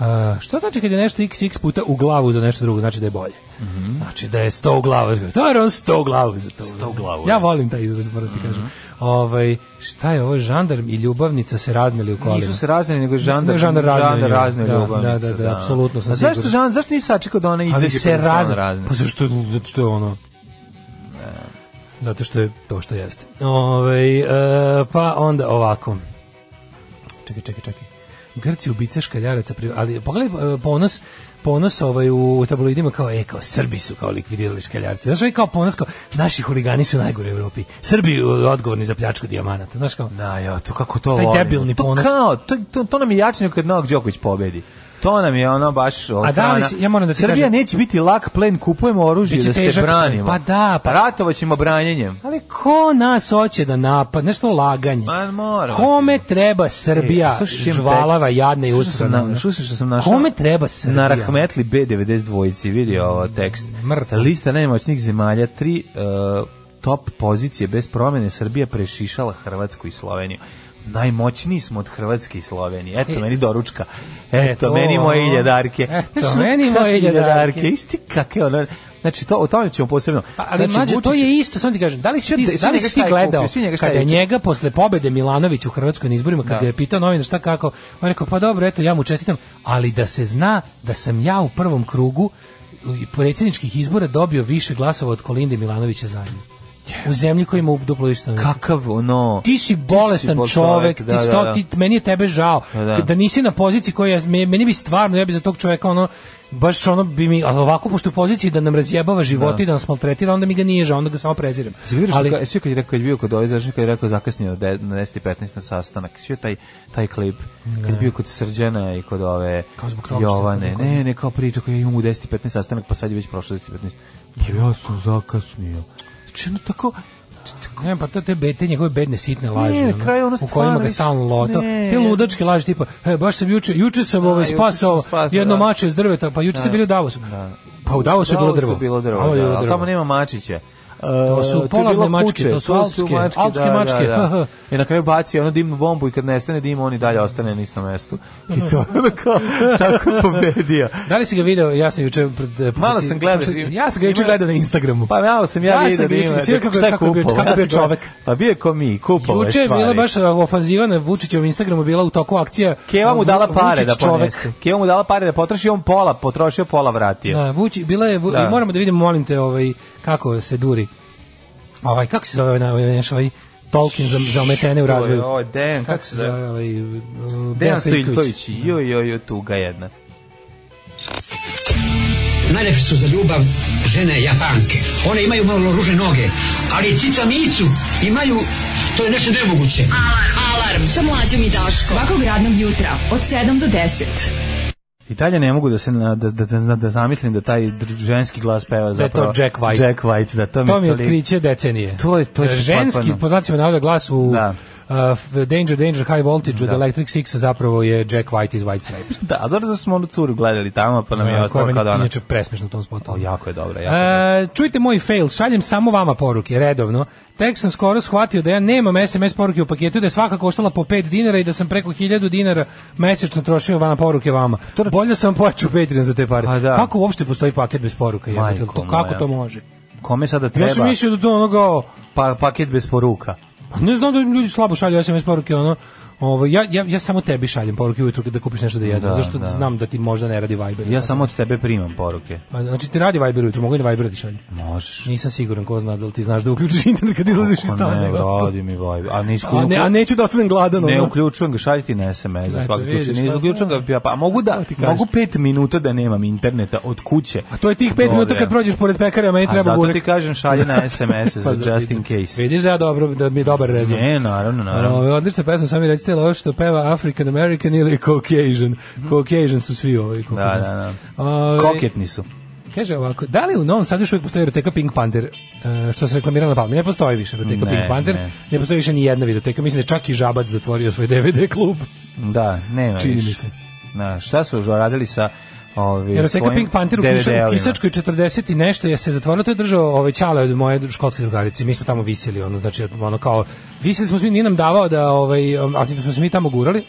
Speaker 5: A, šta znači kad je nešto xx puta u glavu za nešto drugo, znači da je bolje.
Speaker 6: Mhm.
Speaker 5: Znači da je 100 u glavu. To je on 100 u glavu za to. 100 u glavu. Ja volim taj izraz, moram ti
Speaker 6: Mhm.
Speaker 5: kažem. Ovaj, šta je ovo, žandarm i ljubavnica se razneli u kolima.
Speaker 6: Nisu se razneli, nego je žandar,
Speaker 5: Ne, žandar razneo
Speaker 6: žandar
Speaker 5: nju.
Speaker 6: razneo
Speaker 5: Da,
Speaker 6: ljubavnica,
Speaker 5: da, da, da, apsolutno sam
Speaker 6: A zašto,
Speaker 5: siguran.
Speaker 6: žan, zašto nisi sačekao da ona izađe?
Speaker 5: ali se
Speaker 6: pa da ona
Speaker 5: razne.
Speaker 6: razneo?
Speaker 5: Pa zašto je, zato što je ono... Zato što je to što jeste. Ove, e, pa onda ovako. Čekaj, čekaj, čekaj. Grci ubice škaljaraca, pri- ali pogledaj e, ponos ponos ovaj u tabloidima kao e kao Srbi su kao likvidirali škaljarce. Znaš, ovaj kao ponos kao naši huligani su najgori u Evropi. Srbi e, odgovorni za pljačku dijamanata. Znaš kao
Speaker 6: Da, ja, to kako to
Speaker 5: Taj
Speaker 6: volim.
Speaker 5: debilni
Speaker 6: to
Speaker 5: ponos.
Speaker 6: Kao, to, to, to nam je jače nego kad Novak Đoković pobedi. To nam je ono baš... ono,
Speaker 5: A da li
Speaker 6: hrana.
Speaker 5: si- ja moram da ti
Speaker 6: Srbija
Speaker 5: kažem-
Speaker 6: neće biti lak plen, kupujemo oružje
Speaker 5: Biće
Speaker 6: da se
Speaker 5: težak plen.
Speaker 6: branimo.
Speaker 5: Pa da, pa-
Speaker 6: Ratovaćemo branjenjem.
Speaker 5: Ali ko nas hoće da napadne? Nešto laganje.
Speaker 6: Ma, mora.
Speaker 5: Kome treba Srbija,
Speaker 6: E, slušaj, čim
Speaker 5: žvalava, jadna i
Speaker 6: Slušaj što sam na-
Speaker 5: usrana?
Speaker 6: Slušaj što sam našao.
Speaker 5: Kome treba Srbija?
Speaker 6: Na Rahmetli B92 dvojici vidi ovo tekst.
Speaker 5: Mrtav.
Speaker 6: Lista najmoćnih zemalja, tri uh, top pozicije bez promene Srbija prešišala Hrvatsku i Sloveniju. Najmoćniji smo od Hrvatske i Slovenije. Eto,
Speaker 5: E.
Speaker 6: meni doručka. Eto,
Speaker 5: Eto,
Speaker 6: meni moje
Speaker 5: a.
Speaker 6: iljadarke.
Speaker 5: Eto,
Speaker 6: Znaš,
Speaker 5: meni
Speaker 6: kakve
Speaker 5: moje iljadarke.
Speaker 6: Isti kakve ono... Znači, to, o tome ćemo posebno.
Speaker 5: Pa, ali
Speaker 6: znači,
Speaker 5: mlađe, to
Speaker 6: Vučić-
Speaker 5: je isto, sam ti kažem, da li si
Speaker 6: Sve-
Speaker 5: ti,
Speaker 6: sve
Speaker 5: da li
Speaker 6: njega
Speaker 5: si ti
Speaker 6: šta je
Speaker 5: gledao
Speaker 6: kupio, sve njega šta
Speaker 5: kada
Speaker 6: je
Speaker 5: je
Speaker 6: kupio?
Speaker 5: njega posle pobede Milanović u Hrvatskoj na izborima, kada
Speaker 6: Da.
Speaker 5: ga je pitao novinar šta kako, on je rekao, pa dobro, eto, ja mu čestitam, ali da se zna da sam ja u prvom krugu u- i predsjedničkih izbora dobio više glasova od Kolinde Milanovića zajedno. u zemlji koja ima duplo više stanovnika.
Speaker 6: Kakav ono...
Speaker 5: ti si bolestan
Speaker 6: bol-
Speaker 5: čovek, ti
Speaker 6: da, da,
Speaker 5: sto,
Speaker 6: da.
Speaker 5: ti, meni je tebe žao.
Speaker 6: Da,
Speaker 5: Da,
Speaker 6: da.
Speaker 5: nisi na poziciji koja ja- me- meni bi stvarno ja bi za tog čoveka ono baš ono bi mi ali ovako pošto je u poziciji da nam razjebava živote i da nas maltretira, onda mi ga nije žao, onda ga samo prezirem.
Speaker 6: Jesi vidio što
Speaker 5: ali
Speaker 6: ka- svi Pa kad je rekao kad je bio kod ove završnika kad je rekao zakasnio de- na 10 i 15 na sastanak. Svi je taj taj klip kad je bio kod Srđana i kod ove
Speaker 5: Kao zbog toga što je
Speaker 6: Jovane.
Speaker 5: kod-
Speaker 6: Ne, ne, kao priča koja imam u 10 i 15 sastanak, pa sad je već prošlo 10 i 15. Pa ja sam zakasnio. Znači, ono tako
Speaker 5: Ne, pa to te, be, te njegove bedne sitne laži,
Speaker 6: Ne, na
Speaker 5: ono,
Speaker 6: kraju ono
Speaker 5: u kojima
Speaker 6: stvarno
Speaker 5: ga stalno
Speaker 6: više-
Speaker 5: loto.
Speaker 6: ne,
Speaker 5: te
Speaker 6: ja-
Speaker 5: ludačke laži tipa, e, baš sam juče, juče sam ovaj
Speaker 6: juče
Speaker 5: spasao
Speaker 6: sam spasao,
Speaker 5: jedno
Speaker 6: da.
Speaker 5: mače iz drveta, pa juče ste bili u Davosu. Pa u Davosu je bilo drvo.
Speaker 6: bilo drvo,
Speaker 5: Tamo je
Speaker 6: da,
Speaker 5: bilo
Speaker 6: ali
Speaker 5: drvo.
Speaker 6: tamo nema mačića.
Speaker 5: To su
Speaker 6: E, je
Speaker 5: polarne
Speaker 6: bilo
Speaker 5: mačke,
Speaker 6: kuće,
Speaker 5: to su alpske- alpske mačke,
Speaker 6: Da, da.
Speaker 5: haha.
Speaker 6: I na kraju baci ono dimnu bombu i kad nestane dim, on i dalje ostane na istom mestu. I to je ono kao tako pobedio.
Speaker 5: Da li si ga video? Ja sam juče pred pred-
Speaker 6: Malo sam gledao,
Speaker 5: pred- Ja sam ga juče
Speaker 6: ima-
Speaker 5: gledao na Instagramu.
Speaker 6: Pa malo sam ja,
Speaker 5: Ja
Speaker 6: vidio
Speaker 5: sam
Speaker 6: da
Speaker 5: ga juče-
Speaker 6: ima.
Speaker 5: svi kako-
Speaker 6: šta je
Speaker 5: kako je bio-
Speaker 6: kupovao?
Speaker 5: kako je
Speaker 6: Ja sam
Speaker 5: bio čovek.
Speaker 6: gledao- Pa bio je ko mi, kupovao
Speaker 5: Juče je bila
Speaker 6: stvari.
Speaker 5: baš e, ofanziva na Vučićevom Instagramu bila u toku akcija.
Speaker 6: Keva mu dala
Speaker 5: Vu-
Speaker 6: pare
Speaker 5: Vučić
Speaker 6: da
Speaker 5: čovek.
Speaker 6: ponese. Keva mu dala pare da potroši, on pola potrošio, pola vratio.
Speaker 5: Da, Vuči, bila je, Vu-
Speaker 6: Da.
Speaker 5: i moramo da vidimo, molim te, ovaj, kako se duri. Ovaj, kako se zove ovaj, ovaj, naš ovaj Tolkien za, za ometene u
Speaker 6: To je
Speaker 5: razvoju?
Speaker 6: Ovaj Dejan, kako se zove?
Speaker 5: ovaj, uh,
Speaker 6: Dejan
Speaker 5: Dejan
Speaker 6: Stojljković. Joj, joj, joj, tuga jedna.
Speaker 9: Najlepše su za ljubav žene japanke. One imaju malo ruže noge, ali cica micu imaju, to je nešto nemoguće.
Speaker 4: Alarm. Alarm sa mlađom i Daškom.
Speaker 7: Svakog radnog jutra od 7 do 10.
Speaker 6: I dalje ne mogu da se na, da, da, da, da zamislim da taj dr- ženski glas peva
Speaker 5: Da je to
Speaker 6: zapravo
Speaker 5: Jack White.
Speaker 6: Jack White, da to,
Speaker 5: To mi je
Speaker 6: toliko-
Speaker 5: otkriće decenije.
Speaker 6: To je- to je
Speaker 5: Ženski,
Speaker 6: potpuno.
Speaker 5: po znacima navoda, glas u
Speaker 6: Da.
Speaker 5: uh, Danger, Danger, High Voltage od Electric Six zapravo je Jack White iz White Stripes. Uh,
Speaker 6: Da, a dobro da smo onu curu gledali tamo, pa nam je
Speaker 5: Koja
Speaker 6: ostalo
Speaker 5: meni
Speaker 6: kao da ona...
Speaker 5: Inače presmešno u tom spotu.
Speaker 6: O, jako je dobro, jako je dobro.
Speaker 5: E, čujte moj fail, šaljem samo vama poruke, redovno. Tek sam skoro shvatio da ja nemam SMS poruke u paketu, da je svaka koštala po 5 dinara i da sam preko 1000 dinara mesečno trošio na poruke vama. Bolje sam pojačao Patreon za te pare.
Speaker 6: Pa da.
Speaker 5: Kako uopšte postoji paket bez poruka? jebote?
Speaker 6: Majko
Speaker 5: to, kako
Speaker 6: moja.
Speaker 5: to može?
Speaker 6: Kome sada treba?
Speaker 5: Ja sam mislio da to onoga,
Speaker 6: Pa, paket bez poruka.
Speaker 5: ne znam da ljudi slabo šalju SMS poruke, ono, Ovo, ja, ja, ja samo tebi šaljem poruke ujutru da kupiš nešto da jedem,
Speaker 6: Da,
Speaker 5: zašto
Speaker 6: da.
Speaker 5: znam da ti možda ne radi Viber.
Speaker 6: Ja samo od tebe primam poruke.
Speaker 5: A, Znači ti radi Viber ujutru, mogu i na Viber da ti šaljem?
Speaker 6: Možeš.
Speaker 5: Nisam siguran ko zna da li ti znaš da uključiš internet kad izlaziš iz
Speaker 6: Ako
Speaker 5: stana.
Speaker 6: Pa ne,
Speaker 5: nego ostalo.
Speaker 6: radi mi vibe. A, ne,
Speaker 5: a, ne, a neću da ostanem gladan.
Speaker 6: Ne
Speaker 5: ono.
Speaker 6: uključujem ga, šaljiti na SMS za
Speaker 5: Eto,
Speaker 6: svaki
Speaker 5: vidiš,
Speaker 6: slučaj. Ne
Speaker 5: pa-
Speaker 6: uključujem ga, ja pa mogu da,
Speaker 5: ti kažem.
Speaker 6: mogu pet minuta da nemam interneta od kuće.
Speaker 5: A to je tih pet
Speaker 6: Dobre.
Speaker 5: minuta kad prođeš pored pekare, a meni
Speaker 6: A
Speaker 5: treba
Speaker 6: zato
Speaker 5: burek.
Speaker 6: ti kažem šalje na SMS
Speaker 5: Pa
Speaker 6: za just in
Speaker 5: vidim.
Speaker 6: case.
Speaker 5: Vidiš da ja dobro, da mi je dobar rezon. Ono,
Speaker 6: Ne, naravno, naravno.
Speaker 5: Ovo, odlična pesma, sami recite, ali ovo što peva African American ili Caucasian. Caucasian su svi ovi. koliko
Speaker 6: Mhm. Da,
Speaker 5: znam.
Speaker 6: da, da.
Speaker 5: Ovaj,
Speaker 6: Koketni su.
Speaker 5: Kaže ovako, da li u Novom Sadu još uvijek postoji eroteka Pink Panther, e, što se reklamira na palmi? Ne postoji više eroteka
Speaker 6: Ne,
Speaker 5: Pink Panther,
Speaker 6: ne.
Speaker 5: ne. postoji više ni jedna videoteka, mislim da je čak i Žabac zatvorio svoj DVD klub.
Speaker 6: Da, nema
Speaker 5: Čini
Speaker 6: više.
Speaker 5: mi se.
Speaker 6: Na, šta su radili sa ovi,
Speaker 5: Eroteka
Speaker 6: svojim
Speaker 5: Pink Panther u Kiša-
Speaker 6: DVD-ovima?
Speaker 5: u Kisačkoj 40 i nešto je se zatvorilo, to je držao ove ćale od moje školske drugarice, mi smo tamo visili, ono, znači, ono kao, visili smo se, mi, nije nam davao da, ovaj, ali smo se mi tamo gurali,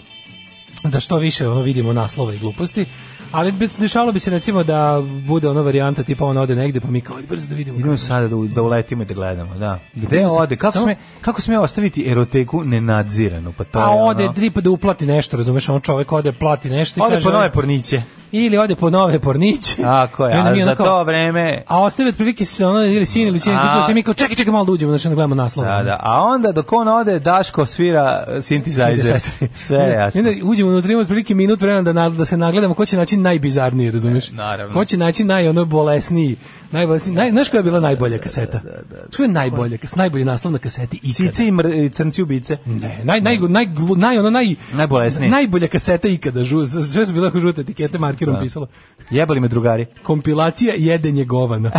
Speaker 5: da što više ono vidimo naslova i gluposti, ali bi- dešavalo bi se recimo da bude ono varijanta tipa on ode negde pa mi kao "Ajde, brzo da vidimo.
Speaker 6: Idemo sada da, u- da uletimo i da gledamo, da. Gde ode? Kako,
Speaker 5: Samo-
Speaker 6: sme, kako sme ostaviti eroteku nenadziranu? Pa to
Speaker 5: Pa
Speaker 6: je
Speaker 5: ode
Speaker 6: ono,
Speaker 5: dripa da uplati nešto, razumeš, on čovek ode, plati nešto i
Speaker 6: ode
Speaker 5: kaže,
Speaker 6: po nove porniće.
Speaker 5: ili ode po nove porniće.
Speaker 6: Tako je,
Speaker 5: I onda mi
Speaker 6: a za
Speaker 5: onako-
Speaker 6: to vreme...
Speaker 5: A ostavi otprilike se ono, ili sin ili čini,
Speaker 6: A-
Speaker 5: tu se mi kao, čekaj, čekaj, malo da uđemo, znači da gledamo naslov.
Speaker 6: Da, da. A onda dok on ode, Daško svira eh, synthesizer. Sve je jasno.
Speaker 5: I onda uđemo unutra, ima otprilike minut vremena da, na- da se nagledamo ko će naći najbizarniji, razumiješ?
Speaker 6: E, naravno.
Speaker 5: Ko će naći naj ono bolesniji, najbolesniji, naj, znaš koja je bila najbolja kaseta? Da, da, da. Što je najbolja, kas, najbolji naslov na kaseti ikada?
Speaker 6: Cice i mr- i crnci ubice.
Speaker 5: Ne, naj, naj, naj, naj, ono, naj,
Speaker 6: Najbolesniji.
Speaker 5: najbolja kaseta ikada, žu, sve su bile ako žute etikete markerom pisalo.
Speaker 6: Jebali me drugari.
Speaker 5: Kompilacija jedenje govana.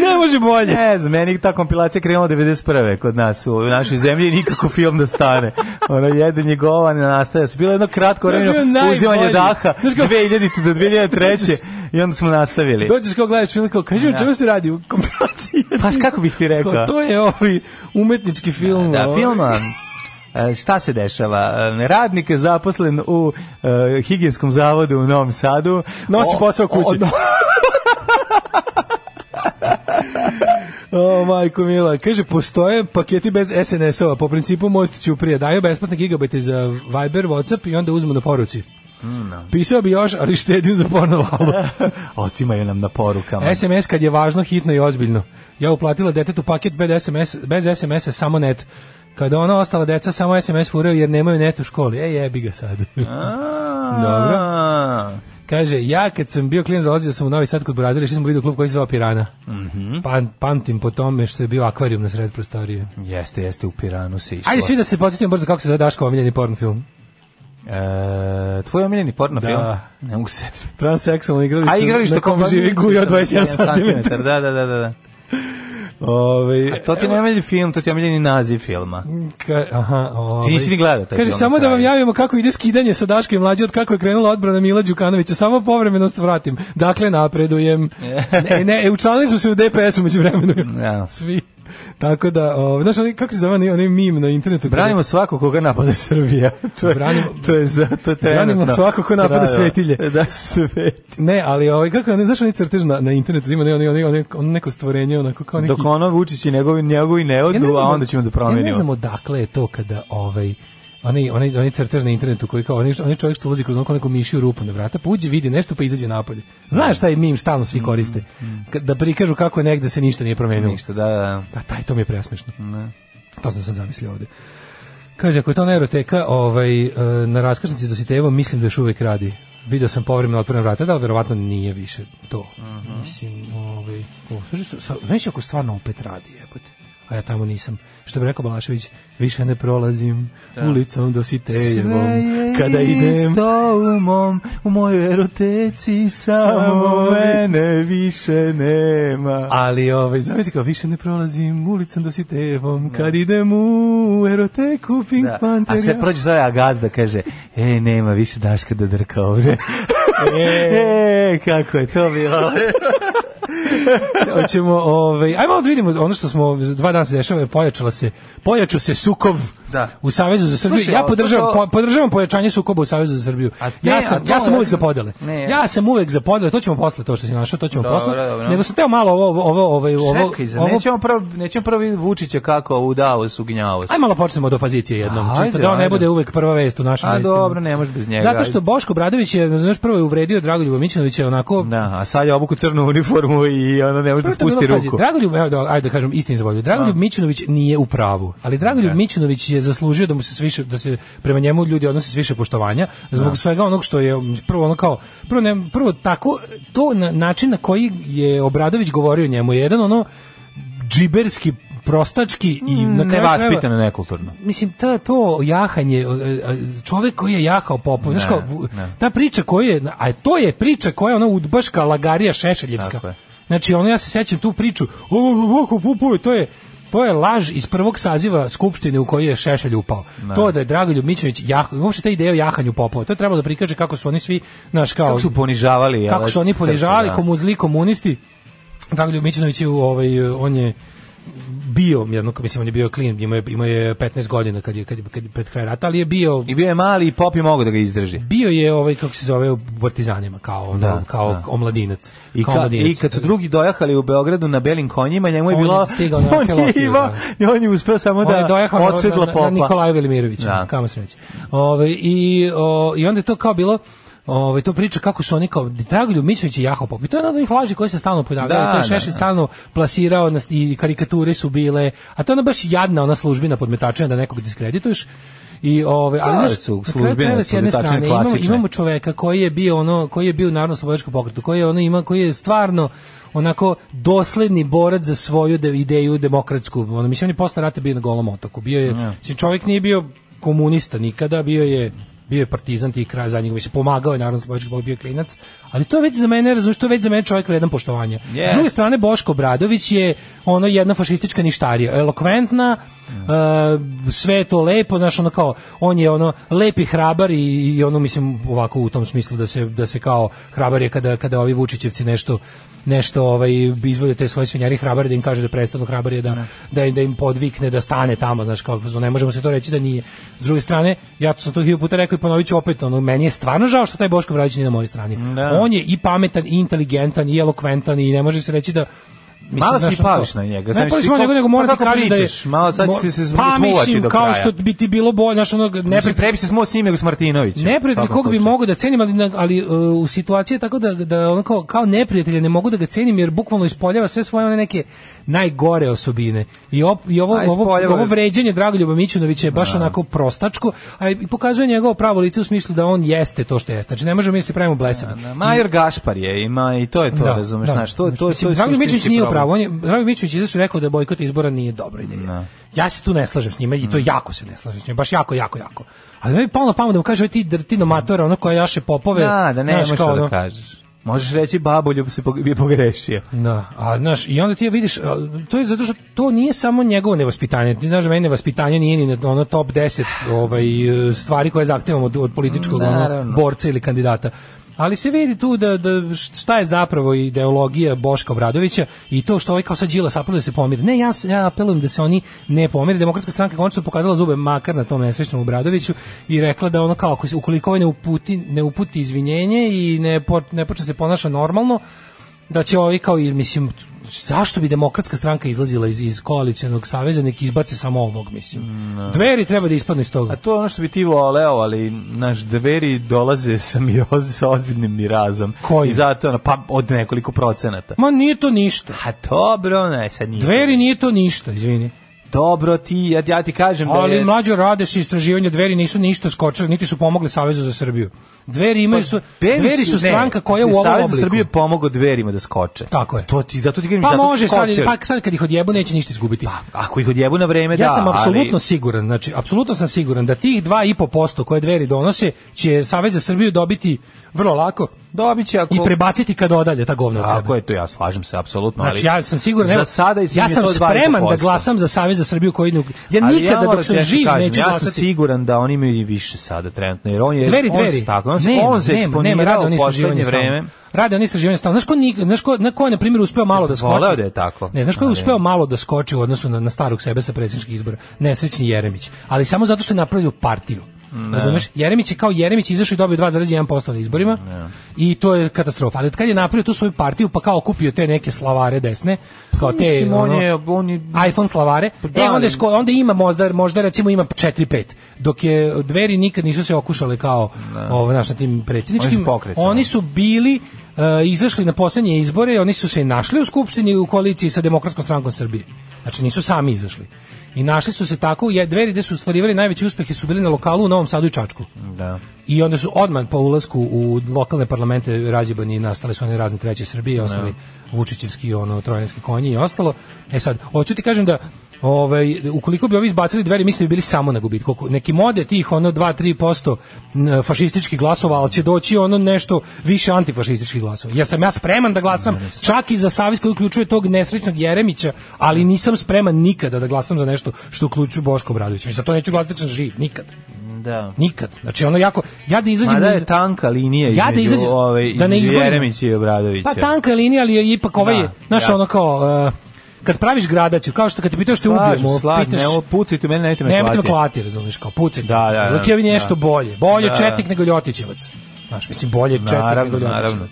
Speaker 5: ne može bolje.
Speaker 6: Ne znam, meni ta kompilacija krenula 91. kod nas u našoj zemlji i nikako film da stane. Ono jedan je govan nastaje. Bilo je jedno kratko
Speaker 5: To je bio
Speaker 6: vremena
Speaker 5: najbolji.
Speaker 6: uzimanje daha
Speaker 5: Znaš kao-
Speaker 6: 2000 do 2003. i onda smo nastavili.
Speaker 5: Dođeš kao gledaš film, kao, kaži mi o čemu se radi u kompilaciji.
Speaker 6: Pa kako bih ti rekao?
Speaker 5: Kao, to je ovaj umetnički film.
Speaker 6: Da,
Speaker 5: ovaj.
Speaker 6: film a, e, šta se dešava? E, Radnik je zaposlen u e, higijenskom zavodu u Novom Sadu.
Speaker 5: Nosi
Speaker 6: O-
Speaker 5: posao kući.
Speaker 6: o-
Speaker 5: O, majko mila. Kaže, postoje paketi bez SNS-ova. Po principu Most ću prije. Daju besplatne gigabajte za Viber, Whatsapp i onda uzmu na poruci.
Speaker 6: Mm,
Speaker 5: Pisao bi još, ali štedim za porno lalo.
Speaker 6: Otimaju nam na porukama.
Speaker 5: SMS kad je važno, hitno i ozbiljno. Ja uplatila detetu paket bez SMS, bez SMS-a, samo net. Kada ona ostala deca samo SMS furaju jer nemaju net u školi. E, jebi ga sad. Dobro.
Speaker 6: Dobro.
Speaker 5: Kaže, ja kad sam bio klinac dolazio sam u Novi Sad kod Burazira, išli smo u klub koji se zvao Pirana. Pan, pamtim po tome što je bio akvarijum na sred prostorije.
Speaker 6: Jeste, jeste, u Piranu se išlo.
Speaker 5: Ajde svi da se podsjetimo brzo kako se zove Daško omiljeni porn film.
Speaker 6: E, tvoj omiljeni porno
Speaker 5: Da.
Speaker 6: film? Ne mogu se setiti.
Speaker 5: Transseksualno igralište,
Speaker 6: A igralište
Speaker 5: na kom živi guja od 21 cm.
Speaker 6: Da, da, da, da. da.
Speaker 5: Ovaj
Speaker 6: A to ti ne omiljeni film, to ti je omiljeni naziv filma.
Speaker 5: Ka, aha, ovaj.
Speaker 6: Ti nisi ni gledao taj
Speaker 5: Kaže,
Speaker 6: film
Speaker 5: samo
Speaker 6: na
Speaker 5: da vam
Speaker 6: kraju.
Speaker 5: javimo kako ide skidanje sa Daške i mlađe od kako je krenula odbrana Mila Đukanovića. Samo povremeno se vratim. Dakle, napredujem. ne, ne, e, učlanili smo se u DPS-u među vremenu.
Speaker 6: Ja.
Speaker 5: Svi. Tako da, ovaj, znaš, onaj- kako se zove onaj, onaj mim na internetu?
Speaker 6: Branimo svako koga napada Srbija. To je,
Speaker 5: Branimo-
Speaker 6: to je, za, to je trenutno.
Speaker 5: Branimo svako ko napada
Speaker 6: Pravilo.
Speaker 5: svetilje.
Speaker 6: Da, svetilje.
Speaker 5: Ne, ali ovaj, kako, ne, znaš, onaj crtež na, na internetu, ima onaj, onaj, onaj, onaj, ono neko stvorenje, onako kao neki...
Speaker 6: Dok ono Vučić i njegovi, njegovi ne odu,
Speaker 5: ne znam
Speaker 6: a
Speaker 5: od-
Speaker 6: onda ćemo da
Speaker 5: Ja ne
Speaker 6: promenimo.
Speaker 5: znam odakle je to kada ovaj onaj onaj onaj crtež na internetu koji kao onaj, onaj čovjek što ulazi kroz onako neku mišju rupu na vrata, pa uđe, vidi nešto pa izađe napolje. Znaš taj mim stalno
Speaker 6: Mm,
Speaker 5: svi koriste. Kad- Da prikažu kako je negde se ništa nije promenilo.
Speaker 6: Ništa, da, da.
Speaker 5: A taj to mi je preasmešno. To sam sad zamislio ovde. Kaže, ako je to neeroteka, ovaj, e, na raskrsnici za Sitevo mislim da još uvek radi. Video sam povremeno otvorena vrata, da ali verovatno nije više to. Mislim, ovaj, o, slušaj, sa- sa- znaš ako stvarno opet radi, jebote. A ja tamo nisam. Što bi rekao Balašević, više ne prolazim ulicom do Sitejevom. Kada idem,
Speaker 6: isto u, mom, u mojoj eroteci
Speaker 5: Samo
Speaker 6: mene više nema.
Speaker 5: Ali ovaj zamisli kao više ne prolazim ulicom do Sitevom kad idem u eroteku Pink
Speaker 6: Da. A
Speaker 5: Panther.
Speaker 6: se prođe zove Agazda, kaže, e, nema više Daška da drka ovde. e, kako je to bilo.
Speaker 5: Hoćemo ovaj ajmo malo da vidimo ono što smo dva dana se dešava pojačala se pojačao se sukov
Speaker 6: Da.
Speaker 5: u Savezu za Srbiju.
Speaker 6: Slušaj,
Speaker 5: ja
Speaker 6: ali
Speaker 5: podržavam
Speaker 6: slušaj,
Speaker 5: po- podržavam pojačanje sukoba u Savezu za Srbiju.
Speaker 6: A ne,
Speaker 5: ja
Speaker 6: a
Speaker 5: sam
Speaker 6: to-
Speaker 5: ja sam
Speaker 6: ja
Speaker 5: uvek
Speaker 6: sam-
Speaker 5: za podele.
Speaker 6: Ne, ja-
Speaker 5: Ja sam uvek za podele, to ćemo posle to što si našao, to ćemo
Speaker 6: Dobro,
Speaker 5: posle.
Speaker 6: dobro.
Speaker 5: Nego sam teo malo ovo ovo ovo ovaj, ovo
Speaker 6: Čekaj, za,
Speaker 5: ovo-
Speaker 6: nećemo prvo, nećemo prvo vidjeti Vučića kako udao su gnjavo.
Speaker 5: Ajde malo počnemo od opozicije jednom,
Speaker 6: Ajde,
Speaker 5: čisto da on
Speaker 6: ajde.
Speaker 5: ne bude uvek prva vest u našim
Speaker 6: A
Speaker 5: vestima.
Speaker 6: dobro, ne može bez njega.
Speaker 5: Zato što Boško Bradović je, znaš, prvo je uvredio Dragoljuba Mićinovića onako...
Speaker 6: ajde. Da, a sad je obuku crnu uniformu i ona ne može da
Speaker 5: Prvo to je bilo,
Speaker 6: spusti
Speaker 5: pazi,
Speaker 6: ruku.
Speaker 5: Dragoljub, evo da, ajde da kažem istini za volju. Dragoljub Mićunović nije u pravu, ali Dragoljub Mićunović je zaslužio da mu se s više da se prema njemu ljudi odnose s više poštovanja zbog svega onog što je prvo ono kao prvo ne, prvo tako to na, način na koji je Obradović govorio njemu je jedan ono džiberski prostački i
Speaker 6: Mm,
Speaker 5: na kraju krajeva-
Speaker 6: Nevaspitano, nekulturno.
Speaker 5: mislim ta to jahanje e, e, čovek koji je jahao popu znaš
Speaker 6: Ne,
Speaker 5: kao, vu-
Speaker 6: ne.
Speaker 5: ta priča koja je a to je priča koja je ona udbaška lagarija šešeljevska
Speaker 6: Tako je.
Speaker 5: znači ono ja se sećam tu priču o ovako pupuje to je to je laž iz prvog saziva skupštine u kojoj je Šešelj upao. To da je Dragoljub Mićević jahao, uopšte ta ideja o jahanju popova, to je trebalo da prikaže kako su oni svi, znaš, kao
Speaker 6: Kako su ponižavali. jel,
Speaker 5: Pa, kako su oni ponižavali
Speaker 6: crkvu, da.
Speaker 5: komu zli komunisti Dragoljub Mićunović je u, ovaj on je bio jedno mislim on je bio klin imao je imao je 15 godina kad je kad, je- kad je pred kraj rata ali je bio
Speaker 6: I bio je mali i pop je mogu da ga izdrži.
Speaker 5: bio je ovaj kako se zove u partizanima kao ono,
Speaker 6: Da,
Speaker 5: kao
Speaker 6: da.
Speaker 5: omladinac
Speaker 6: I,
Speaker 5: kao
Speaker 6: ka,
Speaker 5: omladinac.
Speaker 6: I kad su drugi dojahali u Beogradu na belim konjima, njemu je
Speaker 5: On je
Speaker 6: bilo...
Speaker 5: stigao na
Speaker 6: on je
Speaker 5: Amfilohiju,
Speaker 6: imao-
Speaker 5: da.
Speaker 6: I on je uspeo samo
Speaker 5: on je
Speaker 6: da
Speaker 5: dojahao na-
Speaker 6: odsedlo
Speaker 5: na, na,
Speaker 6: popa.
Speaker 5: na Nikolaju Velimiroviću,
Speaker 6: Da.
Speaker 5: kamo sreće. Ovaj, i, o, I onda je to kao bilo Ovaj to priča kako su oni kao Dragoljub Mićović i Jaho Pop. I to je jedna od onih laži koje se stalno ponavljaju.
Speaker 6: Da,
Speaker 5: to je
Speaker 6: da,
Speaker 5: Šešelj
Speaker 6: da.
Speaker 5: stalno plasirao nas i karikature su bile. A to je ona baš jadna ona službina podmetačenja da nekog diskredituješ. I ove, ali
Speaker 6: Da,
Speaker 5: znaš,
Speaker 6: su
Speaker 5: na kraju
Speaker 6: službine
Speaker 5: krajeva, s jedne
Speaker 6: podmetačenja
Speaker 5: strane imamo,
Speaker 6: klasične.
Speaker 5: imamo čoveka koji je bio ono koji je bio u narodno slobodačkom pokretu, koji je ono ima koji je stvarno onako dosledni borac za svoju de, ideju demokratsku. Ono mislim on je posle rata bio na golom otoku. Bio je mislim, čovjek nije bio komunista nikada, bio je bio je partizan tih kraja za njega, mislim, pomagao je narodno slobodački pokret, bio je klinac, ali to je već za mene, razumiješ, to je već za mene čovjek vredan poštovanja.
Speaker 6: Yes.
Speaker 5: S druge strane, Boško Bradović je ono jedna fašistička ništarija, elokventna, e, sve je to lepo, znaš, ono kao, on je ono lepi hrabar i, i ono, mislim, ovako u tom smislu da se, da se kao hrabar je kada, kada ovi Vučićevci nešto nešto ovaj izvode te svoje svinjari hrabar da im kaže da prestanu hrabar je da, da, da im podvikne da stane tamo znaš kao ne možemo se to reći da nije s druge strane ja sam to hiljadu puta rekao i ponovit ću opet ono meni je stvarno žao što taj Boško Bradović nije na mojoj strani
Speaker 6: Da.
Speaker 5: on je i pametan i inteligentan i elokventan i ne može se reći da
Speaker 6: Malo si
Speaker 5: znaš, ono
Speaker 6: pališ
Speaker 5: to-
Speaker 6: na njega,
Speaker 5: Ne
Speaker 6: znaš,
Speaker 5: pališ
Speaker 6: ti
Speaker 5: na njega,
Speaker 6: kako-
Speaker 5: nego mora
Speaker 6: pa
Speaker 5: ti
Speaker 6: kako
Speaker 5: kaže da je...
Speaker 6: pričaš? Malo sad
Speaker 5: mo-
Speaker 6: će se
Speaker 5: Pa
Speaker 6: smuvati
Speaker 5: mislim,
Speaker 6: do
Speaker 5: kao
Speaker 6: kraja.
Speaker 5: što bi ti bilo bolje, znaš, ono... Ne,
Speaker 6: Mislim, prebi se smo s njim nego s Martinovićem.
Speaker 5: Neprijatelj
Speaker 6: U svakom
Speaker 5: koga bi
Speaker 6: slučaju.
Speaker 5: mogao da cenim, ali, na- ali uh, u situaciji je tako da, da ono kao, kao neprijatelja ne mogu da ga cenim jer bukvalno ispoljava sve svoje one neke najgore osobine. I, op, i ovo,
Speaker 6: A,
Speaker 5: ovo,
Speaker 6: ispoljava-
Speaker 5: ovo vređenje Dragoljuba Mićunovića je baš onako prostačko, a i pokazuje njegovo pravo lice u smislu da on jeste to što jeste. Znači ne možemo mi da se pravimo blesavi.
Speaker 6: Na, Major Gašpar je ima i to je to, razumeš, znaš, to, to, to,
Speaker 5: Mislim,
Speaker 6: je
Speaker 5: Dragoljub Mićunović
Speaker 6: suštinski
Speaker 5: nije u
Speaker 6: problem.
Speaker 5: pravu. On je, Dragoljub Mićunović je izašao i rekao da bojkot izbora nije dobra ideja. Ja se tu ne slažem s njima i to jako se ne slažem s njima, baš jako, jako, jako. Ali meni je palo na pamet da mu kaže "Oj, ti drtino matora, ono koja jaše popove.
Speaker 6: Da, da ne
Speaker 5: znaš,
Speaker 6: možeš
Speaker 5: kao
Speaker 6: to
Speaker 5: ono-
Speaker 6: da kažeš. Možeš reći baboljub se pog- je pogrešio.
Speaker 5: Da, a znaš, i onda ti vidiš, a, to je zato što to nije samo njegovo nevaspitanje. Ti znaš, meni nevaspitanje nije ni na ono top 10 ovaj, e, stvari koje zahtevamo od, od političkog ono,
Speaker 6: Naravno.
Speaker 5: borca ili kandidata. Ali se vidi tu da, da šta je zapravo ideologija Boška Obradovića i to što ovaj kao sad Đilas apeluje da se pomire. Ne, ja, s- ja apelujem da se oni ne pomire. Demokratska stranka konačno je pokazala zube makar na tom nesrećnom Obradoviću i rekla da ono kao ako se- ukoliko ovaj ne uputi, ne uputi izvinjenje i ne, po, ne počne se ponaša normalno, da će ovi kao i mislim zašto bi demokratska stranka izlazila iz iz koalicionog saveza nek izbace samo ovog mislim. Dveri treba da ispadnu iz toga.
Speaker 6: A to je ono što bi ti voleo, ali naš dveri dolaze sa, mioz, sa ozbiljnim mirazom.
Speaker 5: Kojim?
Speaker 6: I zato, ono, pa od nekoliko procenata.
Speaker 5: Ma nije to ništa.
Speaker 6: A dobro, ne, sad nije.
Speaker 5: Dveri nije to ništa, izvini.
Speaker 6: Dobro, ti, ja, ja ti kažem da
Speaker 5: Ali
Speaker 6: je...
Speaker 5: mlađo rade se istraživanja, dveri nisu ništa skočili, niti su pomogli Savezu za Srbiju. Dveri imaju su, dveri su
Speaker 6: Pa ne,
Speaker 5: stranka koja u ovom
Speaker 6: Savez za
Speaker 5: obliku.
Speaker 6: Srbiju je pomogao dverima da skoče.
Speaker 5: Tako je.
Speaker 6: To ti, zato ti kažem,
Speaker 5: pa
Speaker 6: zato su
Speaker 5: može sad,
Speaker 6: skočili.
Speaker 5: pa sad kad ih odjebu neće ništa izgubiti.
Speaker 6: Ako ih odjebu na vreme, da.
Speaker 5: ja sam
Speaker 6: ali-
Speaker 5: apsolutno siguran, znači apsolutno sam siguran da tih 2,5% koje dveri donose će Savez za Srbiju dobiti vrlo lako.
Speaker 6: Dobit će ako...
Speaker 5: i prebaciti kad odalje ta govna od sebe.
Speaker 6: Tako je, to ja slažem se, apsolutno. ali-
Speaker 5: Znači, ja sam siguran,
Speaker 6: Za
Speaker 5: evo,
Speaker 6: sada i
Speaker 5: ja
Speaker 6: je
Speaker 5: sam
Speaker 6: to
Speaker 5: spreman da
Speaker 6: 20%.
Speaker 5: glasam za Savez za Srbiju koji idu. Ja
Speaker 6: Ali
Speaker 5: nikada
Speaker 6: moram
Speaker 5: dok sam
Speaker 6: ti nešto
Speaker 5: živ
Speaker 6: kažem,
Speaker 5: neću
Speaker 6: Ja sam
Speaker 5: glasati.
Speaker 6: siguran da oni imaju i više sada trenutno, jer on je...
Speaker 5: Dveri,
Speaker 6: on se
Speaker 5: dveri.
Speaker 6: Tako, on, se-
Speaker 5: Nema,
Speaker 6: on se
Speaker 5: nema, nema, rade
Speaker 6: eksponirao
Speaker 5: oni
Speaker 6: u poslednje
Speaker 5: istraživanje stalno.
Speaker 6: vreme.
Speaker 5: Rade oni istraživanje stalno. Znaš ko, ni, znaš ko, na ko je, na primjer, uspeo malo da skoči?
Speaker 6: Voleo da je tako.
Speaker 5: Ne, znaš ko je
Speaker 6: Ali-
Speaker 5: uspeo malo da skoči u odnosu na, na starog sebe sa predsjedničkih izbora? Nesrećni Jeremić. Ali samo zato što je napravio partiju. Razumeš? Jeremić je kao Jeremić izašao i dobio 2,1% na izborima i to je katastrofa. Ali od kad je napravio tu svoju partiju pa kao kupio te neke slavare desne, kao te
Speaker 6: Mislim, E, on
Speaker 5: ono-
Speaker 6: je... On je
Speaker 5: iPhone slavare,
Speaker 6: Pa da,
Speaker 5: e, onda,
Speaker 6: ali-
Speaker 5: je sko, onda ima možda, možda recimo ima 4-5, dok je dveri nikad nisu se okušale kao ovo, znaš, na tim
Speaker 6: Oni su
Speaker 5: predsjedničkim.
Speaker 6: pokret,
Speaker 5: Oni
Speaker 6: ono.
Speaker 5: su bili e, izašli na posljednje izbore, oni su se i našli u Skupštini u koaliciji sa Demokratskom strankom Srbije. Znači nisu sami izašli. I našli su se tako, je, dveri gde su ostvarivali najveći uspehe su bili na lokalu u Novom Sadu i Čačku.
Speaker 6: Da.
Speaker 5: I onda su odman po ulasku u lokalne parlamente razjebani i nastale su one razne treće Srbije i ostali Vučićevski, ono, trojanski konji i ostalo. E sad, hoću ti kažem da ovaj, ukoliko bi ovi izbacili dveri, mislim da bi bili samo na gubitku. Oko- Neki mode tih, ono, 2-3% n- fašističkih glasova, ali će doći ono nešto više antifašističkih glasova. Ja sam ja spreman da glasam čak i za savez koji uključuje tog nesrećnog Jeremića, ali nisam spreman nikada da glasam za nešto što uključuje Boško Obradovića. I za to neću glasati dok sam živ, nikad.
Speaker 6: Da.
Speaker 5: Nikad. Znači ono jako ja da izađem
Speaker 6: Mada
Speaker 5: na
Speaker 6: je
Speaker 5: iz-
Speaker 6: tanka linija
Speaker 5: Ja da
Speaker 6: između
Speaker 5: izađem-
Speaker 6: ovaj,
Speaker 5: da ne izgorim.
Speaker 6: Jeremića i Obradovića.
Speaker 5: pa tanka je linija, ali je ipak ovaj
Speaker 6: Da,
Speaker 5: znaš
Speaker 6: jasno.
Speaker 5: ono kao uh, kad praviš gradaciju, kao što kad te pitao što
Speaker 6: Slažem,
Speaker 5: ubijemo,
Speaker 6: slažem,
Speaker 5: pitaš
Speaker 6: evo, pucajte mene, nemojte me
Speaker 5: Nemojte me
Speaker 6: klati.
Speaker 5: klati, razumiješ, kao puci.
Speaker 6: Da, da, da.
Speaker 5: Dok je mi nešto
Speaker 6: Da.
Speaker 5: bolje. Bolje
Speaker 6: Da,
Speaker 5: četnik
Speaker 6: da.
Speaker 5: nego Ljotićevac. Znaš, mislim, bolje četnik
Speaker 6: Naravno,
Speaker 5: nego Ljotićevac.
Speaker 6: naravno.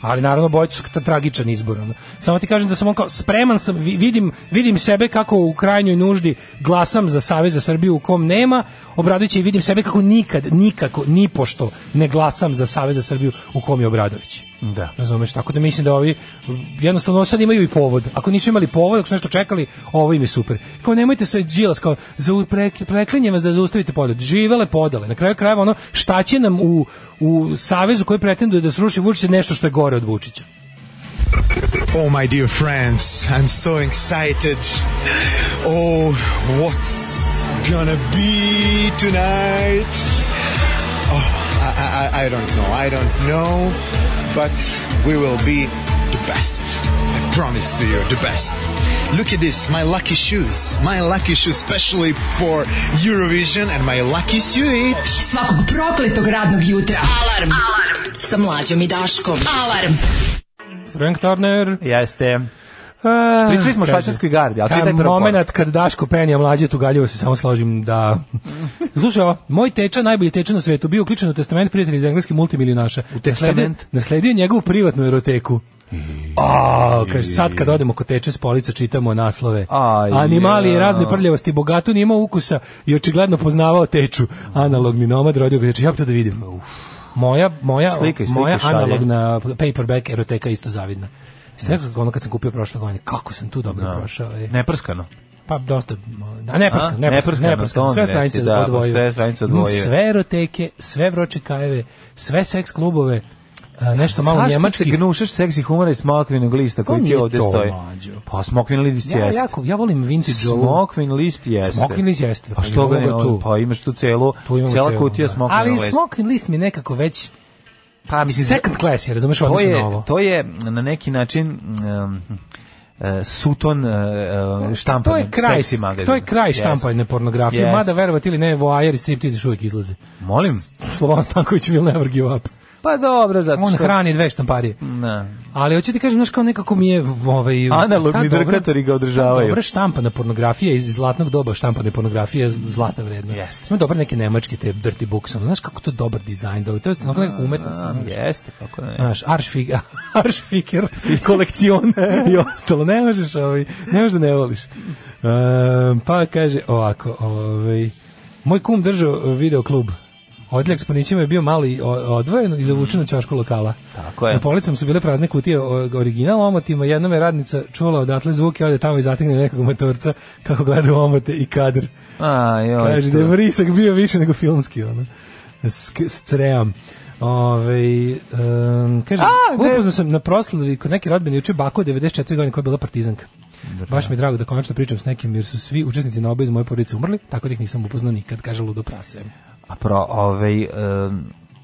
Speaker 5: Ali naravno bojci su tra- tragičan izbor. ono. Samo ti kažem da sam on kao spreman sam, vi- vidim, vidim sebe kako u krajnjoj nuždi glasam za Savez za Srbiju u kom nema, Obradović je i vidim sebe kako nikad, nikako, ni pošto ne glasam za Savez za Srbiju u kom je Obradović.
Speaker 6: Da.
Speaker 5: Razumeš, tako da mislim da ovi m, jednostavno sad imaju i povod. Ako nisu imali povod, ako su nešto čekali, ovo im je super. Kao nemojte se džilas, kao za preklinjem vas da zaustavite podele. Živele podele. Na kraju krajeva ono šta će nam u, u savezu koji pretenduje da sruši Vučića nešto što je gore od Vučića.
Speaker 10: Oh, my dear friends, I'm so excited. Oh, what's gonna be tonight? Oh, I, I, I- I don't know. I don't know, but we will be the best. I promise to you, the best. Look at this, my lucky shoes. My lucky shoes, especially for Eurovision and my lucky suit.
Speaker 4: Svakog prokletog radnog jutra. Alarm. Alarm. Sa mlađom i Daškom. Alarm.
Speaker 5: Frank Turner,
Speaker 6: Jeste. Pričali smo o švajcarskoj gardi, ali čitaj prvo.
Speaker 5: Ah, Momenat kad Daško penja mlađe tugaljivo se samo složim da... Slušaj, ovo, moj teča, najbolji teča na svetu, bio uključen u testament prijatelja iz engleske multimilionaša. U
Speaker 6: testament?
Speaker 5: Nasledio je njegovu privatnu eroteku. A, kaže, sad kad odemo kod teče s polica čitamo naslove.
Speaker 6: Aj,
Speaker 5: Animali i
Speaker 6: ja.
Speaker 5: razne prljavosti, bogatun je imao ukusa i očigledno poznavao teču. Analogni nomad rodio ga teču. Ja bi to da vidim. Moja, moja,
Speaker 6: Slikaj, slikaj,
Speaker 5: moja
Speaker 6: šalje.
Speaker 5: analogna paperback eroteka je isto zavidna. Jeste rekao kako ono kad sam kupio prošle godine, kako sam tu dobro prošao. e.
Speaker 6: Neprskano.
Speaker 5: Pa dosta, a ne prskam,
Speaker 6: A?
Speaker 5: ne prskam,
Speaker 6: Neprskano,
Speaker 5: ne prskam,
Speaker 6: to mi
Speaker 5: sve
Speaker 6: reci,
Speaker 5: stranice
Speaker 6: da, pa
Speaker 5: odvojio.
Speaker 6: sve stranice
Speaker 5: Imam
Speaker 6: odvojio.
Speaker 5: Sve eroteke, sve vroče kajeve, sve seks klubove, a, nešto malo
Speaker 6: Zašto
Speaker 5: njemačkih.
Speaker 6: se gnušaš seksi humora i smokvinog lista koji ti
Speaker 5: nije
Speaker 6: ovde
Speaker 5: to,
Speaker 6: stoji?
Speaker 5: mlađo.
Speaker 6: Pa smokvin list
Speaker 5: Ja,
Speaker 6: jeste.
Speaker 5: jako, ja volim vintage ovu.
Speaker 6: Smokvin list jeste.
Speaker 5: Smokvin list jeste,
Speaker 6: Pa
Speaker 5: pa
Speaker 6: što ga ne,
Speaker 5: imamo ga tu.
Speaker 6: pa imaš tu celu,
Speaker 5: Tu imamo
Speaker 6: cela
Speaker 5: celu,
Speaker 6: kutija
Speaker 5: da.
Speaker 6: smokvinog
Speaker 5: Ali
Speaker 6: lista.
Speaker 5: smokvin list mi je nekako već
Speaker 6: pa,
Speaker 5: second class, je, razumeš,
Speaker 6: to
Speaker 5: odnosno na
Speaker 6: je,
Speaker 5: ovo.
Speaker 6: to je na neki način um, e, suton uh, štampan
Speaker 5: To je kraj,
Speaker 6: seksi magazin.
Speaker 5: to je kraj štampane pornografije,
Speaker 6: Jeste.
Speaker 5: mada verovati ili ne, voajeri striptizi još uvijek izlaze.
Speaker 6: Molim?
Speaker 5: Slobodan Stanković will never give up.
Speaker 6: Pa dobro, zato
Speaker 5: On
Speaker 6: što...
Speaker 5: hrani dve štamparije.
Speaker 6: Na.
Speaker 5: Ali hoću ti kažem, znaš kao nekako mi je ovaj,
Speaker 6: Analogni
Speaker 5: ta dobra-
Speaker 6: drkatori ga
Speaker 5: ta
Speaker 6: održavaju.
Speaker 5: Dobra štampana pornografija iz zlatnog doba štampane pornografije je zlata vredna.
Speaker 6: Jeste.
Speaker 5: Ima dobar neke nemačke te dirty books, ono, znaš kako to je dobar dizajn, dobro, to je onako nekako umetnost.
Speaker 6: A,
Speaker 5: ono.
Speaker 6: Jeste, kako ne.
Speaker 5: Znaš, Aršfig, Aršfiker, kolekcion i ostalo. Ne možeš, ovaj, ne možeš da ne voliš. Ehm, pa kaže ovako, ovaj, moj kum držao eh, video klub. Odljak s panićima je bio mali o- odvojen i zavučen u čašku lokala.
Speaker 6: Tako je.
Speaker 5: Na policama su bile prazne kutije o- original omotima. Jedna me radnica čula odatle zvuke, ode tamo i zategne nekog motorca kako gleda u omote i kadr.
Speaker 6: A, joj,
Speaker 5: Kaže
Speaker 6: to-
Speaker 5: da je vrisak bio više nego filmski, ono. Sk- Scream. Ove, um, kaže,
Speaker 6: A, ne.
Speaker 5: upoznao sam na proslavi kod neke rodbine juče baku od 94 godine koja je bila partizanka. Baš mi je drago da konačno pričam s nekim jer su svi učesnici na oba iz moje porodice umrli, tako da ih nisam upoznao nikad, kaže Ludo Prase.
Speaker 6: A pro, ovaj, em,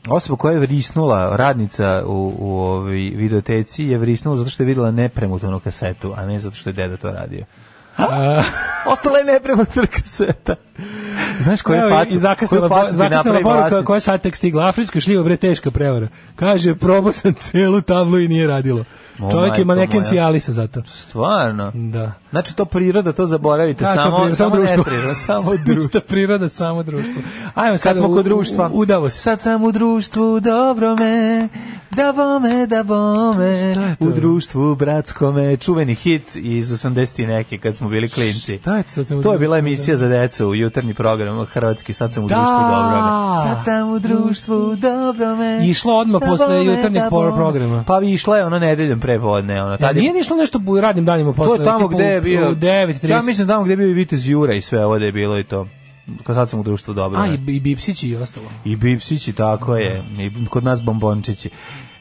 Speaker 6: osoba koja je vrisnula, radnica u, u ovaj videoteci je vrisnula zato što je videla nepremutanu kasetu, a ne zato što je deda to radio. Ostala je nepremutana kaseta. Znaš koja
Speaker 5: Evo,
Speaker 6: je
Speaker 5: i-
Speaker 6: facu?
Speaker 5: I zakasnila,
Speaker 6: koju facu
Speaker 5: bo,
Speaker 6: ti
Speaker 5: zakasnila
Speaker 6: napravi
Speaker 5: poruka
Speaker 6: vlasnik?
Speaker 5: koja je sad tek stigla. Afrička šljiva, bre, teška prevara. Kaže, probao sam celu tablu i nije radilo.
Speaker 6: O,
Speaker 5: Čovjek
Speaker 6: majko
Speaker 5: je maneken
Speaker 6: moja.
Speaker 5: cijalisa za to.
Speaker 6: Stvarno.
Speaker 5: Da.
Speaker 6: Znači to priroda, to zaboravite,
Speaker 5: Da, to
Speaker 6: samo,
Speaker 5: priroda,
Speaker 6: samo,
Speaker 5: društvo.
Speaker 6: nepriroda, samo
Speaker 5: Ništa
Speaker 6: društvo.
Speaker 5: priroda, samo društvo. Ajmo sad
Speaker 6: Kad smo
Speaker 5: u-
Speaker 6: kod društva.
Speaker 5: u- Udavo se.
Speaker 6: Sad sam u društvu, dobro me, da bome, da bome,
Speaker 5: Šta je to?
Speaker 6: u društvu bratskome, čuveni hit iz 80. neke kad smo bili klinci.
Speaker 5: Šta je to? Sad sam u
Speaker 6: To je bila
Speaker 5: društvu,
Speaker 6: emisija za decu u jutarnji program Hrvatski, sad sam u
Speaker 5: Da.
Speaker 6: društvu dobro me. Sad sam u društvu dobro me.
Speaker 5: Išlo odmah posle jutarnjeg por- programa.
Speaker 6: Pa bi išla je ono nedeljom prepodne. Ono,
Speaker 5: Ja,
Speaker 6: tad je-
Speaker 5: E, nije nišlo nešto bu- radnim danima
Speaker 6: to
Speaker 5: posle.
Speaker 6: je tamo
Speaker 5: tipa
Speaker 6: gde je
Speaker 5: u-
Speaker 6: bio...
Speaker 5: U 9.30.
Speaker 6: Ja mislim tamo gde je bio i Vitez Jura i sve ovde je bilo i to. Kad sad sam u društvu dobro
Speaker 5: A,
Speaker 6: me.
Speaker 5: i, i Bipsići i ostalo.
Speaker 6: I bipsići, tako je. I kod nas bombončići.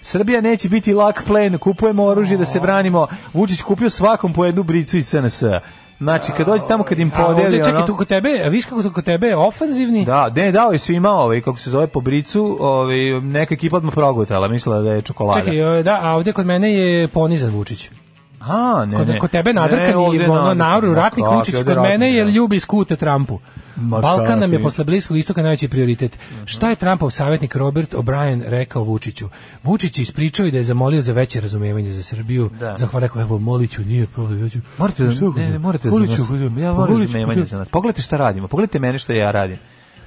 Speaker 6: Srbija neće biti lak plen, kupujemo oružje da se branimo. Vučić kupio svakom po jednu bricu iz SNS. Znači, kad dođe tamo kad im
Speaker 5: A ovde,
Speaker 6: podeli,
Speaker 5: čekaj,
Speaker 6: ono...
Speaker 5: tu kod tebe, a viš kako tu kod tebe je ofanzivni?
Speaker 6: Da, ne, dao je svima ovaj, kako se zove, po bricu, ovaj, neka ekipa odmah progutala, mislila da je čokolada.
Speaker 5: Čekaj, o, da, a ovde kod mene je ponizan Vučić.
Speaker 6: A, ne,
Speaker 5: Kod,
Speaker 6: ne.
Speaker 5: kod tebe
Speaker 6: Ne,
Speaker 5: nadrkan
Speaker 6: ovde
Speaker 5: je ono
Speaker 6: nadrkan.
Speaker 5: nauru,
Speaker 6: Ma
Speaker 5: ratnik
Speaker 6: kakvi,
Speaker 5: Vučić,
Speaker 6: ovde
Speaker 5: kod mene
Speaker 6: ratnik,
Speaker 5: je
Speaker 6: da.
Speaker 5: ljubi skute Trumpu.
Speaker 6: Ma
Speaker 5: Balkan nam je
Speaker 6: kakvi. Mhm.
Speaker 5: posle Bliskog istoka najveći prioritet. Šta je Trumpov savjetnik Robert O'Brien rekao Vučiću? Vučić je ispričao i da je zamolio za veće razumevanje za Srbiju.
Speaker 6: Da.
Speaker 5: Zahvala rekao, evo, molit ću, nije problem. Ja ću,
Speaker 6: Morate da, ne,
Speaker 5: E,
Speaker 6: ne, morate za
Speaker 5: Molit
Speaker 6: nas.
Speaker 5: ću, hoću,
Speaker 6: Ja moram
Speaker 5: molit ću,
Speaker 6: razumevanje
Speaker 5: hoću.
Speaker 6: za nas. Pogledajte šta radimo, pogledajte mene šta ja radim.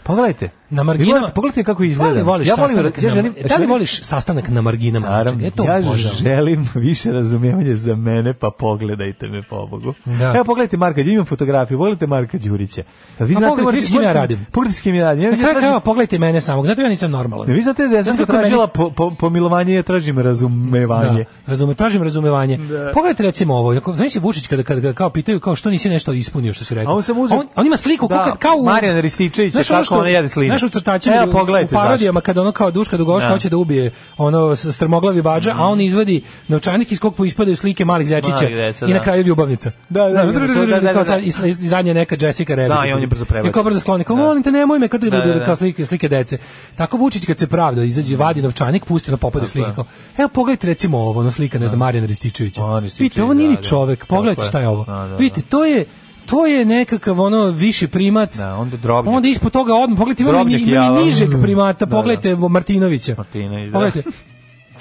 Speaker 6: Pogledajte.
Speaker 5: Na
Speaker 6: Vi
Speaker 5: marginama.
Speaker 6: morate- Pogledajte kako
Speaker 5: Da li
Speaker 6: izgleda.
Speaker 5: voliš
Speaker 6: ja volim, ja
Speaker 5: sastanak na-
Speaker 6: želim,
Speaker 5: da li
Speaker 6: želim-
Speaker 5: voliš sastanak na marginama?
Speaker 6: Naravno,
Speaker 5: ja to
Speaker 6: ja
Speaker 5: obožavam.
Speaker 6: želim više razumijevanja za mene, pa pogledajte me, pobogu.
Speaker 5: Da.
Speaker 6: Evo, pogledajte Marka, ja imam fotografiju, pogledajte Marka Đurića. A vi
Speaker 5: A pogledajte
Speaker 6: Marka-
Speaker 5: vi s kim ja
Speaker 6: pogledajte-
Speaker 5: radim.
Speaker 6: Pogledajte s kim ja radim. Ja, ja
Speaker 5: Na kraju
Speaker 6: tražim,
Speaker 5: krajeva, pogledajte mene samog, zato ja nisam normalan.
Speaker 6: Ne, vi znate da ja sam
Speaker 5: Znate kako
Speaker 6: tražila
Speaker 5: meni-
Speaker 6: po, po, pomilovanje, ja tražim razumevanje.
Speaker 5: Da, razume, tražim razumevanje. Pogledajte recimo ovo, ako znači Vučić kada kada ga kao pitaju kao što nisi nešto ispunio što si rekao.
Speaker 6: A on samo uzme-
Speaker 5: on, on ima sliku
Speaker 6: Da,
Speaker 5: kao kad kao u
Speaker 6: Marijan Rističević,
Speaker 5: Znaš
Speaker 6: kako
Speaker 5: ono što-
Speaker 6: ona jede slinu.
Speaker 5: Znaš u crtačima
Speaker 6: Evo,
Speaker 5: ili u-
Speaker 6: pogledajte
Speaker 5: u parodijama kada ono kao Duška Dugoška
Speaker 6: Da.
Speaker 5: hoće da ubije ono s- strmoglavi bađa, a on izvadi novčanik iz kog ispadaju slike malih zečića
Speaker 6: Malih zeca,
Speaker 5: i na
Speaker 6: da.
Speaker 5: kraju ljubavnica.
Speaker 6: Da, da,
Speaker 5: Znaš,
Speaker 6: da, da, da, da,
Speaker 5: kao
Speaker 6: da.
Speaker 5: sad- i- i zadnja je neka Jessica Rabbit.
Speaker 6: Da, i on je brzo prebaci.
Speaker 5: I kao brzo skloni, kao
Speaker 6: Da.
Speaker 5: molim te nemoj me kad
Speaker 6: Da, da, da.
Speaker 5: kao slike, slike dece. Tako Vučić kad se pravda, izađe, vadi novčanik, pusti na popade slike. Kao, evo pogledajte recimo ovo, ono slika, ne znam, Marijana Rističevića.
Speaker 6: Marijan Rističević,
Speaker 5: Vidite, ovo nije
Speaker 6: da,
Speaker 5: ni
Speaker 6: da.
Speaker 5: čovek,
Speaker 6: Tako
Speaker 5: pogledajte
Speaker 6: je.
Speaker 5: šta je ovo.
Speaker 6: Da, da, da.
Speaker 5: Vidite, to je to je nekakav ono viši primat.
Speaker 6: Da, onda drobnjak.
Speaker 5: Onda ispod toga odmah pogledajte imamo i
Speaker 6: Drobnjak
Speaker 5: imamo i
Speaker 6: java.
Speaker 5: nižeg primata,
Speaker 6: Da, da.
Speaker 5: pogledajte Martinovića.
Speaker 6: Martinović, da.
Speaker 5: Pogledajte.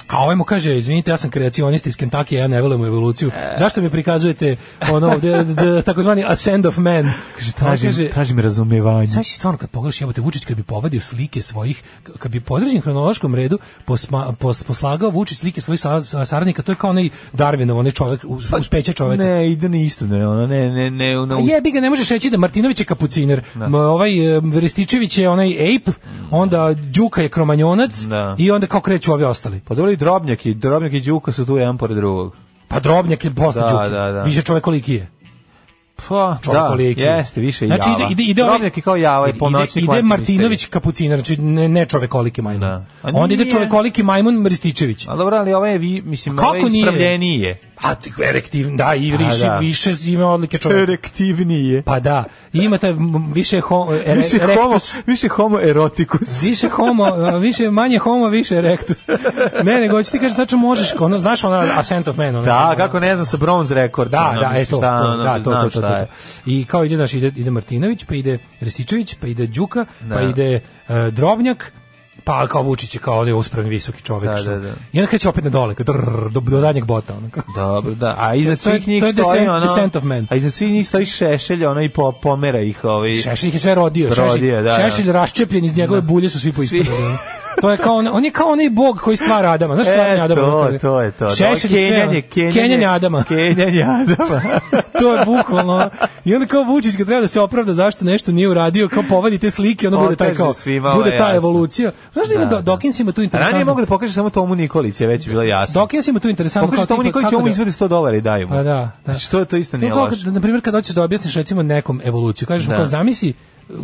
Speaker 5: A ovaj mu kaže, izvinite, ja sam kreacionista iz Kentakija, ja ne volim evoluciju.
Speaker 6: E.
Speaker 5: Zašto mi prikazujete ono ovde, d- d- takozvani ascend of man? Kaže,
Speaker 6: Tražim, tražim razumevanje.
Speaker 5: Znaš si stvarno kad pogledaš jebote Vučić kad bi povadio slike svojih k- kad bi po određenom hronološkom redu posma, pos, poslagao Vučić slike svojih sa, sa- saradnika to je kao onaj Darwinov onaj čovjek uz, uspeća čovjek
Speaker 6: Pa, Ne, ide na isto, ne, ona, ne, ne, ne, ona,
Speaker 5: A jebi ga, ne možeš reći da Martinović je kapuciner, M, ovaj e, Rističević je onaj ape, onda Đuka je kromanjonac
Speaker 6: Da.
Speaker 5: i onda kao kreću ovi ostali.
Speaker 6: Pa dobro i Drobnjak i Drobnjak i Đuka su tu jedan pored drugog.
Speaker 5: Pa Drobnjak je posle
Speaker 6: Da,
Speaker 5: Đuke.
Speaker 6: da, da.
Speaker 5: Više čovjek koliki je.
Speaker 6: Pa,
Speaker 5: Čovjek
Speaker 6: da,
Speaker 5: koliki.
Speaker 6: jeste, više i
Speaker 5: znači,
Speaker 6: java.
Speaker 5: Ide, ide, ide ovaj-
Speaker 6: Drobnjak je kao java i
Speaker 5: ide-
Speaker 6: ponoćni
Speaker 5: Ide, ide
Speaker 6: kvantni
Speaker 5: Martinović
Speaker 6: misterij.
Speaker 5: kapuciner, znači ne, ne čovjek koliki majmun.
Speaker 6: Da. A
Speaker 5: Onda ide
Speaker 6: nije.
Speaker 5: čovjek koliki majmun Rističević.
Speaker 6: A dobro, ali ovaj je, vi, mislim,
Speaker 5: Kako
Speaker 6: ovaj je
Speaker 5: nije?
Speaker 6: ispravljeniji je.
Speaker 5: A ti erektiv, da, i više,
Speaker 6: da.
Speaker 5: više ima odlike čovjeka.
Speaker 6: Erektivnije.
Speaker 5: Pa da, ima taj m, više homo, ere,
Speaker 6: više, homo,
Speaker 5: erectus.
Speaker 6: više homo erotikus.
Speaker 5: Više homo, a, više manje homo, više erectus. Ne, nego hoćeš ti kažeš tačno možeš, ono znaš ona Ascent of Man, ono, ona.
Speaker 6: Da,
Speaker 5: ona-
Speaker 6: kako ne znam, sa bronze ono, rekord.
Speaker 5: Da, da, e to, to, da, to, to, to, to, to. I kao ide, znaš, ide, ide Martinović, pa ide Rističević, pa ide Đuka, pa ide e, Drobnjak, pa kao Vučić je kao onaj uspravni visoki čovjek.
Speaker 6: Da,
Speaker 5: što-
Speaker 6: da, da.
Speaker 5: I onda kreće opet na dole, kao drrr, do, do danjeg bota. Ono, kao.
Speaker 6: Dobro, da. A iznad
Speaker 5: To je-
Speaker 6: svih njih
Speaker 5: to je
Speaker 6: stoji
Speaker 5: Descent-
Speaker 6: ono...
Speaker 5: Descent of Man.
Speaker 6: A iznad svih njih stoji šešelj, ono i po, pomera ih ovaj...
Speaker 5: Šešelj ih je sve rodio.
Speaker 6: Rodio,
Speaker 5: Šešelj,
Speaker 6: da, da.
Speaker 5: Šešelj raščepljen iz njegove bulje su svi
Speaker 6: Svi.
Speaker 5: poispadali. ono. To je kao on, on je kao onaj bog koji stvara Adama. Znaš stvarni
Speaker 6: E,
Speaker 5: Adama? ono
Speaker 6: to,
Speaker 5: kada-
Speaker 6: to je to. Da,
Speaker 5: Šešelj i sve. ono.
Speaker 6: Kenjanje, kenjanje,
Speaker 5: Kenjanje Adama.
Speaker 6: Kenjanje Adama.
Speaker 5: to je bukvalno. ono. I onda kao Vučić kad treba da se opravda zašto nešto nije uradio, kao povadi te slike, ono bude taj
Speaker 6: Pokaže
Speaker 5: kao
Speaker 6: svima, ovo je
Speaker 5: bude ta
Speaker 6: jasno.
Speaker 5: evolucija. Znaš da ima
Speaker 6: Da,
Speaker 5: Do-
Speaker 6: da.
Speaker 5: Dawkins ima tu
Speaker 6: Ranije mogu
Speaker 5: interesantno.
Speaker 6: da pokaže samo Tomu Nikolić, je već bilo jasno.
Speaker 5: Dawkins ima tu interesantno
Speaker 6: Pokaže Tomu
Speaker 5: tipa
Speaker 6: Nikolić,
Speaker 5: kako
Speaker 6: on mu
Speaker 5: da-
Speaker 6: izvede 100 dolara i daju mu.
Speaker 5: Pa da, da.
Speaker 6: Znači, to, to isto
Speaker 5: To je
Speaker 6: nije
Speaker 5: kao,
Speaker 6: loše.
Speaker 5: kad, na primjer, kad hoćeš da objasniš recimo nekom evoluciju, kažeš mu
Speaker 6: Da.
Speaker 5: kao zamisli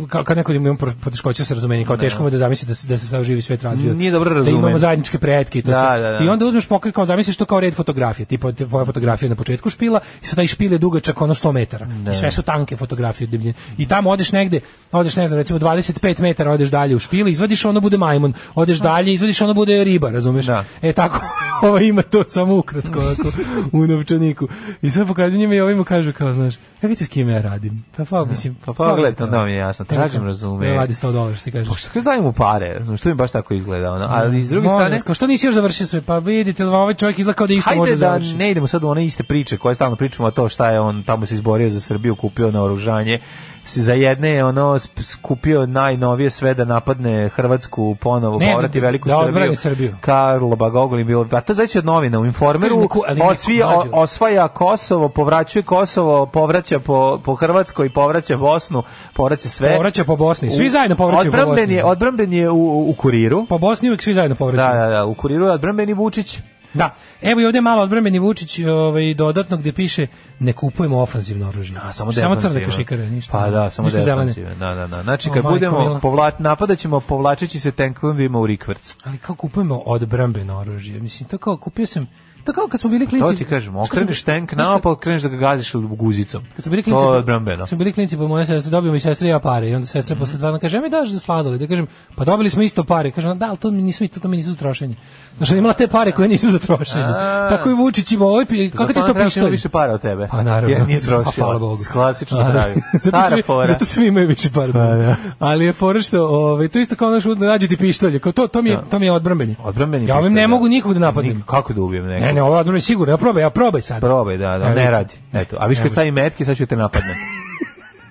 Speaker 5: kao kad neko ima pro- poteškoća sa razumenjem, kao teško mu je da zamisli da se, da se sav živi svet razvio.
Speaker 6: Nije dobro
Speaker 5: Da imamo
Speaker 6: razumen.
Speaker 5: zajedničke pretke i to
Speaker 6: Da,
Speaker 5: sve.
Speaker 6: da, da.
Speaker 5: I onda uzmeš pokret kao zamisliš to kao red fotografije, tipa te- tvoja fotografija je na početku špila i sad taj špil je dugačak ono 100 metara. I sve su tanke fotografije debljine. I tamo odeš negde, odeš ne znam, recimo 25 metara odeš dalje u špil, izvadiš ono bude majmun, odeš dalje, izvadiš ono bude riba, razumeš?
Speaker 6: Da.
Speaker 5: E tako, ovo ima to samo ukratko ovako, u novčaniku. I sve pokazuju njima i ovima kažu kao, znaš, ja vidite s kime ja radim. Pa pa, mislim, ono.
Speaker 6: Pa pogledaj,
Speaker 5: kao-
Speaker 6: onda mi je jasno, tražim
Speaker 5: Kao,
Speaker 6: razume.
Speaker 5: Radi 100 dolara, što ti kažeš.
Speaker 6: Pošto daj mu pare, znaš, što mi baš tako izgleda, ono. Ali iz druge
Speaker 5: Molim
Speaker 6: strane,
Speaker 5: vas, kao, što nisi još završio sve? Pa vidite, ovaj čovjek izgleda kao da isto može
Speaker 6: Hajde da
Speaker 5: završiti.
Speaker 6: ne idemo sad u one iste priče koje stalno pričamo, a to šta je on tamo se izborio za Srbiju, kupio naoružanje, se za jedne je ono sp- skupio najnovije sve da napadne Hrvatsku ponovo,
Speaker 5: Ne,
Speaker 6: povrati
Speaker 5: da-
Speaker 6: veliku
Speaker 5: da
Speaker 6: Srbiju.
Speaker 5: odbrani Srbiju.
Speaker 6: Karlo Bagogol je bilo, a to znači od novina u Informeru,
Speaker 5: Kažem, neko- ali neko
Speaker 6: osvija,
Speaker 5: mlađe.
Speaker 6: o- osvaja Kosovo, povraćuje Kosovo, povraća po, po Hrvatskoj, povraća Bosnu, povraća sve.
Speaker 5: Povraća po Bosni. Svi
Speaker 6: U-
Speaker 5: zajedno povraćaju po
Speaker 6: odbramben
Speaker 5: Bosni.
Speaker 6: Je, odbramben je u, u kuriru.
Speaker 5: Po Bosni uvijek svi zajedno povraćaju.
Speaker 6: Da, da, da, u kuriru je odbrambeni Vučić.
Speaker 5: Da. Evo i ovdje malo odbrambeni Vučić ovaj, dodatno gdje piše ne kupujemo ofanzivno oružje.
Speaker 6: A, samo
Speaker 5: samo crne
Speaker 6: defanzivno.
Speaker 5: kašikare, ništa.
Speaker 6: Pa da, samo
Speaker 5: ništa zelene.
Speaker 6: defanzivno. Da, da, da. Znači
Speaker 5: O,
Speaker 6: kad
Speaker 5: majko
Speaker 6: budemo
Speaker 5: mila.
Speaker 6: povlač napadaćemo povlačeći se tenkovima u rikvrc.
Speaker 5: Ali kao kupujemo odbrambeno oružje? Mislim, to kao kupio sam... To kao kad smo bili klinci...
Speaker 6: To ti kažem, okreneš tank
Speaker 5: Znaš kad-
Speaker 6: naopako, kreneš da ga gaziš guzicom.
Speaker 5: Kad smo bili
Speaker 6: To je Mhm.
Speaker 5: klinci,
Speaker 6: odbrambeno.
Speaker 5: kad smo bili klinci, pa moja sestra dobijemo i sestra i ja pare. I onda sestra posle dva dana kaže, "A mi daš za sladoled?" Ja kažem, "Pa dobili smo isto pare." Kaže ona, "Da, al to mi nisu to, to mi nisu za trošenje." Znači ona je imala te pare koje nisu za trošenje.
Speaker 6: A.
Speaker 5: Tako i Vučić ima ovaj, pi- kako ti
Speaker 6: Zato ona
Speaker 5: to
Speaker 6: treba
Speaker 5: pištolj?
Speaker 6: ima više para od tebe.
Speaker 5: Pa naravno.
Speaker 6: Jer nije trošila.
Speaker 5: Pa, hvala Bogu.
Speaker 6: S klasično
Speaker 5: A,
Speaker 6: traju.
Speaker 5: zato,
Speaker 6: Stara
Speaker 5: svi,
Speaker 6: fora. Pa,
Speaker 5: zato svi imaju više para.
Speaker 6: da.
Speaker 5: Ali je fora što, ovaj, to isto kao naš nađu ti pištolje. Kao to, to mi je, to mi je odbrambeni.
Speaker 6: Odbrambeni.
Speaker 5: Ja ovim
Speaker 6: pištolj,
Speaker 5: ne
Speaker 6: da.
Speaker 5: mogu nikog da napadnem.
Speaker 6: Nik- Kako da ubijem nekog?
Speaker 5: Ne, ne, ovo je odbrambeni sigurno. Ja probaj, ja probaj sad.
Speaker 6: Probaj, da, da,
Speaker 5: Evo,
Speaker 6: ne radi. Eto, a viš
Speaker 5: ne
Speaker 6: kad
Speaker 5: može.
Speaker 6: stavim metke, sad ću te napadnem.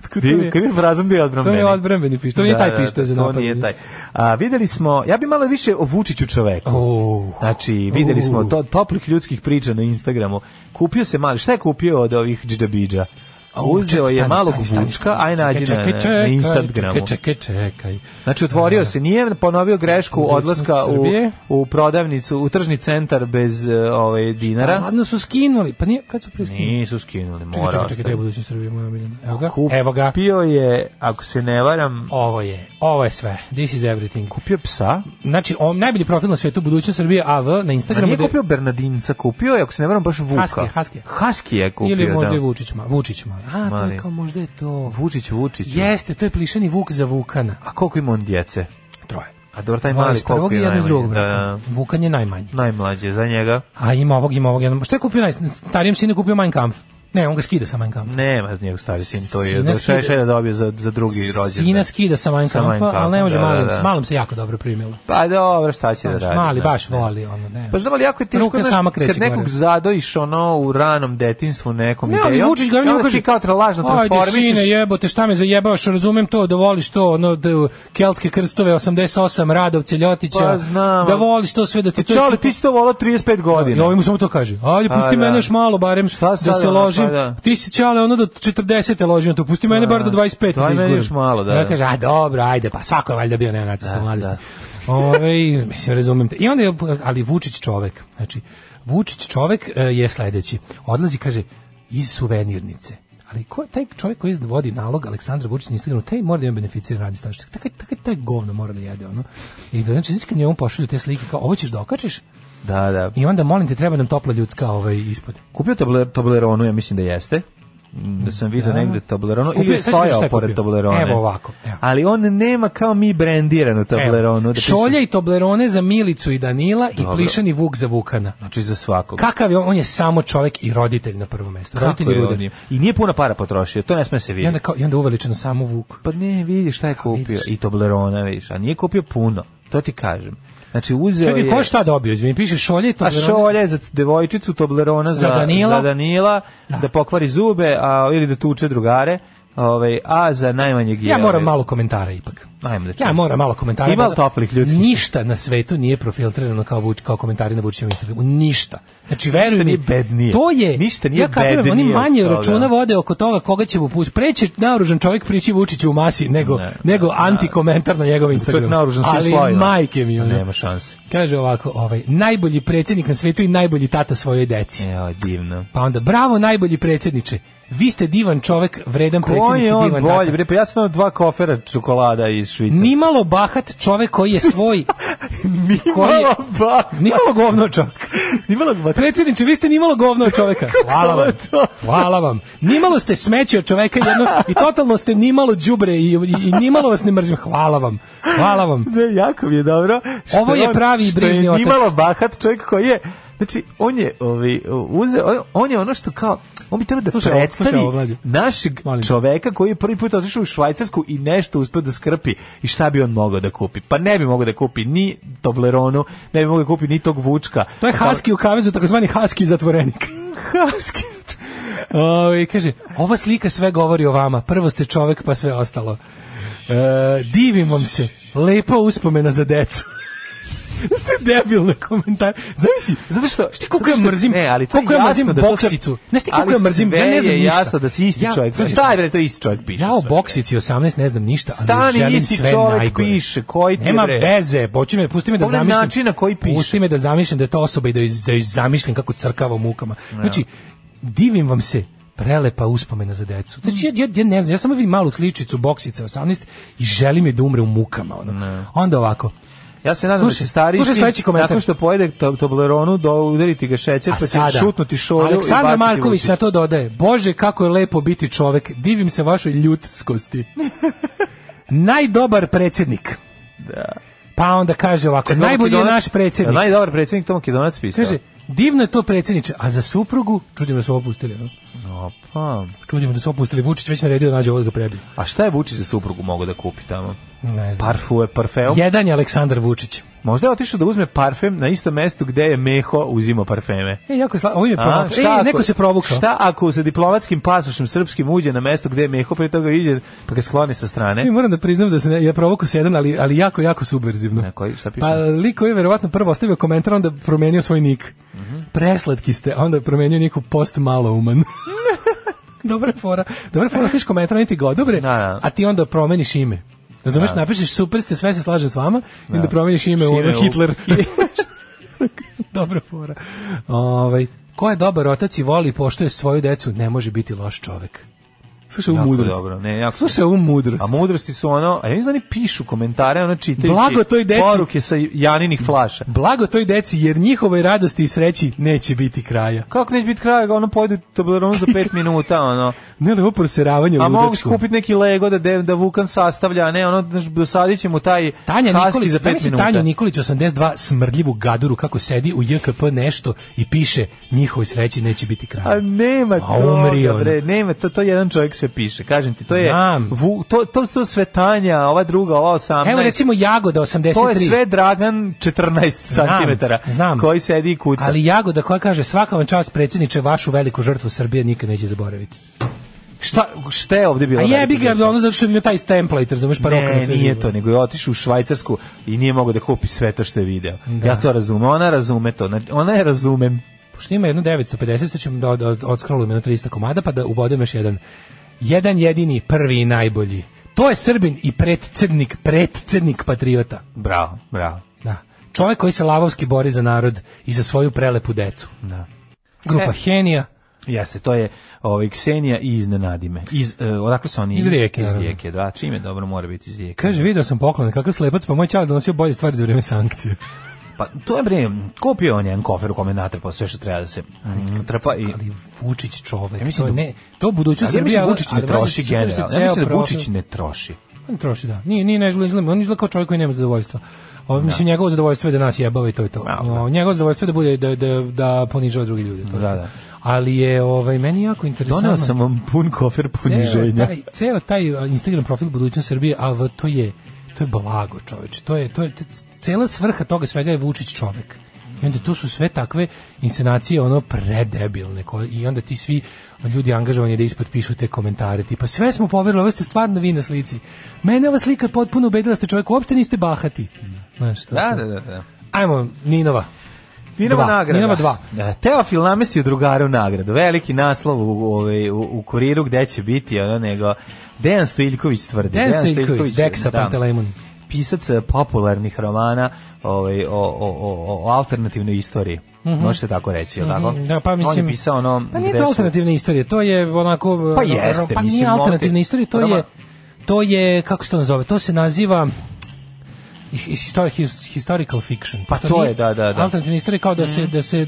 Speaker 5: Kako to mi
Speaker 6: Bi,
Speaker 5: je-
Speaker 6: kad bi frazom bio
Speaker 5: To
Speaker 6: odbrambeni.
Speaker 5: je odbrambeni pištolj. To nije
Speaker 6: Da,
Speaker 5: taj
Speaker 6: da,
Speaker 5: pištolj za
Speaker 6: to
Speaker 5: napadanje.
Speaker 6: nije taj. A, videli smo, ja bi malo više o Vučiću čoveku.
Speaker 5: Oh.
Speaker 6: Znači, videli smo
Speaker 5: Uh.
Speaker 6: to, toplih ljudskih priča na Instagramu. Kupio se malo, šta je kupio od ovih džidabidža? Uzeo je malog vučka, aj nađi na, e, na- na Instagramu.
Speaker 5: Čekaj, čekaj, čekaj.
Speaker 6: Znači, otvorio se, nije ponovio grešku
Speaker 5: Budućnost
Speaker 6: odlaska u,
Speaker 5: Srbije.
Speaker 6: u prodavnicu, u tržni centar bez e, ovaj, dinara.
Speaker 5: Ladno su skinuli, pa nije, kad su prije skinuli?
Speaker 6: Nisu skinuli,
Speaker 5: Čekaj,
Speaker 6: mora
Speaker 5: čekaj, čekaj, gde je
Speaker 6: ostaviti.
Speaker 5: budućnost Srbije, moja omiljena? Evo ga,
Speaker 6: Kupio
Speaker 5: evo ga.
Speaker 6: je, ako se ne varam,
Speaker 5: Ovo je, ovo je sve. This is everything.
Speaker 6: kupio psa.
Speaker 5: Znači, on, najbolji profil na svetu budućnost Srbije, AV, na
Speaker 6: A
Speaker 5: Instagramu.
Speaker 6: nije
Speaker 5: gde-
Speaker 6: kupio Bernardinca, kupio je, ako se ne varam, baš Vuka.
Speaker 5: Husky, Husky.
Speaker 6: Husky je kupio,
Speaker 5: Ili možda
Speaker 6: da.
Speaker 5: i Vučić mali. Vučić mali. A, to
Speaker 6: Mali.
Speaker 5: je kao možda je to...
Speaker 6: Vučić, Vučić.
Speaker 5: Jeste, to je plišeni vuk za Vukana.
Speaker 6: A koliko ima on djece?
Speaker 5: Troje.
Speaker 6: A dobro, taj mali
Speaker 5: 21.
Speaker 6: koliko
Speaker 5: i
Speaker 6: je
Speaker 5: jedno iz
Speaker 6: najmanji?
Speaker 5: drugog
Speaker 6: Da,
Speaker 5: brata.
Speaker 6: da.
Speaker 5: Vukan je najmanji.
Speaker 6: Najmlađe za njega.
Speaker 5: A ima ovog, ima ovog. jednog. Šta je kupio naj... Starijem sinu je kupio Mein Kampf. Ne, on ga skida sa Mein Kampfa.
Speaker 6: Ne, ma njegov stari sin, to je
Speaker 5: Sina
Speaker 6: da
Speaker 5: skida-
Speaker 6: še, še da dobio za, za drugi rođendan.
Speaker 5: Sina skida sa Mein Kampfa, ali ne može
Speaker 6: da,
Speaker 5: malim,
Speaker 6: da, da.
Speaker 5: malom se jako dobro primilo.
Speaker 6: Pa dobro, šta će da
Speaker 5: Znaš,
Speaker 6: radi?
Speaker 5: mali
Speaker 6: da.
Speaker 5: baš voli, ono, ne.
Speaker 6: Pa znam, ali jako je teško,
Speaker 5: Ruka
Speaker 6: znaš,
Speaker 5: sama kreće
Speaker 6: kad nekog
Speaker 5: gore.
Speaker 6: zadojiš ono u ranom detinstvu nekom
Speaker 5: Ne,
Speaker 6: idejom,
Speaker 5: ali Vučić ga
Speaker 6: i
Speaker 5: njemu
Speaker 6: onda
Speaker 5: kaže
Speaker 6: ti kao tra- lažno transformiš.
Speaker 5: Ajde sine, jebote, šta me zajebavaš, razumem to, da voliš to, ono, da, keltske krstove, 88, Radovce, Ljotića,
Speaker 6: Pa znam. Pa
Speaker 5: da voliš to sve, da ti to...
Speaker 6: Čale, ti si to volao 35
Speaker 5: I
Speaker 6: godina.
Speaker 5: ovaj mu samo to kaže. Ajde,
Speaker 6: A,
Speaker 5: pusti
Speaker 6: da.
Speaker 5: mene još malo barem
Speaker 6: Šta
Speaker 5: da
Speaker 6: sad,
Speaker 5: se
Speaker 6: ono,
Speaker 5: ložim.
Speaker 6: pa da.
Speaker 5: Ti si čale ono do 40. ložio, to pusti mene
Speaker 6: Da,
Speaker 5: bar do 25.
Speaker 6: daj
Speaker 5: da
Speaker 6: meni
Speaker 5: izguram.
Speaker 6: još malo, da,
Speaker 5: Ja
Speaker 6: da.
Speaker 5: kaže, a dobro, ajde, pa svako je valjda bio neonacista u mladosti. Ovaj, mislim, razumem te. I onda je, ali Vučić čovek, znači, Vučić čovek e, je sledeći. Odlazi, kaže, iz suvenirnice. Ali ko je taj čovjek koji vodi nalog Aleksandra Vučića na Instagramu, taj mora da ima beneficiran radni staž. Tako tako taj govno mora da jede ono. I da znači znači kad njemu pošalju te slike kao ovo ćeš da okačiš,
Speaker 6: Da, da.
Speaker 5: i onda molim te treba nam topla ljudska ovaj ispod.
Speaker 6: Kupio tabler, Tobleronu, ja mislim da jeste. Mm, Da sam vidio negde Tobleronu.
Speaker 5: Kupio,
Speaker 6: ili je
Speaker 5: sad ću reći
Speaker 6: stojao
Speaker 5: šta je
Speaker 6: pored
Speaker 5: kupio.
Speaker 6: Toblerone.
Speaker 5: Evo ovako, evo.
Speaker 6: Ali on nema kao mi brendiranu Tobleronu.
Speaker 5: Evo,
Speaker 6: da piše-
Speaker 5: Šolja i Toblerone za Milicu i Danila i plišani Vuk za Vukana.
Speaker 6: Znači za svakog.
Speaker 5: Kakav je on? On je samo čovek i roditelj na prvom mestu.
Speaker 6: Kako
Speaker 5: Roditelj i
Speaker 6: je on
Speaker 5: ruder.
Speaker 6: im- I nije puno para potrošio, to ne sme se
Speaker 5: I onda,
Speaker 6: vidjeti.
Speaker 5: kao, I onda uveličeno samo Vuk.
Speaker 6: Pa ne, vidi šta je kupio.
Speaker 5: vidiš.
Speaker 6: I Toblerona, vidiš. A nije kupio puno, to ti kažem. Znači uzeo
Speaker 5: Čekaj,
Speaker 6: je...
Speaker 5: ko je šta dobio? Izvini, piše Šolja i
Speaker 6: A
Speaker 5: Toblerone.
Speaker 6: šolja je za devojčicu, Toblerona za,
Speaker 5: Za Danila.
Speaker 6: za Danila, da.
Speaker 5: Da.
Speaker 6: pokvari zube a, ili da tuče drugare, ovaj, a za najmanjeg je...
Speaker 5: Ja moram
Speaker 6: ovaj,
Speaker 5: malo komentara ipak.
Speaker 6: Ajmo da čujemo.
Speaker 5: ja moram malo komentara.
Speaker 6: Znači,
Speaker 5: pa
Speaker 6: Ima li toplih ljudskih?
Speaker 5: Ništa na svetu nije profiltrirano kao Vuč, kao komentari na Vučićevom Instagramu. Ništa. Znači veruj
Speaker 6: Ništa
Speaker 5: mi,
Speaker 6: nije bednije.
Speaker 5: To je.
Speaker 6: Ništa nije
Speaker 5: ja kapiram,
Speaker 6: bednije
Speaker 5: oni
Speaker 6: od
Speaker 5: manje
Speaker 6: toga.
Speaker 5: računa vode oko toga koga će mu pustiti. Preće naoružan čovjek prići Vučiću u masi nego
Speaker 6: Ne,
Speaker 5: nego antikomentar na njegov Instagram.
Speaker 6: Čovjek naoružan svim
Speaker 5: Ali
Speaker 6: slojima.
Speaker 5: majke mi ono.
Speaker 6: Nema šanse.
Speaker 5: Kaže ovako, ovaj najbolji predsjednik na svetu i najbolji tata svojoj deci.
Speaker 6: Evo, E, divno.
Speaker 5: Pa onda bravo najbolji predsjedniče. Vi ste divan čovjek, vredan
Speaker 6: Ko
Speaker 5: predsjednik i
Speaker 6: je on
Speaker 5: divan
Speaker 6: bolji?
Speaker 5: tata.
Speaker 6: Bre, pa ja sam dao dva kofera čokolada iz Švica.
Speaker 5: Nimalo bahat čovek koji je svoj koji je-
Speaker 6: Nimalo ba.
Speaker 5: Nimalo govno čovek.
Speaker 6: Nimalo ba.
Speaker 5: Predsjedniče, vi ste nimalo govno od čoveka. Hvala vam. Hvala vam. Nimalo ste smeće od čoveka jedno i totalno ste nimalo đubre i, i, i nimalo vas ne mrzim. Hvala vam. Hvala vam.
Speaker 6: Ne, jako mi je dobro. što
Speaker 5: Ovo je
Speaker 6: on-
Speaker 5: pravi
Speaker 6: što
Speaker 5: brižni
Speaker 6: je
Speaker 5: otac.
Speaker 6: Nimalo bahat čovjek koji je Znači, on je ovaj, uze, on- on je ono što kao, on bi trebao da
Speaker 5: Slušaj ovo,
Speaker 6: predstavi
Speaker 5: slušaj ovo, mlađe.
Speaker 6: našeg
Speaker 5: Molim te.
Speaker 6: čoveka koji je prvi put otišao u Švajcarsku i nešto uspeo da skrpi. I šta bi on mogao da kupi? Pa ne bi mogao da kupi ni Tobleronu, ne bi mogao da kupi ni tog Vučka. Pa
Speaker 5: To je haski u kavezu, takozvani haski zatvorenik.
Speaker 6: Haski.
Speaker 5: O, i kaže, ova slika sve govori o vama. Prvo ste čovek, pa sve ostalo. E, divim vam se. Lepa uspomena za decu. Ste debilne komentare. Zamisli,
Speaker 6: Zato što
Speaker 5: Znaš ti koliko ja
Speaker 6: zato što-
Speaker 5: mrzim,
Speaker 6: ne, ali to je
Speaker 5: koliko ja
Speaker 6: jasno
Speaker 5: mrzim
Speaker 6: da to sve-
Speaker 5: boksicu. Znaš ti koliko
Speaker 6: ali
Speaker 5: ja mrzim, ja
Speaker 6: sve
Speaker 5: ne znam
Speaker 6: je
Speaker 5: ništa.
Speaker 6: jasno da si isti
Speaker 5: Ja-
Speaker 6: čovjek.
Speaker 5: Slušaj,
Speaker 6: Šta je bre, to je isti čovjek piše.
Speaker 5: Ja o
Speaker 6: sve.
Speaker 5: boksici 18 ne znam ništa, ali
Speaker 6: Stani,
Speaker 5: želim
Speaker 6: isti
Speaker 5: sve
Speaker 6: čovek
Speaker 5: najgore.
Speaker 6: piše, koji ti je,
Speaker 5: Nema
Speaker 6: bre?
Speaker 5: veze, hoću me, pusti me da
Speaker 6: Pogledaj
Speaker 5: zamišljam.
Speaker 6: način na koji piše.
Speaker 5: Pusti me da zamišljam da je to osoba i da iz- da iz- zamišljam kako crkava u mukama. Znači, divim vam se prelepa uspomena za decu. Znači, ja, ja, ja ne znam, ja samo vidim malu sličicu boksice 18 i želim je da umre u mukama. Ono. Onda ovako,
Speaker 6: Ja se nadam da
Speaker 5: Slušaj,
Speaker 6: će stari
Speaker 5: slušaj
Speaker 6: sin
Speaker 5: sledeći komentar.
Speaker 6: nakon što pojede to- Tobleronu, do udariti ga šećer,
Speaker 5: A
Speaker 6: pa će
Speaker 5: sada,
Speaker 6: šutnuti šolju i
Speaker 5: Aleksandar
Speaker 6: baciti
Speaker 5: Marković
Speaker 6: Vučića.
Speaker 5: znači, na to dodaje. Bože, kako je lepo biti čovek. Divim se vašoj ljutskosti. Najdobar predsjednik. Da. Pa onda kaže ovako,
Speaker 6: Čekaj,
Speaker 5: najbolji je
Speaker 6: Makedonac-
Speaker 5: naš predsjednik.
Speaker 6: Jel Najdobar predsjednik to Makedonac pisao.
Speaker 5: Kaže, divno je to predsjedniče, a za suprugu, čudim da su opustili, no?
Speaker 6: Opa.
Speaker 5: čudim da su opustili, Vučić već naredio da nađe ovog da prebije.
Speaker 6: A šta je Vučić za suprugu mogao da kupi tamo?
Speaker 5: Ne znam.
Speaker 6: Parfue, parfeum.
Speaker 5: Pa, Jedan je Aleksandar Vučić.
Speaker 6: Možda je otišao da uzme parfem na isto mesto gde je Meho uzimao parfeme.
Speaker 5: E, jako je sla... Ovo je
Speaker 6: A,
Speaker 5: provo-
Speaker 6: šta
Speaker 5: E,
Speaker 6: ako-
Speaker 5: neko se provukao.
Speaker 6: Šta ako sa diplomatskim pasošem srpskim uđe na mesto gde je Meho, prije toga iđe, pa ga skloni sa
Speaker 5: E,
Speaker 6: strane?
Speaker 5: moram da priznam da se ne, ja provukao se jedan, ali, ali jako, jako subverzivno.
Speaker 6: Na koji, šta piše?
Speaker 5: Pa liko je verovatno prvo ostavio komentar, onda promenio svoj nik. Preslatki ste, a onda je promenio niku post malo uman. Dobra je fora. Dobra je fora, ostaviš komentar, oni ti ga odobre,
Speaker 6: Da, da.
Speaker 5: a ti onda promeniš ime. Razumeš, napišeš super ste, sve se slažem s vama, i onda promeniš ime, u
Speaker 6: Ime
Speaker 5: ono
Speaker 6: u-
Speaker 5: Hitler. Dobra fora. Ovaj, ko je dobar otac i voli i poštuje svoju decu, ne može biti loš čovek. Slušaj, ovu
Speaker 6: Jako
Speaker 5: mudrost.
Speaker 6: dobro, ne, jako-
Speaker 5: Slušaj, ovu mudrost.
Speaker 6: A mudrosti su ono, a ja mislim da oni pišu komentare, ono čitajući
Speaker 5: Blago toj deci.
Speaker 6: poruke sa Janinih flaša.
Speaker 5: Blago toj deci, jer njihovoj radosti i sreći neće biti kraja.
Speaker 6: Kako neće biti kraja, ono pojedu tableronu za pet minuta, ono.
Speaker 5: Ne, ali ovo proseravanje
Speaker 6: A mogu
Speaker 5: ludačko.
Speaker 6: kupiti neki Lego da, de- da Vukan sastavlja, a ne, ono, znaš, dosadit ćemo taj
Speaker 5: Tanja
Speaker 6: kaski
Speaker 5: Nikolić,
Speaker 6: za pet
Speaker 5: zamisli
Speaker 6: minuta.
Speaker 5: Tanju Nikolić 82 smrdljivu gaduru kako sedi u JKP nešto i piše njihovoj sreći neće biti kraja.
Speaker 6: A nema
Speaker 5: A
Speaker 6: to,
Speaker 5: Pa umri on.
Speaker 6: bre, nema to, to jedan čovjek sve piše. Kažem ti, to je
Speaker 5: Znam.
Speaker 6: vu, to, to, to sve Tanja, ova druga, ova 18.
Speaker 5: Evo recimo Jagoda 83.
Speaker 6: to je sve Dragan 14 cm.
Speaker 5: znam.
Speaker 6: Koji sedi i kuca.
Speaker 5: Ali Jagoda koja kaže svaka vam čast predsjedniče, vašu veliku žrtvu Srbije nikad neće zaboraviti.
Speaker 6: šta, šta je ovdje bilo?
Speaker 5: A jebi
Speaker 6: veliko
Speaker 5: ga, ono zato što im je taj template, razumeš, pa roka na
Speaker 6: Ne,
Speaker 5: sve
Speaker 6: nije
Speaker 5: živo.
Speaker 6: to, nego je otišao u Švajcarsku i nije mogao da kupi sve to što je video. Ja to razumem, ona razume to, znači, ona je razumem.
Speaker 5: Pošto ima jedno 950, sad ćemo da od, od, odskrolujem jedno 300 komada, pa da ubodem još jedan. Jedan jedini, prvi i najbolji. To je Srbin i pretcednik, pretcednik patriota.
Speaker 6: Bravo, bravo.
Speaker 5: Da. Čovjek koji se lavovski bori za narod i za svoju prelepu decu.
Speaker 6: Da.
Speaker 5: Grupa
Speaker 6: E.
Speaker 5: Henija.
Speaker 6: Jeste, to je ovaj Ksenija i iznenadi me. Iz e, odakle su oni?
Speaker 5: Iz Rijeke,
Speaker 6: Iz
Speaker 5: naravno.
Speaker 6: Rijeke, da. Čime dobro mora biti iz Rijeke.
Speaker 5: Kaže, video sam poklon, kakav slepac, pa moj čale donosio bolje stvari za vrijeme sankcije.
Speaker 6: pa to je bre, kopio on jedan kofer u kome natrpa sve što treba da se mm, trpa i
Speaker 5: Ali Vučić čovek.
Speaker 6: Ja mislim
Speaker 5: to,
Speaker 6: da-
Speaker 5: ne, to budućnost
Speaker 6: Ali ja mislim
Speaker 5: Srbija,
Speaker 6: da Vučić ne
Speaker 5: ali
Speaker 6: troši
Speaker 5: Vučić- Vučić je
Speaker 6: generalno. Ja mislim da
Speaker 5: ceo
Speaker 6: Vučić
Speaker 5: prostor-
Speaker 6: ne troši.
Speaker 5: On troši, da. Nije, nije ne izgleda, izgleda- on izgleda kao čovjek koji nema zadovoljstva. Ovo, mislim, njegovo zadovoljstvo je da nas jebava i to je to.
Speaker 6: Da,
Speaker 5: O, njegovo zadovoljstvo je da, bude, da, da, da ponižava drugi ljude. To je
Speaker 6: Da,
Speaker 5: to.
Speaker 6: da.
Speaker 5: Ali je ovaj, meni jako interesantno.
Speaker 6: Doneo sam vam pun kofer poniženja.
Speaker 5: Ceo taj, ceo taj a, Instagram profil budućnost Srbije, a v- to je to je blago, čoveče. To je to je to je c- cela svrha toga svega je Vučić čovek. I onda tu su sve takve inscenacije ono predebilne koje, i onda ti svi ljudi angažovani da ispod pišu te komentare tipa sve smo poverili, ovo ste stvarno vi na slici. Mene ova slika potpuno ubedila da ste čovjek, uopšte niste bahati. Znaš, to,
Speaker 6: Da,
Speaker 5: to.
Speaker 6: da, da, da.
Speaker 5: Ajmo, Ninova.
Speaker 6: Ninova
Speaker 5: Dva.
Speaker 6: nagrada.
Speaker 5: Ninova dva.
Speaker 6: Da, Teofil namestio drugaru nagradu. Veliki naslov u, u, ovaj, u, u kuriru gde će biti ono nego Dejan Stojiljković tvrdi.
Speaker 5: Dejan Stojiljković, Deksa Pantelejmon.
Speaker 6: Pisac eh, popularnih romana ovaj, o, o, o, o alternativnoj istoriji. Može se tako reći, jel tako?
Speaker 5: Mhm. Da, pa
Speaker 6: On
Speaker 5: mislim...
Speaker 6: je pisao ono...
Speaker 5: Pa nije
Speaker 6: gde
Speaker 5: to
Speaker 6: su-
Speaker 5: alternativna istorija, to je onako...
Speaker 6: Pa
Speaker 5: ono,
Speaker 6: jeste,
Speaker 5: pa
Speaker 6: mislim,
Speaker 5: nije
Speaker 6: ovde-
Speaker 5: alternativna istorija, to
Speaker 6: Roman.
Speaker 5: je... To je, kako se to nazove, to se naziva his- histori- his- historical fiction.
Speaker 6: Pa
Speaker 5: Pošto
Speaker 6: to
Speaker 5: nije-
Speaker 6: je, da, da, Mm-hmm. da.
Speaker 5: Alternativna istorija je kao da se, da se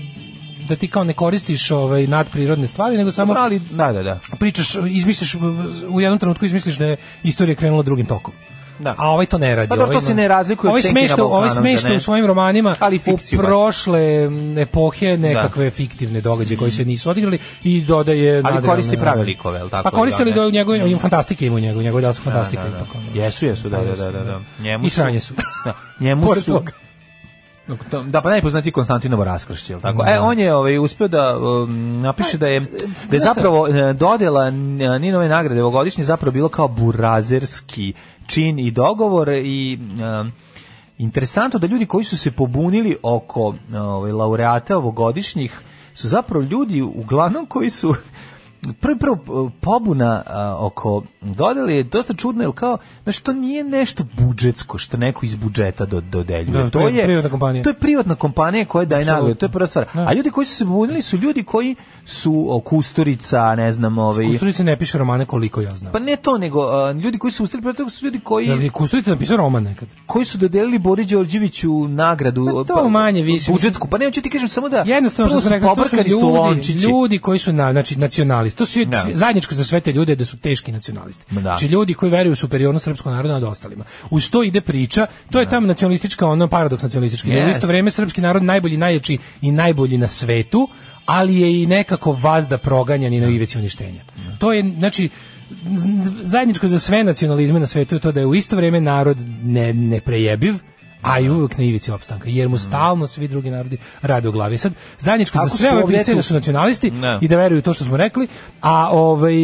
Speaker 5: da ti kao ne koristiš ovaj nadprirodne stvari, nego samo
Speaker 6: Dobro, Ali, da, da, da.
Speaker 5: pričaš, izmisliš, u jednom trenutku izmisliš da je istorija krenula drugim tokom.
Speaker 6: Da.
Speaker 5: A ovaj to ne radi.
Speaker 6: Pa dobro,
Speaker 5: ovaj
Speaker 6: to se
Speaker 5: ima-
Speaker 6: ne razlikuje od
Speaker 5: ovaj
Speaker 6: Senke na
Speaker 5: smešta, ovaj
Speaker 6: Balkanu, zar
Speaker 5: smešta
Speaker 6: ne?
Speaker 5: u svojim romanima
Speaker 6: Ali fikciju
Speaker 5: u
Speaker 6: baš.
Speaker 5: prošle mm, epohe nekakve fiktivne događaje koji se nisu odigrali i dodaje nadrealne-
Speaker 6: koristi prave likove, jel tako?
Speaker 5: Pa koristi li
Speaker 6: Da, ne?
Speaker 5: do njegove ima fantastike ima u njegove, njegove da su fantastike.
Speaker 6: Da, da,
Speaker 5: tako, ono.
Speaker 6: da. Jesu, jesu, da, da, da, da. da. Njemu
Speaker 5: I sranje su.
Speaker 6: Da, njemu
Speaker 5: Pored
Speaker 6: su...
Speaker 5: toga.
Speaker 6: Da, pa najpoznatiji Konstantinovo raskršće, jel tako? E, on je ovaj, uspio da um, napiše da je, da je zapravo e, dodela n- e, Ninove nagrade ovogodišnje zapravo bilo kao burazerski čin i dogovor i... um, Interesantno da ljudi koji su se pobunili oko ovaj, laureata ovogodišnjih su zapravo ljudi uglavnom koji su prvo, prvo pobuna a, oko dodali je dosta čudno, jer kao, znači to nije nešto budžetsko što neko iz budžeta do, dodeljuje.
Speaker 5: Da,
Speaker 6: to
Speaker 5: privatna-
Speaker 6: je
Speaker 5: privatna kompanija.
Speaker 6: To je privatna kompanija koja daje
Speaker 5: Apsolutno.
Speaker 6: nagradu, to je prva stvar. A ljudi koji su se bunili su ljudi koji su o, kusturica, ne znam, ovaj,
Speaker 5: Kusturica ne piše romane koliko ja znam.
Speaker 6: pa ne to, nego a, ljudi koji su ustali protiv toga su ljudi koji,
Speaker 5: Jel je Kusturica napisao roman nekad?
Speaker 6: koji su dodelili Bori Đorđeviću nagradu.
Speaker 5: Pa to manje više,
Speaker 6: Budžetsku, pa ne, hoću ti kažem samo da...
Speaker 5: jednostavno
Speaker 6: prvo
Speaker 5: što smo rekli, to su
Speaker 6: pobrkani
Speaker 5: ljudi,
Speaker 6: lončići.
Speaker 5: ljudi koji su na, znači, nacionalisti. To su
Speaker 6: Da.
Speaker 5: svi- zajedničko za sve te ljude da su teški nacionalisti.
Speaker 6: Da.
Speaker 5: Znači ljudi koji veruju u superiornost srpskog naroda nad ostalima. Uz to ide priča, to je tam nacionalistička, ono paradoks nacionalistički. Da je u
Speaker 6: Jest.
Speaker 5: isto vrijeme srpski narod najbolji, najjači i najbolji na svetu, ali je i nekako vazda proganjan i na ivici uništenja. To je, znači, z- zajedničko za sve nacionalizme na svetu je to da je u isto vrijeme narod ne, neprejebiv, a i uvek na ivici opstanka, jer mu stalno svi drugi narodi rade u glavi. Sad, zajedničko za
Speaker 6: Ako
Speaker 5: sve
Speaker 6: su
Speaker 5: ove
Speaker 6: ovdje
Speaker 5: pisce da
Speaker 6: tu-
Speaker 5: su nacionalisti
Speaker 6: Ne.
Speaker 5: i da veruju u to što smo rekli, a ovaj,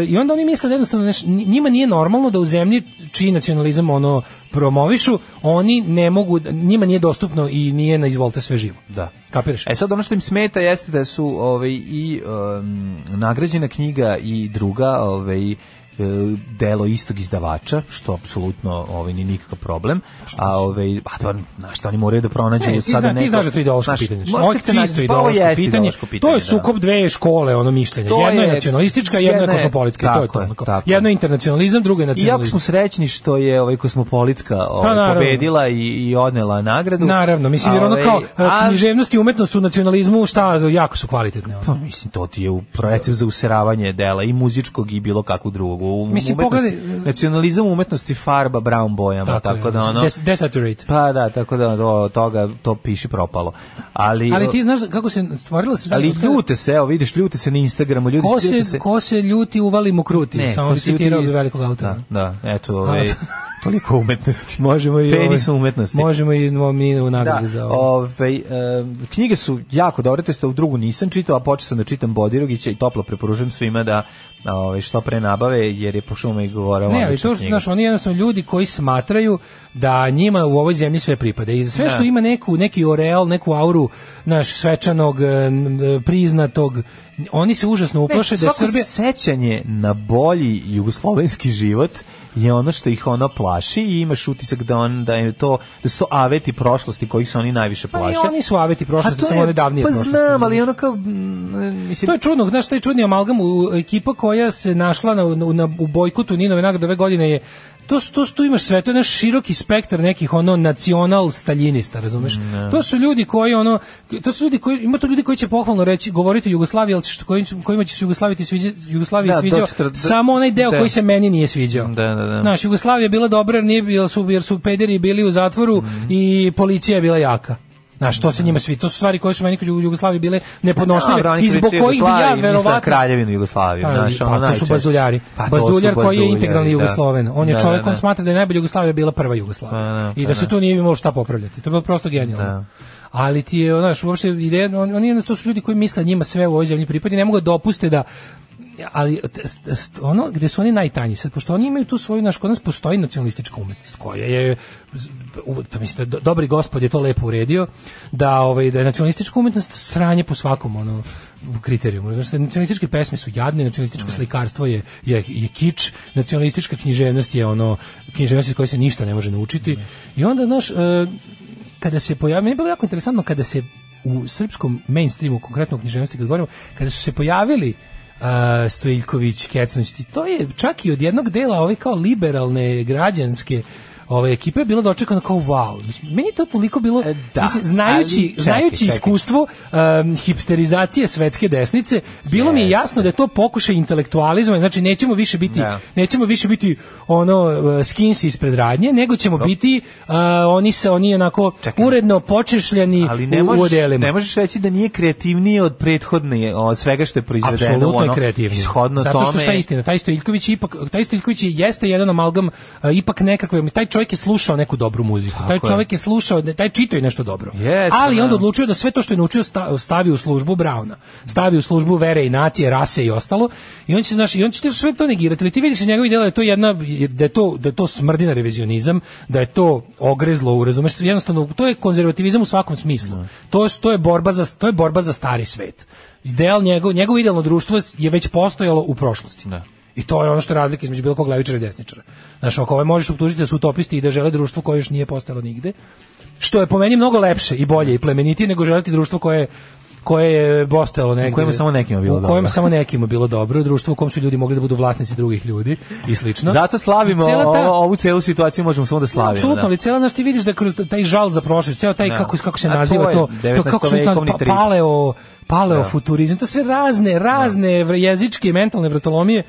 Speaker 5: e, i onda oni misle da jednostavno neš- njima nije normalno da u zemlji čiji nacionalizam ono promovišu, oni ne mogu, njima nije dostupno i nije na izvolite sve živo.
Speaker 6: Da.
Speaker 5: Kapiraš?
Speaker 6: E sad ono što im smeta jeste da su ovaj i um, nagrađena knjiga i druga ovaj e, delo istog izdavača, što apsolutno ovaj ni nikakav problem, a ovaj a to na što oni moraju da pronađu
Speaker 5: E, ti
Speaker 6: sada
Speaker 5: zna-
Speaker 6: neko.
Speaker 5: Ti znaš da je to ideološko
Speaker 6: Znaš,
Speaker 5: pitanje.
Speaker 6: možda
Speaker 5: Ovo je
Speaker 6: kad se nađe-
Speaker 5: čisto
Speaker 6: pa ovo
Speaker 5: ideološko
Speaker 6: jeste
Speaker 5: pitanje.
Speaker 6: ideološko
Speaker 5: To je
Speaker 6: da.
Speaker 5: sukob dve škole, ono mišljenje.
Speaker 6: To
Speaker 5: Jedno je
Speaker 6: je-
Speaker 5: nacionalistička, jedno je
Speaker 6: jedna je-
Speaker 5: kosmopolitska. To je to.
Speaker 6: tako je,
Speaker 5: onako.
Speaker 6: tako je.
Speaker 5: Jedno je internacionalizam, drugo je
Speaker 6: I jako
Speaker 5: nacionalizam.
Speaker 6: smo srećni što je ovaj kosmopolitska ovaj,
Speaker 5: Pa naravno.
Speaker 6: pobedila i, i odnela nagradu.
Speaker 5: Naravno, mislim jer ono
Speaker 6: Ovaj,
Speaker 5: kao a,
Speaker 6: a-
Speaker 5: književnost i umetnost u nacionalizmu, šta, jako su kvalitetne. Ono.
Speaker 6: Pa mislim, to ti je u recept za useravanje dela i muzičkog i bilo kakvog drugog. U,
Speaker 5: Mislim,
Speaker 6: umetnosti-
Speaker 5: pogledaj-
Speaker 6: Nacionalizam umetnosti farba brown bojama, tako,
Speaker 5: je,
Speaker 6: da ono...
Speaker 5: des- desaturate.
Speaker 6: Pa da, tako da do toga to piši propalo. Ali,
Speaker 5: Ali ti znaš kako se stvorila se...
Speaker 6: ali ljute se, evo vidiš, ljute se na Instagramu, ljudi
Speaker 5: Ko
Speaker 6: ljute
Speaker 5: se, ko se ljuti, uvali mu kruti. Samo
Speaker 6: ko
Speaker 5: bi
Speaker 6: se ljuti-
Speaker 5: citirao od velikog autora.
Speaker 6: Da, da eto, ovaj, toliko umetnosti.
Speaker 5: Možemo i
Speaker 6: Penis
Speaker 5: ovaj-
Speaker 6: umetnosti.
Speaker 5: Možemo i mi u
Speaker 6: Da,
Speaker 5: nagradu za ovo.
Speaker 6: ovaj, e, knjige su jako dobre, to jest u drugu nisam čitao, a počeo sam da čitam Bodirogića i toplo preporučujem svima da ovaj, što pre nabave, jer je pošto me govorila
Speaker 5: Ne, ali to što, znaš, oni jednostavno ljudi koji smatraju da njima u ovoj zemlji sve pripada. I sve što
Speaker 6: Da.
Speaker 5: ima neku, neki oreal, neku auru, naš svečanog, e, n- e, priznatog, oni se užasno uplaše da je
Speaker 6: svako
Speaker 5: Srbija...
Speaker 6: sećanje na bolji jugoslovenski život je ono što ih ono plaši i imaš utisak da on da je to da su to aveti prošlosti kojih se oni najviše
Speaker 5: Pa i
Speaker 6: plaše.
Speaker 5: oni su aveti prošlosti,
Speaker 6: A to
Speaker 5: samo
Speaker 6: je-
Speaker 5: one davnije
Speaker 6: Pa
Speaker 5: prošlosti.
Speaker 6: znam, ali ono kao mm, mislim
Speaker 5: To je čudno, znaš, taj čudni amalgam u ekipa koja se našla na, u- na, u bojkotu Ninove nagrade ove godine je To, su- to, su- tu imaš sve, to je naš široki spektar nekih ono nacional staljinista, razumeš? To su ljudi koji ono, to su ljudi koji, ima tu ljudi koji će pohvalno reći, govoriti o Jugoslaviji, ali što, kojim, će- kojima će se Jugoslaviji sviđa, Jugoslaviji
Speaker 6: Da,
Speaker 5: sviđao
Speaker 6: doktor, da-
Speaker 5: samo onaj deo
Speaker 6: da.
Speaker 5: koji se meni nije sviđao.
Speaker 6: Da, da, da.
Speaker 5: Znaš, Jugoslavija je bila dobra jer, nije, jer, su, jer su pederi bili u zatvoru
Speaker 6: Mhm.
Speaker 5: i policija je bila jaka. Znaš, to se njima svi, to su stvari koje su meni kod Ju- Jugoslavije bile neponošljive
Speaker 6: Dobro, oni
Speaker 5: i zbog
Speaker 6: kriče
Speaker 5: kojih bi ja
Speaker 6: Jugoslaviju, misle na
Speaker 5: verovatno
Speaker 6: kraljevinu Jugoslaviju,
Speaker 5: Pa,
Speaker 6: znaš,
Speaker 5: pa,
Speaker 6: ono
Speaker 5: to su
Speaker 6: najčešće.
Speaker 5: bazdulari.
Speaker 6: Pa, to su
Speaker 5: Bazduljar koji je
Speaker 6: bazduljari,
Speaker 5: integralni
Speaker 6: da.
Speaker 5: Jugosloven. On je
Speaker 6: Da,
Speaker 5: čovjek
Speaker 6: da,
Speaker 5: on
Speaker 6: da.
Speaker 5: smatra da je najbolja Jugoslavija bila prva Jugoslavija.
Speaker 6: Da, da,
Speaker 5: I da
Speaker 6: pa
Speaker 5: se
Speaker 6: da.
Speaker 5: tu nije imalo šta popravljati. To je bilo prosto genijalno.
Speaker 6: Da.
Speaker 5: Ali ti je, znaš, uopšte ideja, on- oni jednostavno to su ljudi koji misle njima sve u ovoj zemlji pripada i ne mogu da dopuste da ali t- st- ono gde su oni najtanji sad pošto oni imaju tu svoju naš kod nas postoji nacionalistička umetnost koja je u- to mislim da do- dobri gospod je to lepo uredio da ovaj da je nacionalistička umetnost sranje po svakom ono kriterijumu znači nacionalističke pesme su jadne nacionalističko slikarstvo je je je kič nacionalistička književnost je ono književnost iz koje se ništa ne može naučiti i onda naš kada se pojavio, meni je bilo jako interesantno kada se u srpskom mainstreamu, konkretno u književnosti kad govorimo, kada su se pojavili uh, Stojiljković, Kecanović, ti- to je čak i od jednog dela ove kao liberalne, građanske ove ekipe je bilo dočekano kao wow. Mislim, Meni je to toliko bilo,
Speaker 6: E, da,
Speaker 5: mislim, znajući,
Speaker 6: ali čekaj,
Speaker 5: znajući
Speaker 6: čekaj.
Speaker 5: iskustvo um, hipsterizacije svetske desnice, bilo mi je
Speaker 6: Jeste.
Speaker 5: jasno da je to pokušaj intelektualizma, znači nećemo više biti,
Speaker 6: Da.
Speaker 5: nećemo više biti ono e, skins ispred radnje, nego ćemo biti e, oni se oni onako uredno počešljeni
Speaker 6: Ali ne
Speaker 5: u, u
Speaker 6: možeš,
Speaker 5: odelima.
Speaker 6: ne možeš reći da nije kreativniji od prethodne, od svega što je proizvedeno.
Speaker 5: Apsolutno je
Speaker 6: ono,
Speaker 5: kreativni.
Speaker 6: Shodno
Speaker 5: Zato što
Speaker 6: tome-
Speaker 5: šta je istina, taj Stojiljković ipak taj Stojiljković je- jeste jedan amalgam e, ipak nekakve taj čovjek je slušao neku dobru muziku. taj
Speaker 6: je.
Speaker 5: čovjek je slušao, taj čitao je nešto dobro.
Speaker 6: Jeste,
Speaker 5: Ali
Speaker 6: da.
Speaker 5: onda odlučio da sve to što je naučio sta- stavi u službu Brauna. Stavi u službu vere i nacije, rase i ostalo. I on će znaš, i on će ti sve to negirati. Ali ti vidiš iz njegovih dela da je to jedna da je to da je to smrdi na revizionizam, da je to ogrezlo, u razumeš, jednostavno to je konzervativizam u svakom smislu. To je to je borba za to je borba za stari svet. Ideal njegov, njegovo idealno društvo je već postojalo u prošlosti. I to je ono što je razlika između bilo kog levičara i desničara. Znaš, ako ove možeš optužiti da su utopisti i da žele društvo koje još nije postalo nigde, što je po meni mnogo lepše i bolje i plemenitije nego želiti društvo koje koje je postojalo negde.
Speaker 6: kojem je samo nekima bilo
Speaker 5: U kojem
Speaker 6: dobro.
Speaker 5: samo nekima bilo dobro, društvo u kom su ljudi mogli da budu vlasnici drugih ljudi i slično.
Speaker 6: Zato slavimo
Speaker 5: Cela ta-
Speaker 6: ovo- ovu celu situaciju, možemo samo da slavimo.
Speaker 5: Apsolutno,
Speaker 6: da.
Speaker 5: ali cela znaš ti vidiš da kroz taj žal za prošlost, ceo taj
Speaker 6: Da.
Speaker 5: kako kako se
Speaker 6: A to
Speaker 5: naziva
Speaker 6: je
Speaker 5: to, to,
Speaker 6: 19.
Speaker 5: kako se to
Speaker 6: vekovni
Speaker 5: pa-
Speaker 6: trip.
Speaker 5: paleo paleo futurizam, to sve razne razne vre- jezičke i mentalne vratolomije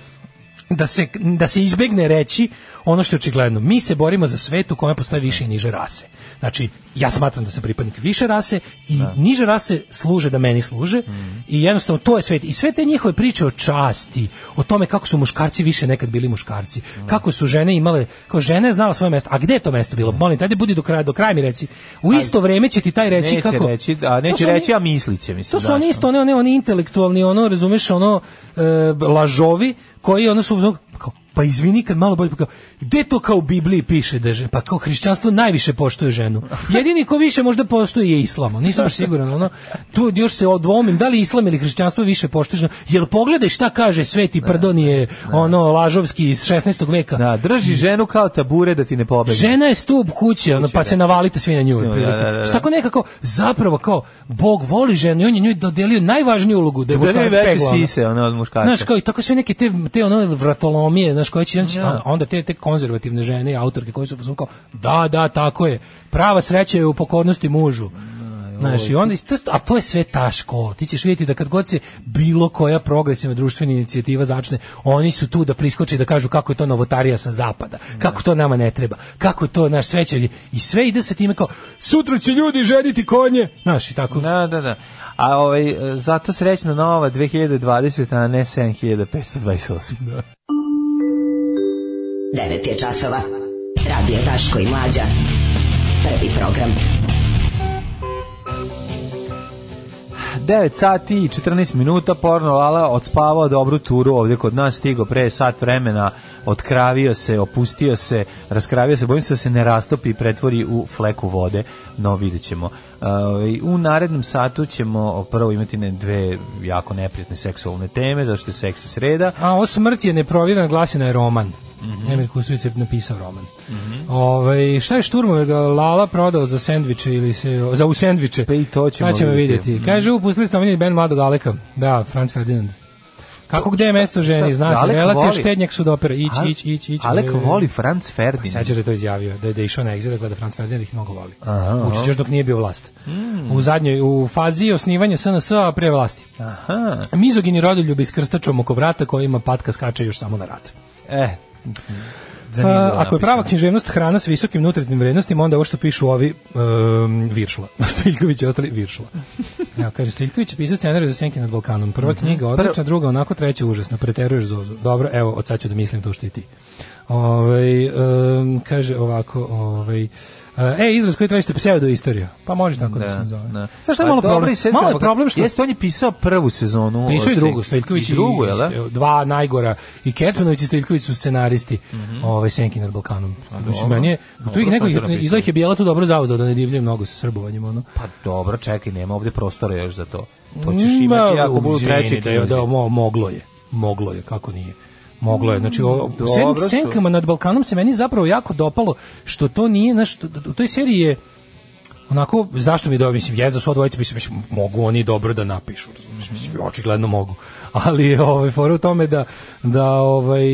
Speaker 5: da se, da se izbegne reći ono što je očigledno. Mi se borimo za svet u kome postoje više i niže rase. Znači, ja smatram da sam pripadnik više rase i niže rase služe da meni služe
Speaker 6: Mhm.
Speaker 5: i jednostavno to je svet. I sve te njihove priče o časti, o tome kako su muškarci više nekad bili muškarci, kako su žene imale, kao žene je znala svoje mesto. A gde je to mesto bilo? Molim, tajde budi do kraja, do kraja mi reci. U isto vreme će ti taj reći
Speaker 6: neće
Speaker 5: kako...
Speaker 6: reći, a
Speaker 5: To
Speaker 6: neće
Speaker 5: su oni-
Speaker 6: reći, a misliće,
Speaker 5: to
Speaker 6: mislim.
Speaker 5: su
Speaker 6: znaš,
Speaker 5: oni
Speaker 6: ono.
Speaker 5: isto, one, one, oni intelektualni, ono, razumeš, ono, e, lažovi, koji ono su, kao, pa izvini kad malo bolje, pa kao, gde to kao u Bibliji piše da je, pa kao hrišćanstvo najviše poštuje ženu. Jedini ko više možda poštuje je islam, ali nisam baš siguran, ono, tu još se odvomim, da li islam ili hrišćanstvo više poštuje ženu, jel pogledaj šta kaže sveti prdonije, ono, lažovski iz 16. veka,
Speaker 6: ono. Da, drži ženu kao tabure da ti ne pobegne.
Speaker 5: Žena je stup kuće, ono, pa
Speaker 6: da.
Speaker 5: se navalite svi na nju. otprilike.
Speaker 6: da, da, da.
Speaker 5: Šta ako nekako, zapravo kao, Bog voli ženu i on je njoj dodelio najvažniju ulogu. Da je
Speaker 6: Da ne
Speaker 5: muškarac
Speaker 6: veće
Speaker 5: pegla, ono.
Speaker 6: sise, ona od muškarca.
Speaker 5: Znaš, kao i tako sve neke te, te ono vratolomije, znaš, koje će, ja. onda te, te konzervativne žene i autorke koje su kao, da, da, tako je, prava sreća je u pokornosti mužu. Znaš, i onda, isto- a to je sve ta škola. Ti ćeš vidjeti da kad god se bilo koja progresivna društvena inicijativa začne, oni su tu da priskoče i da kažu kako je to novotarija sa zapada, kako to nama ne treba, kako to naš sveće i sve ide sa time kao, sutra će ljudi ženiti konje, znaš, i tako.
Speaker 6: Da, da, da. A ovaj, e, zato srećna nova 2020, a ne 7528. Da.
Speaker 7: 9 je časova. Radio Daško i Mlađa. Prvi program.
Speaker 6: 9 sati i 14 minuta porno Lala odspavao dobru turu ovdje kod nas, stigo pre sat vremena, otkravio se, opustio se, raskravio se, bojim se da se ne rastopi i pretvori u fleku vode, no vidjet ćemo. E, ovaj, u narednom satu ćemo prvo imati ne dve jako neprijatne seksualne teme, zašto je seks i sreda,
Speaker 5: A Pa o smrti je neprovjerena glasina je roman.
Speaker 6: Mhm.
Speaker 5: Emir Kusturica je napisao roman. Ovaj, šta je Šturmove ga Lala prodao za sendviče ili se, za u sendviče?
Speaker 6: Pa i to ćemo
Speaker 5: Sad ćemo
Speaker 6: vidjeti. Mhm.
Speaker 5: vidjeti. Kaže, upustili ste omenjeni band Mladog Aleka. Da, Franz Ferdinand. Kako gde je mesto ženi,
Speaker 6: Šta?
Speaker 5: zna se,
Speaker 6: Alek
Speaker 5: relacija
Speaker 6: voli-
Speaker 5: štednjak su dopera, ić,
Speaker 6: Al-
Speaker 5: ić, ić, ić.
Speaker 6: Alek
Speaker 5: e,
Speaker 6: voli Franz
Speaker 5: pa
Speaker 6: Ferdinand.
Speaker 5: sećaš da je to izjavio, da je, da je išao na exit, da gleda Franz Ferdinand i ih mnogo voli. Vučić još dok nije bio vlast.
Speaker 6: Mm.
Speaker 5: U zadnjoj, u fazi osnivanja SNS, a pre vlasti.
Speaker 6: Aha.
Speaker 5: Mizogini rodoljubi s krstačom oko vrata kojima patka skače još samo na rat.
Speaker 6: Eh, zanimljivo
Speaker 5: A, E. Pa, ako je prava
Speaker 6: napisano.
Speaker 5: književnost hrana s visokim nutritivnim vrednostima, onda ovo što pišu ovi um, Viršla. Stiljković i ostali Viršla. Evo, kaže, Stiljković je pisao scenariju za Senke nad Balkanom. Prva knjiga odlična,
Speaker 6: Mhm. Prvo-
Speaker 5: druga onako, treća užasna. Preteruješ Zozu. Dobro, evo, od sad ću da mislim to što i ti. Ovaj, em, kaže ovako, ovaj, e, E, izraz koji tražite pseudo istoriju. Pa može tako da, se zove.
Speaker 6: da.
Speaker 5: Znaš šta je
Speaker 6: A
Speaker 5: malo
Speaker 6: dobro,
Speaker 5: problem?
Speaker 6: i sve
Speaker 5: Malo je
Speaker 6: drugo.
Speaker 5: problem što...
Speaker 6: Jeste, on je pisao prvu sezonu.
Speaker 5: Pisao i
Speaker 6: od
Speaker 5: drugu,
Speaker 6: Senke.
Speaker 5: Stojiljković i,
Speaker 6: I drugu, jel da?
Speaker 5: Dva najgora. I Kecmanović i Stojiljković su scenaristi ove Senki nad Balkanom. Mislim, meni je, tu
Speaker 6: Mhm. dobro
Speaker 5: ih
Speaker 6: su
Speaker 5: neko,
Speaker 6: oni to napisali.
Speaker 5: izgleda ih je Bijela tu dobro zauzao da ne divljaju mnogo sa srbovanjem, ono.
Speaker 6: Pa dobro, čekaj, nema ovde prostora još za to. To ćeš imati
Speaker 5: Ma,
Speaker 6: ako budu
Speaker 5: izvini,
Speaker 6: treći
Speaker 5: da, je- da,
Speaker 6: knjizi.
Speaker 5: mo- moglo je. Moglo je, kako nije. Moglo je. Znači, o,
Speaker 6: Dobro
Speaker 5: sen-
Speaker 6: su.
Speaker 5: Senkama nad Balkanom se meni zapravo jako dopalo što to nije, znaš, t- t- u toj seriji je onako, zašto mi dobro, mislim, jezda su odvojice, mislim, mislim, mogu oni dobro da napišu, razumiješ, mislim, očigledno mogu, ali je, ovaj, fora u tome da, da ovaj,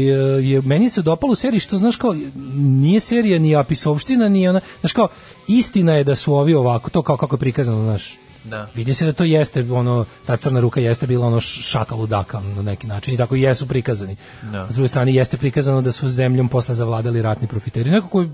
Speaker 5: je, meni se dopalo u seriji što, znaš, kao, nije serija ni apisovština, ni ona, znaš, kao, istina je da su ovi ovako, to kao kako je prikazano, znaš,
Speaker 6: Da.
Speaker 5: Vidi se da to jeste ono ta crna ruka jeste bila ono š- šaka ludaka na neki način i tako i jesu prikazani.
Speaker 6: Da.
Speaker 5: S druge strane jeste prikazano da su zemljom posle zavladali ratni profiteri. Nekako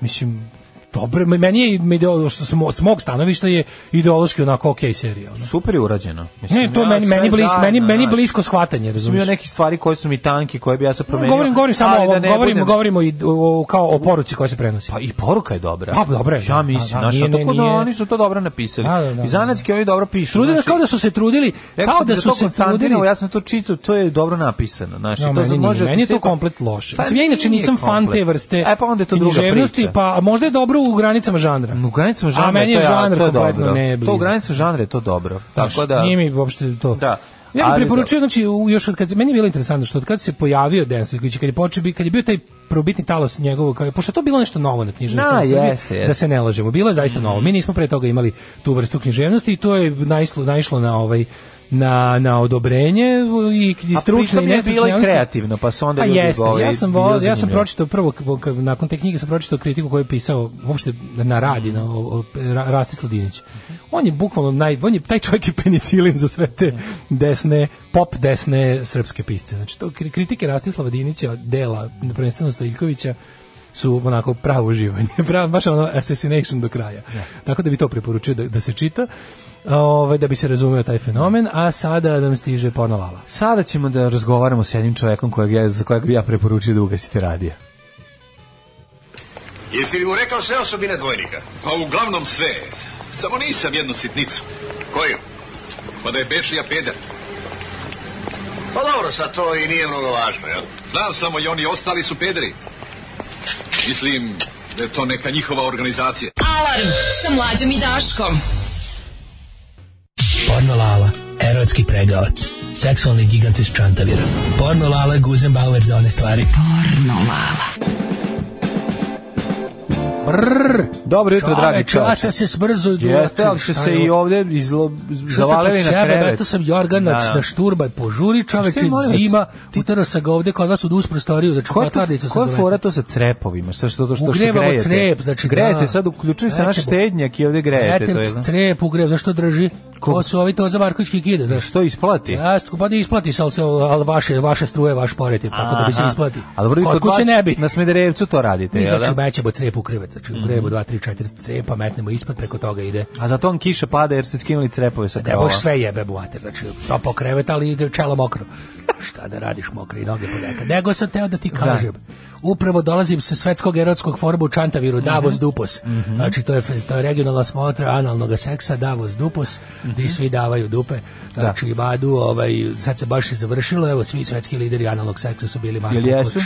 Speaker 5: mislim dobro, me- meni je ideolo- što s mo- s mog stanovišta je ideološki onako okej serija. ono.
Speaker 6: Super je urađeno. Mislim,
Speaker 5: Ne, to
Speaker 6: ja
Speaker 5: meni
Speaker 6: sve
Speaker 5: meni blisko,
Speaker 6: zajedno,
Speaker 5: meni meni
Speaker 6: znaš.
Speaker 5: blisko shvatanje, razumiješ?
Speaker 6: Ima neke stvari koje su mi tanke, koje bi ja sad promenio.
Speaker 5: Govorim, govorim samo
Speaker 6: ali
Speaker 5: o
Speaker 6: da
Speaker 5: ovom,
Speaker 6: ne
Speaker 5: govorim,
Speaker 6: budem-
Speaker 5: govorimo i o, kao o poruci koja se prenosi.
Speaker 6: Pa i poruka je dobra.
Speaker 5: Pa, dobra je.
Speaker 6: Ja
Speaker 5: A, a
Speaker 6: mislim, znaš,
Speaker 5: nije,
Speaker 6: a tako
Speaker 5: nije,
Speaker 6: da
Speaker 5: nije.
Speaker 6: oni su to dobro napisali.
Speaker 5: Da, da, da,
Speaker 6: I zanatski oni dobro pišu.
Speaker 5: Trude
Speaker 6: znaš,
Speaker 5: kao da su se trudili,
Speaker 6: znači, Rekao
Speaker 5: kao
Speaker 6: sam
Speaker 5: da
Speaker 6: za
Speaker 5: su
Speaker 6: to
Speaker 5: se trudili.
Speaker 6: Konstantinovo, ja sam to čitao, to je dobro napisano. Znači,
Speaker 5: No,
Speaker 6: to se
Speaker 5: meni,
Speaker 6: može...
Speaker 5: može, meni je to
Speaker 6: sve-
Speaker 5: komplet loše.
Speaker 6: Pa
Speaker 5: Mislim, ja inače
Speaker 6: nije
Speaker 5: nisam fan
Speaker 6: komplet.
Speaker 5: te vrste
Speaker 6: E, pa onda je to druga
Speaker 5: književnosti,
Speaker 6: priča.
Speaker 5: pa možda je dobro u granicama žanra.
Speaker 6: U granicama žanra
Speaker 5: A meni je
Speaker 6: to
Speaker 5: žanr
Speaker 6: to je
Speaker 5: kompletno
Speaker 6: dobro.
Speaker 5: ne
Speaker 6: To u
Speaker 5: blizak.
Speaker 6: granicama žanra je to dobro. Tako
Speaker 5: Znaš,
Speaker 6: da...
Speaker 5: Nije mi uopšte to.
Speaker 6: Da.
Speaker 5: Ja bih
Speaker 6: Ali
Speaker 5: preporučio, znači, u- još od kad se, meni je bilo interesantno što od kad se pojavio Dejan Stojković, i kad je počeo, bi- kad je bio taj probitni talas njegovog, kao- pošto je to bilo nešto novo na književnosti,
Speaker 6: Da,
Speaker 5: u Srbiji,
Speaker 6: jeste, jeste.
Speaker 5: da se ne lažemo, bilo je zaista novo. Mi nismo pre toga imali tu vrstu književnosti i to je naislo, naišlo na ovaj na na odobrenje i i
Speaker 6: A
Speaker 5: stručne i
Speaker 6: pritom je
Speaker 5: nestručne
Speaker 6: bila i
Speaker 5: javnosti.
Speaker 6: kreativna, pa su onda
Speaker 5: Pa
Speaker 6: ljudi
Speaker 5: jeste,
Speaker 6: govore,
Speaker 5: ja sam
Speaker 6: bilo
Speaker 5: volao, ja sam
Speaker 6: zanimljivo.
Speaker 5: pročitao prvo k- k- nakon te knjige sam pročitao kritiku koju je pisao uopšte na radi na o, o, Ra- Rastislav Dinić. On je bukvalno naj on je taj čovjek je penicilin za sve te desne pop desne srpske pisce. Znači to kri- kritike Rastislava Dinića dela prvenstveno Stojiljkovića su onako pravo uživanje, pravo, baš ono assassination do kraja. Tako da bi to preporučio da, da se čita, ovaj, da bi se razumeo taj fenomen, a sada nam stiže porno lala.
Speaker 6: Sada ćemo da razgovaramo s jednim čovekom kojeg ja, za kojeg bi ja preporučio da ugasite radija.
Speaker 11: Jesi li mu rekao sve osobine dvojnika?
Speaker 12: Pa uglavnom sve. Samo nisam jednu sitnicu.
Speaker 11: Koju?
Speaker 12: Pa da je Bečija peder.
Speaker 11: Pa dobro, sad to i nije mnogo važno, jel?
Speaker 12: Znam samo i oni ostali su pederi. Mislim da je to neka njihova organizacija.
Speaker 4: Alarm sa mlađom i Daškom.
Speaker 13: Porno Lala, erotski pregavac. Seksualni gigant iz Čantavira. Porno Lala je Guzenbauer za one stvari. Porno Lala.
Speaker 6: Brr, dobro jutro, dragi čovječe.
Speaker 5: Časa se smrzu.
Speaker 6: Jeste, ali ste se i ovde izlo, zavalili na krevet.
Speaker 5: Beto sam jorgan na, na šturba, požuri čoveče, zima, utarao sam ga ovde kod vas u dus prostoriju, znači kvatarnicu sam
Speaker 6: Koja je fora to sa crepovima? Šta što to što, što
Speaker 5: Ugrevamo
Speaker 6: grejete?
Speaker 5: crep, znači,
Speaker 6: grejete,
Speaker 5: da.
Speaker 6: sad uključili ste naš
Speaker 5: Nećemo.
Speaker 6: štednjak i ovde grejete. to je,
Speaker 5: Etem
Speaker 6: znaš.
Speaker 5: crep ugrev, zašto drži? Ko su ovi to za Marković kikide, znaš?
Speaker 6: Što isplati?
Speaker 5: Ja, pa ne isplati se, ali, se, ali vaše, vaše struje, vaš pored je, tako da bi se
Speaker 6: Aha.
Speaker 5: isplati.
Speaker 6: A dobro, i
Speaker 5: Kod
Speaker 6: kod
Speaker 5: kuće
Speaker 6: vas
Speaker 5: ne bi.
Speaker 6: na Smederevcu to radite,
Speaker 5: Mi
Speaker 6: jel
Speaker 5: znači
Speaker 6: da? Mhm.
Speaker 5: mećemo crep u krevet, znači ugrevamo 2, 3, 4 crepa, metnemo ispod, preko toga ide
Speaker 6: A zato on kiša pada jer ste skinuli crepove sa
Speaker 5: Ne
Speaker 6: krova.
Speaker 5: boš sve jebe u mater, znači to pokrevet, ali ide čelo mokro. Šta da radiš mokre i noge ponekad. Nego sam teo da ti kažem. Upravo dolazim sa svetskog erotskog foruma u
Speaker 6: Mhm.
Speaker 5: Čantaviru, Davos Dupos. Znači, to je, fe- to je regionalna smotra analnog seksa, Davos Dupos,
Speaker 6: Mhm.
Speaker 5: gdje svi davaju dupe. Znači, vadu, ovaj, sad se baš i završilo, evo, svi svetski lideri analnog seksa su bili Marko
Speaker 6: Jel jesu?
Speaker 5: Koč.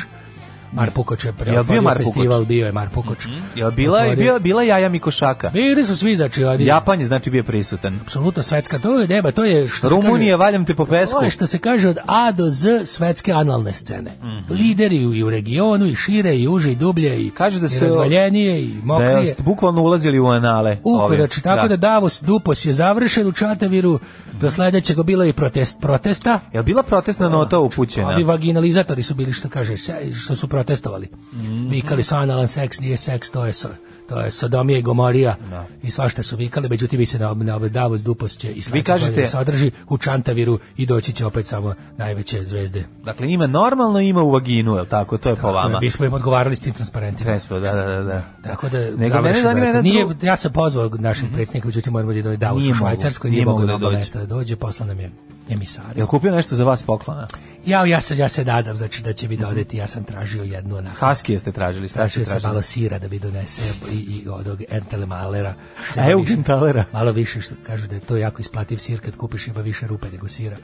Speaker 5: Mar Pukoč je
Speaker 6: Jel bio
Speaker 5: preotvorio
Speaker 6: Mar Pukoč? Mhm.
Speaker 5: festival, bio je Mar Pukoč.
Speaker 6: Jel bila,
Speaker 5: Otvorio-
Speaker 6: bila, bila jaja mi košaka?
Speaker 5: Bili su svi, znači, oni-
Speaker 6: Japan je znači bio prisutan.
Speaker 5: apsolutno svetska, to je deba, to je... što se kaže-
Speaker 6: Rumunija, valjam te po pesku.
Speaker 5: To je što se kaže od A do Z svetske analne scene.
Speaker 6: Mhm.
Speaker 5: Lideri i u regionu, i šire, i uže, i dublje, i,
Speaker 6: Kaže da
Speaker 5: i
Speaker 6: se-
Speaker 5: razvaljenije, i
Speaker 6: Da
Speaker 5: mokrije.
Speaker 6: ste bukvalno ulazili u anale.
Speaker 5: Upe,
Speaker 6: ovim.
Speaker 5: znači, tako da. Davos Dupos je završen u Čataviru, do sledećeg bilo je i protest, protesta,
Speaker 6: Jel bila protestna nota upućena?
Speaker 5: ovi vaginalizatori su bili što kaže, se- što su protestovali.
Speaker 6: Mhm.
Speaker 5: Vikali su analan seks, nije seks, to je so, to je sodomija i gomorija. I svašta su vikali, međutim vi se na, na Davos Dupos će i sledeće
Speaker 6: kažete-
Speaker 5: godine se održi u Čantaviru i doći će opet samo najveće zvezde.
Speaker 6: Dakle, ima normalno, ima u vaginu, jel tako? To je po vama.
Speaker 5: Mi smo im odgovarali s tim transparentima.
Speaker 6: Trespo, da, da, da. da.
Speaker 5: Tako da
Speaker 6: mene
Speaker 5: završi,
Speaker 6: zanima
Speaker 5: brate.
Speaker 6: jedan
Speaker 5: nije,
Speaker 6: dru-
Speaker 5: ja sam pozvao našeg predsjednika, međutim moramo da dođe Davos
Speaker 6: Nije
Speaker 5: u
Speaker 6: mogu,
Speaker 5: Švajcarskoj,
Speaker 6: nije
Speaker 5: nije
Speaker 6: mogu
Speaker 5: mogao
Speaker 6: da
Speaker 5: da
Speaker 6: dođe.
Speaker 5: mesta da dođe, posla nam je emisari.
Speaker 6: Jel kupio nešto za vas poklona?
Speaker 5: Ja, ja, se, ja se nadam znači, da će mi
Speaker 6: Mhm.
Speaker 5: dodeti, ja sam tražio jednu onako.
Speaker 6: Haskije ste tražili, šta ste
Speaker 5: Tražio sam malo
Speaker 6: tražili?
Speaker 5: sira da mi donese i, i od ovog Entele Malera. što ima
Speaker 6: A,
Speaker 5: više-
Speaker 6: Eugentalera.
Speaker 5: Malo više, što kažu da je to jako isplativ sir kad kupiš ima više rupe nego sira.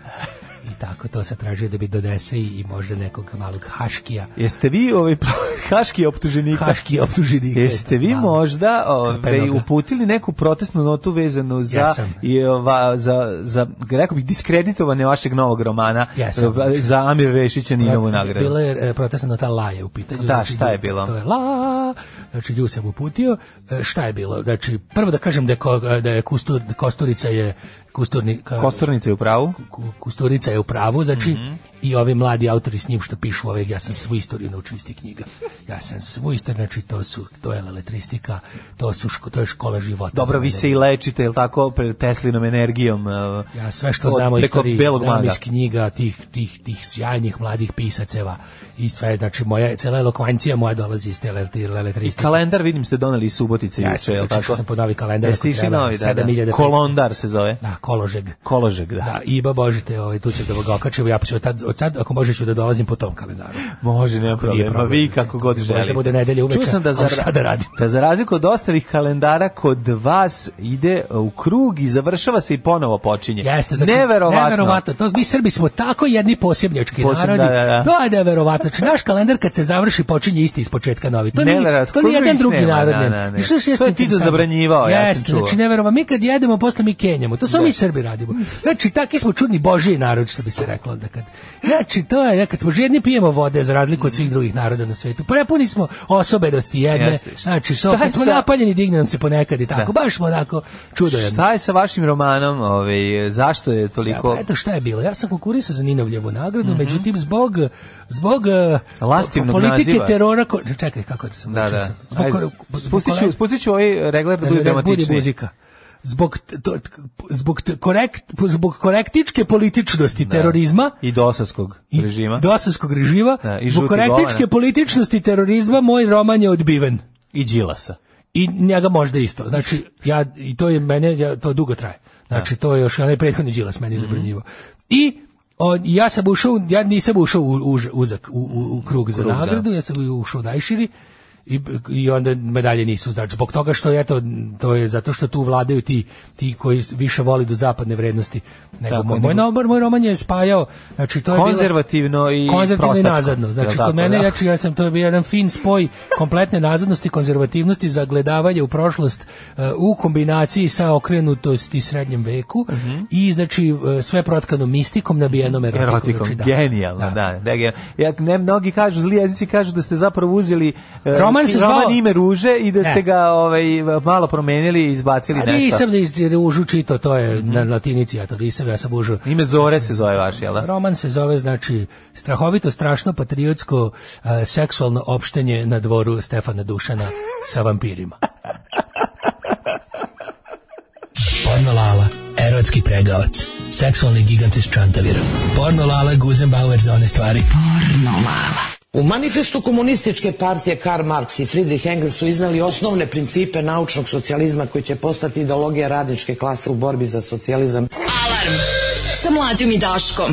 Speaker 5: I tako to se tražio da mi donese i, i možda nekog malog haškija.
Speaker 6: Jeste vi ovaj pro- haški optuženika?
Speaker 5: Haški optuženika.
Speaker 6: Jeste vi
Speaker 5: Malo.
Speaker 6: možda ovaj,
Speaker 5: Kapenoga.
Speaker 6: uputili neku protestnu notu vezanu za,
Speaker 5: Jesam.
Speaker 6: i, ova, za, za rekao bih, diskreditovanje vašeg novog romana
Speaker 5: Jesam.
Speaker 6: eh, za Amir Rešića Ninovu nagradu?
Speaker 5: Bila je e, protestna nota La je u pitanju. Znači,
Speaker 6: Da, šta je bilo?
Speaker 5: To je La, znači nju sam uputio. E, šta je bilo? Znači, prvo da kažem da je, ko- da je kustur, Kosturica je Kusturni, ka-
Speaker 6: Kosturnica je u pravu?
Speaker 5: Ku- Kusturica je u pravu, znači
Speaker 6: Mhm.
Speaker 5: i ovi mladi autori s njim što pišu ove, ja sam svu istoriju naučio iz tih knjiga. Ja sam svu istoriju, znači to su to je letristika, to su ško- to je škola života.
Speaker 6: Dobro,
Speaker 5: za
Speaker 6: vi
Speaker 5: mene.
Speaker 6: se i lečite, jel tako, pre- Teslinom energijom? eh,
Speaker 5: Ja sve što
Speaker 6: od-
Speaker 5: znam o
Speaker 6: preko
Speaker 5: istoriji,
Speaker 6: belog
Speaker 5: znam
Speaker 6: maga.
Speaker 5: iz knjiga tih, tih, tih sjajnih mladih pisaceva i sve, znači moja, cela elokvancija moja dolazi iz te leletristike.
Speaker 6: Kalendar, vidim, ste doneli iz Subotice
Speaker 5: Ja
Speaker 6: juče,
Speaker 5: sam,
Speaker 6: jel
Speaker 5: znači,
Speaker 6: tako?
Speaker 5: sam po novi kalendar.
Speaker 6: Jeste
Speaker 5: ako
Speaker 6: išli
Speaker 5: treba,
Speaker 6: novi, da, da.
Speaker 5: 7500.
Speaker 6: Kolondar se zove.
Speaker 5: Da, koložeg.
Speaker 6: Koložeg, da.
Speaker 5: Da, Iba Božite, ovaj, tu ću da ga okačem, ja ću od tad, od sad, ako možeš ću da dolazim po tom kalendaru.
Speaker 6: Može, nema
Speaker 5: Nije
Speaker 6: problema,
Speaker 5: problem.
Speaker 6: vi kako god
Speaker 5: Možda
Speaker 6: želite.
Speaker 5: bude nedelja uveče,
Speaker 6: Čuo sam da
Speaker 5: ali
Speaker 6: za,
Speaker 5: šta da radim?
Speaker 6: da za razliku od ostalih kalendara, kod vas ide u krug i završava se i ponovo počinje.
Speaker 5: Jeste, znači,
Speaker 6: neverovatno.
Speaker 5: neverovatno. To, mi Srbi smo tako jedni posebnjački
Speaker 6: Poseb-
Speaker 5: narodi.
Speaker 6: da, da, da.
Speaker 5: To je neverovatno. Znači, naš kalendar kad se završi počinje isti ispočetka novi. To nije,
Speaker 6: Neverovatno.
Speaker 5: to nije
Speaker 6: Koliko
Speaker 5: jedan
Speaker 6: ih
Speaker 5: drugi
Speaker 6: nema,
Speaker 5: narod.
Speaker 6: da,
Speaker 5: nema.
Speaker 6: da, da.
Speaker 5: I što je još
Speaker 6: To je
Speaker 5: nešto
Speaker 6: Tito
Speaker 5: interesantno?
Speaker 6: zabranjivao, ja sam
Speaker 5: Jeste,
Speaker 6: čuo.
Speaker 5: Znači, neverovatno. Mi kad jedemo, posle mi kenjamo. To samo mi Srbi radimo. Znači, takvi smo čudni božiji narod, što bi se reklo. Da kad, znači, to je, kad smo žedni, pijemo vode za razliku od svih drugih naroda na svetu. Prepuni smo osobenosti jedne.
Speaker 6: Jeste.
Speaker 5: Znači,
Speaker 6: Šta
Speaker 5: to,
Speaker 6: je
Speaker 5: kad smo
Speaker 6: sa-
Speaker 5: napaljeni, digne nam se ponekad i tako. Baš smo onako čudo jedno.
Speaker 6: Šta je sa vašim romanom? Ovaj, zašto je toliko...
Speaker 5: Ja, pa eto šta je bilo. Ja sam konkurisao za Ninovljevu nagradu, međutim zbog zbog eh,
Speaker 6: Mhm. Lastivnog
Speaker 5: politike
Speaker 6: naziva.
Speaker 5: terora ko... čekaj kako da sam
Speaker 6: Da,
Speaker 5: našao
Speaker 6: da.
Speaker 5: sam. Zbog-
Speaker 6: Ajde,
Speaker 5: zbog-
Speaker 6: spustit ću,
Speaker 5: zbog-
Speaker 6: spustit ću ovaj regler da
Speaker 5: Ne
Speaker 6: bude
Speaker 5: znam, da zbudi
Speaker 6: dramatičniji.
Speaker 5: muzika. Zbog t- to- zbog t- korekt zbog korektičke političnosti terorizma
Speaker 6: I dosovskog
Speaker 5: i
Speaker 6: režima.
Speaker 5: dosovskog režima,
Speaker 6: Da, i
Speaker 5: zbog
Speaker 6: žutih
Speaker 5: korektičke
Speaker 6: govana.
Speaker 5: političnosti terorizma moj roman je odbiven.
Speaker 6: I Đilasa.
Speaker 5: I njega možda isto. Znači, ja, i to je mene, ja, to dugo traje. Znači, to je još onaj prethodni džilas
Speaker 6: Mhm.
Speaker 5: meni zabranjivo. I on, ja sam ušao, ja nisam ušao u, u, uzak, u, u, u krug za
Speaker 6: krug, da.
Speaker 5: nagradu, ja sam ušao u najširi i, i onda medalje nisu znači zbog toga što je to to je zato što tu vladaju ti ti koji više voli do zapadne vrednosti nego
Speaker 6: Tako,
Speaker 5: moj,
Speaker 6: nego-
Speaker 5: moj nobar moj roman je spajao znači to je bilo-
Speaker 6: Konzervativno i
Speaker 5: konzervativno i
Speaker 6: prostačko,
Speaker 5: nazadno
Speaker 6: jel
Speaker 5: znači
Speaker 6: tako,
Speaker 5: kod mene
Speaker 6: da?
Speaker 5: ja ću- ja sam to je bio jedan fin spoj kompletne nazadnosti konzervativnosti zagledavanja u prošlost e, u kombinaciji sa okrenutosti srednjem veku i znači e, sve protkano mistikom nabijenom erotikom,
Speaker 6: erotikom.
Speaker 5: znači, da.
Speaker 6: Genijalno, da. da, genijalno. Ja, ne, mnogi kažu, zli jezici kažu da ste zapravo uzeli e,
Speaker 5: Roman se
Speaker 6: roman
Speaker 5: zvao-
Speaker 6: ime ruže i da ste
Speaker 5: Ne.
Speaker 6: ga ovaj, malo promenili i izbacili
Speaker 5: A
Speaker 6: nešto.
Speaker 5: nisam da iz- jer je užu čitao, to je na latinici, ja to nisam, ja sam užu.
Speaker 6: Ime Zore se zove vaš, jel da?
Speaker 5: Roman se zove, znači, strahovito, strašno, patriotsko, eh, seksualno opštenje na dvoru Stefana Dušana sa vampirima.
Speaker 13: Pornolala, erotski pregavac, seksualni gigant iz Čantavira. Pornolala Guzenbauer za one stvari. Pornolala.
Speaker 14: U manifestu komunističke partije Karl Marx i Friedrich Engels su iznali osnovne principe naučnog socijalizma koji će postati ideologija radničke klase u borbi za socijalizam.
Speaker 4: Alarm sa mlađom i Daškom.